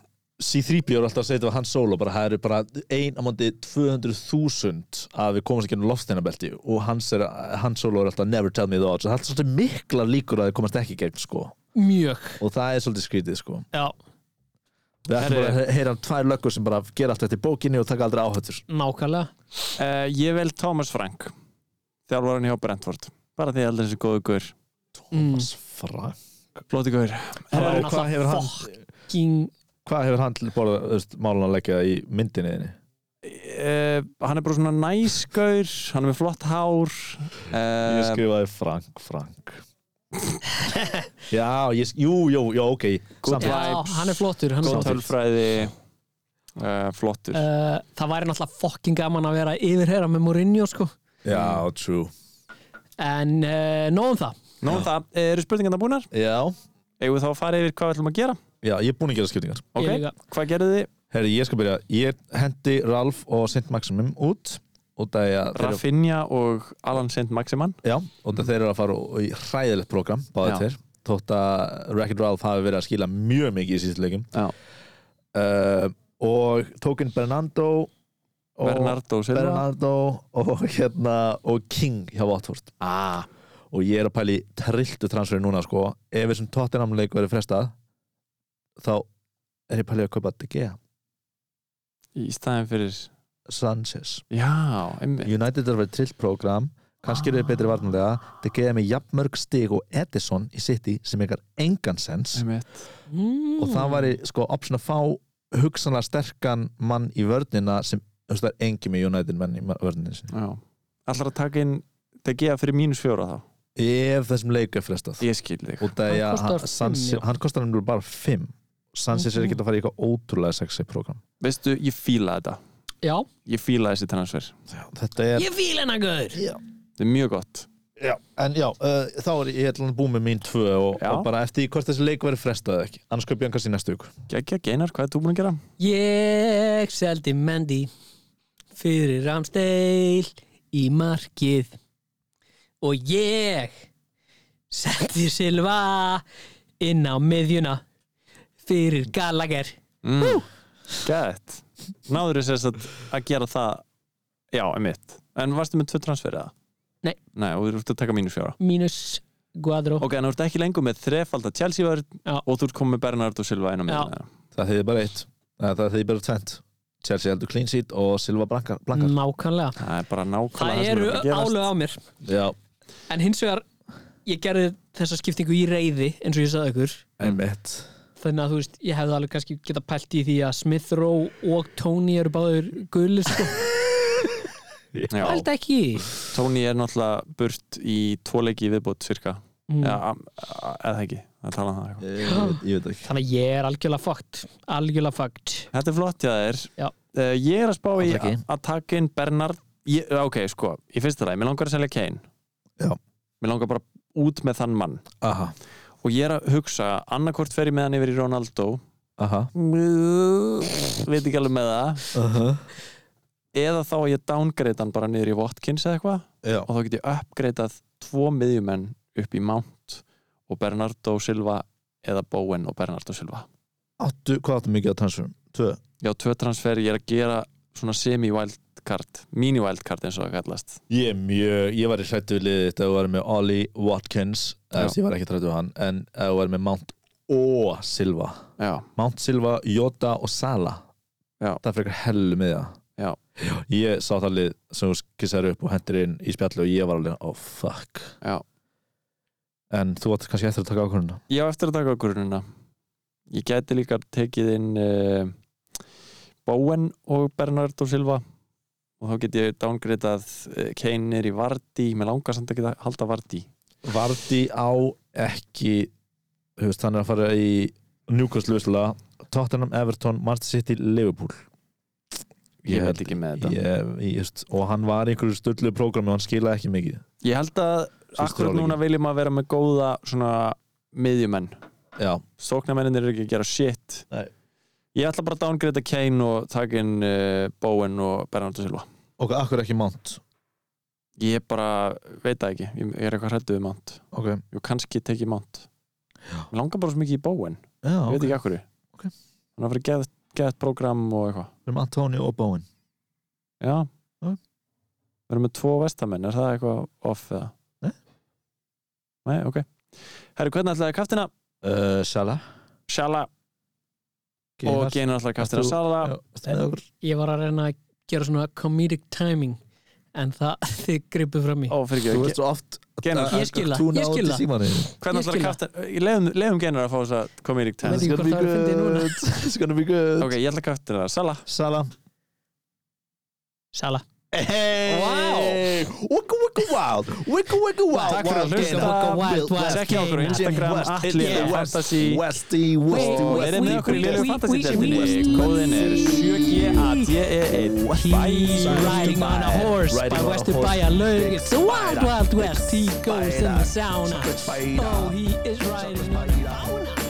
Speaker 4: C3P er alltaf að segja þetta var hans solo bara það eru bara ein á móti 200.000 að við komast ekki ennum loftsteinabelti og hans, er, hans solo er alltaf never tell me the odds og það er alltaf svolítið mikla líkur að þið komast ekki í gegn sko
Speaker 3: mjög
Speaker 4: og það er svolítið skrítið sko
Speaker 3: já,
Speaker 4: við ætlum bara að heyra um tvær löggur sem bara gera allt eftir bókinni og taka aldrei áhættur
Speaker 3: nákvæmlega
Speaker 6: uh, Ég vel Thomas Frank Þjálfarinn hjá Brentford Bara því aldrei þessi góðu gaur
Speaker 3: mm.
Speaker 4: Frank
Speaker 6: Flóti gaur
Speaker 3: það var
Speaker 4: Herra, hvað hefur hann
Speaker 3: fucking
Speaker 4: hvað hefur hann til borða þú veist, málun að leggja í myndinni þinni
Speaker 6: uh, Hann er bara svona næskaur Hann er með flott hár
Speaker 4: ég
Speaker 6: uh,
Speaker 4: skrifaði Frank Frank já, ég, sk- jú, jú, jú, ok
Speaker 6: Good
Speaker 4: Samt-
Speaker 3: já,
Speaker 6: vibes.
Speaker 3: hann er flottur, hann er
Speaker 6: Góð
Speaker 3: flottur.
Speaker 6: tölfræði uh, Flottur
Speaker 4: Eh,
Speaker 3: Uh, það væri náttúrulega fucking gaman að vera yfirherra með Mourinho sko
Speaker 4: já, true
Speaker 3: en uh, nóðum það
Speaker 6: Nú um það, eru spurningarna búnar?
Speaker 4: já,
Speaker 6: Eigum við þá að fara yfir hvað við ætlum að gera?
Speaker 4: já, ég er búin að gera skiptingar
Speaker 6: Ok,
Speaker 3: Ég líka.
Speaker 6: hvað gerðu þið?
Speaker 4: herri, ég skal byrja, ég hendi Ralf og Sint Maximum út og það er að þeir,
Speaker 6: Rafinha og Alan Saint Maximan
Speaker 4: já, og það þeir eru að fara í hræðilegt program, báðið
Speaker 6: Já.
Speaker 4: þeir þótt að Wreck-It Ralph hafi verið að skila mjög mikið í síðustu leikum
Speaker 6: Já.
Speaker 4: uh, og tókin Bernardo og
Speaker 6: Bernardo Silva
Speaker 4: Bernardo og, hérna, og King hjá Watford ah. og ég er að pæli trilltu transferi núna sko ef þessum Tottenham-leik verið frestað þá er ég pæli að kaupa De Gea
Speaker 6: Í staðin fyrir
Speaker 4: Sanchez
Speaker 6: Já, einmitt
Speaker 4: United er að vera trillt program kannski eru þeir betri varnarlega De Gea er með jafnmörg stig og Edison í City sem ykkar engan sens
Speaker 6: Einmitt
Speaker 3: mm.
Speaker 4: og það væri sko option að fá hugsanlega sterkan mann í vörnina sem þú veist, það er engi með United menn í vörnina sinni
Speaker 6: Já Allar að taka inn Það geða fyrir mínus fjóra þá
Speaker 4: ef þessum leik er frestað
Speaker 6: Ég skil þig
Speaker 4: og það
Speaker 3: Hann
Speaker 4: er að
Speaker 3: kostar
Speaker 4: hann- Sanchez-
Speaker 3: fimm, Mhm. já.
Speaker 4: hann kostar hann bara 5 Sanchez er ekki að fara í eitthvað ótrúlega sexy program
Speaker 6: Veistu, ég fíla þetta
Speaker 3: Mm. já,
Speaker 6: Ég fíla þessi transfer
Speaker 4: þetta er
Speaker 3: ég fíl hennar gauður
Speaker 6: Þetta er mjög gott
Speaker 4: já. en já, uh, þá er ég ætla að búið með mín tvö og,
Speaker 6: Já.
Speaker 4: og bara eftir því hvort þessi leik verið frestað eða ekki annars kaup ég hann kannski í næstu viku
Speaker 6: Gækja, Geinar, hvað er þú búin að gera?
Speaker 3: Ég seldi Mendy fyrir Ramsteil í markið og ég seldi Silva inn á miðjuna fyrir Gallagher
Speaker 6: Mm. Gætt Náður þess að, að gera það Já, einmitt En varstu með tvö transfer eða?
Speaker 3: Nei.
Speaker 6: Nei, og þú ert að taka mínus fjóra
Speaker 3: mínus Guadro
Speaker 6: Ok, en þú ert ekki lengur með þrefald að Chelsea var
Speaker 3: Já.
Speaker 6: og þú ert komið með Bernardo Silva inn á miðjuna
Speaker 4: það hefði bara eitt Nei, það hefði bara tvent Chelsea heldur clean sheet og Silva blankar, blankar.
Speaker 3: nákvæmlega
Speaker 6: það er bara
Speaker 3: það
Speaker 6: nákvæmlega sem
Speaker 3: eru
Speaker 6: er að fara að gerast.
Speaker 3: álög á mér
Speaker 4: Já,
Speaker 3: en hins vegar, ég gerði þessa skiptingu í reyði eins og ég sagði ykkur
Speaker 4: einmitt
Speaker 3: þannig að þú veist, ég hefði alveg kannski geta pælt í því að Smith Rowe og Tony eru báður gulli sko,
Speaker 6: Já,
Speaker 3: pælt ekki í því.
Speaker 6: Tony er náttúrulega burt í tvoleiki viðbót cirka
Speaker 3: mm.
Speaker 6: Já, am- a- eða ekki, það tala um það eitthvað.
Speaker 4: Ég, ég, veit, ég veit ekki
Speaker 3: þannig að ég er algjörlega fakt algjörlega fakt
Speaker 6: Þetta er flott, já það er
Speaker 3: Já.
Speaker 6: Eh, Ég er að spá í
Speaker 4: Alls ekki.
Speaker 6: a- að taka inn Bernard ég, Ok, sko, í fyrsta lagi, mér langar að selja Kane
Speaker 4: Já.
Speaker 6: Mér langar bara út með þann mann
Speaker 4: Aha,
Speaker 6: Og ég er að hugsa, annarkvort fer ég með hann yfir í Ronaldo
Speaker 4: aha
Speaker 6: Veit ekki alveg með það
Speaker 4: uh
Speaker 6: Eða þá að ég downgrade hann bara niður í Watkins eða eitthvað
Speaker 4: Já,
Speaker 6: og þá get ég uppgreitað tvo miðjumenn upp í Mount og Bernardo Silva eða Bowen og Bernardo Silva
Speaker 4: áttu, hvað áttu mikið að transferum? Tvö
Speaker 6: já, tvö transfer, ég er að gera svona semi-wildcard, mini-wildcard eins og það kallast
Speaker 4: Ég er mjög, ég var í hrættu við liðið þetta og var með Ollie Watkins
Speaker 6: Já.
Speaker 4: eða ég var ekki hrættu við hann en ég var með Mount og Silva
Speaker 6: já,
Speaker 4: Mount Silva, Jota og Sala
Speaker 6: Já.
Speaker 4: Það er frekar hellu með það
Speaker 6: Já.
Speaker 4: Ég sá það lið sem þú skissar upp og hendur inn í spjallu og ég var alveg, oh fuck
Speaker 6: Já.
Speaker 4: En þú átt kannski eftir að taka ákvörðuna
Speaker 6: ég á eftir að taka grunina ég gæti líka tekið inn uh, Bowen og Bernardo Silva og þá get ég downgreitað eh, Kane er í Vardy, mér langar samt ekki að halda Vardy
Speaker 4: Vardi á ekki þú veist, hann er að fara í Newcastle Úsla, Tottenham, Everton Manchester City, Liverpool
Speaker 6: ég,
Speaker 4: held-
Speaker 6: veit ekki með þetta
Speaker 4: ég, ég, just, og hann var í einhverju stöldu prógrami og hann skilaði ekki mikið
Speaker 6: Ég held að
Speaker 4: Síðustu
Speaker 6: akkurat
Speaker 4: þrjá
Speaker 6: núna viljum að vera með góða svona miðjumenn
Speaker 4: já,
Speaker 6: Sóknarmennin eru ekki að gera shit
Speaker 4: Nei.
Speaker 6: Ég ætla bara að downgrade Kane og taka inn uh, Bowen og Bernardo Silva
Speaker 4: ok, akkur ekki mount
Speaker 6: Ég bara veit það ekki, ég ég er eitthvað um hrættu við Mount
Speaker 4: ok,
Speaker 6: Jú, kannski tek ég Mount Mér langar bara svo mikið í Bowen,
Speaker 4: já,
Speaker 6: ég
Speaker 4: ok,
Speaker 6: veit ekki akkur
Speaker 4: Ok.
Speaker 6: Þannig að fyrir geðt, geðt program og eitthvað
Speaker 4: við erum Antoni Um og Bóin
Speaker 6: Já
Speaker 4: Já.
Speaker 6: Við erum með tvo vestamenn, er það eitthvað off eða?
Speaker 4: Nei.
Speaker 6: Nei, ok Herru, hvernig ætlaði kaftina?
Speaker 4: uh, Sala
Speaker 6: Sjala og Geir náttúrulega kastir að
Speaker 4: Þú-
Speaker 6: sala
Speaker 4: Geir
Speaker 3: ég var að reyna að gera svona comedic timing en það þið gripu fram í
Speaker 6: Ó, fyrir
Speaker 4: þú
Speaker 6: ekki,
Speaker 4: veist svo oft
Speaker 6: Geir
Speaker 3: Ég skil það, ég skil það.
Speaker 6: hvernig
Speaker 3: ég
Speaker 6: ætlar að
Speaker 3: skil
Speaker 6: kasta leiðum, leiðum Geir að fá þess að
Speaker 3: Ég
Speaker 6: comedic
Speaker 3: veit
Speaker 6: tennis
Speaker 3: ekki hvort það er fyndið núna.
Speaker 4: it's gonna be good
Speaker 6: Ok, ég ætla að kasta það, sala
Speaker 4: Sala
Speaker 3: Sala
Speaker 4: hey.
Speaker 6: Wow.
Speaker 4: wicka wicka wild wicka wicka wild
Speaker 6: Takk fyrir að
Speaker 4: Wild
Speaker 6: hlusta.
Speaker 4: Game.
Speaker 6: Wicka,
Speaker 3: wild, wild
Speaker 6: Sekki okkur á
Speaker 3: Game.
Speaker 6: Instagram,
Speaker 4: West,
Speaker 6: allir
Speaker 4: West,
Speaker 6: fantasy
Speaker 4: Westy
Speaker 3: Wait,
Speaker 4: Westy
Speaker 6: og
Speaker 3: wait,
Speaker 6: verið með okkur í
Speaker 3: wait,
Speaker 6: leiðu
Speaker 3: wait,
Speaker 6: fantasy
Speaker 3: wait,
Speaker 6: deltinni
Speaker 3: wait.
Speaker 6: Kóðin er 7GADE1 Bye
Speaker 3: Riding on a horse
Speaker 4: Riding
Speaker 3: by
Speaker 4: on a
Speaker 3: Westur
Speaker 4: horse.
Speaker 3: Bæja lög It's the wild
Speaker 4: Spider.
Speaker 3: wild west He goes in the
Speaker 4: Spider.
Speaker 3: sauna
Speaker 4: Spider.
Speaker 3: Oh he is riding on a fauna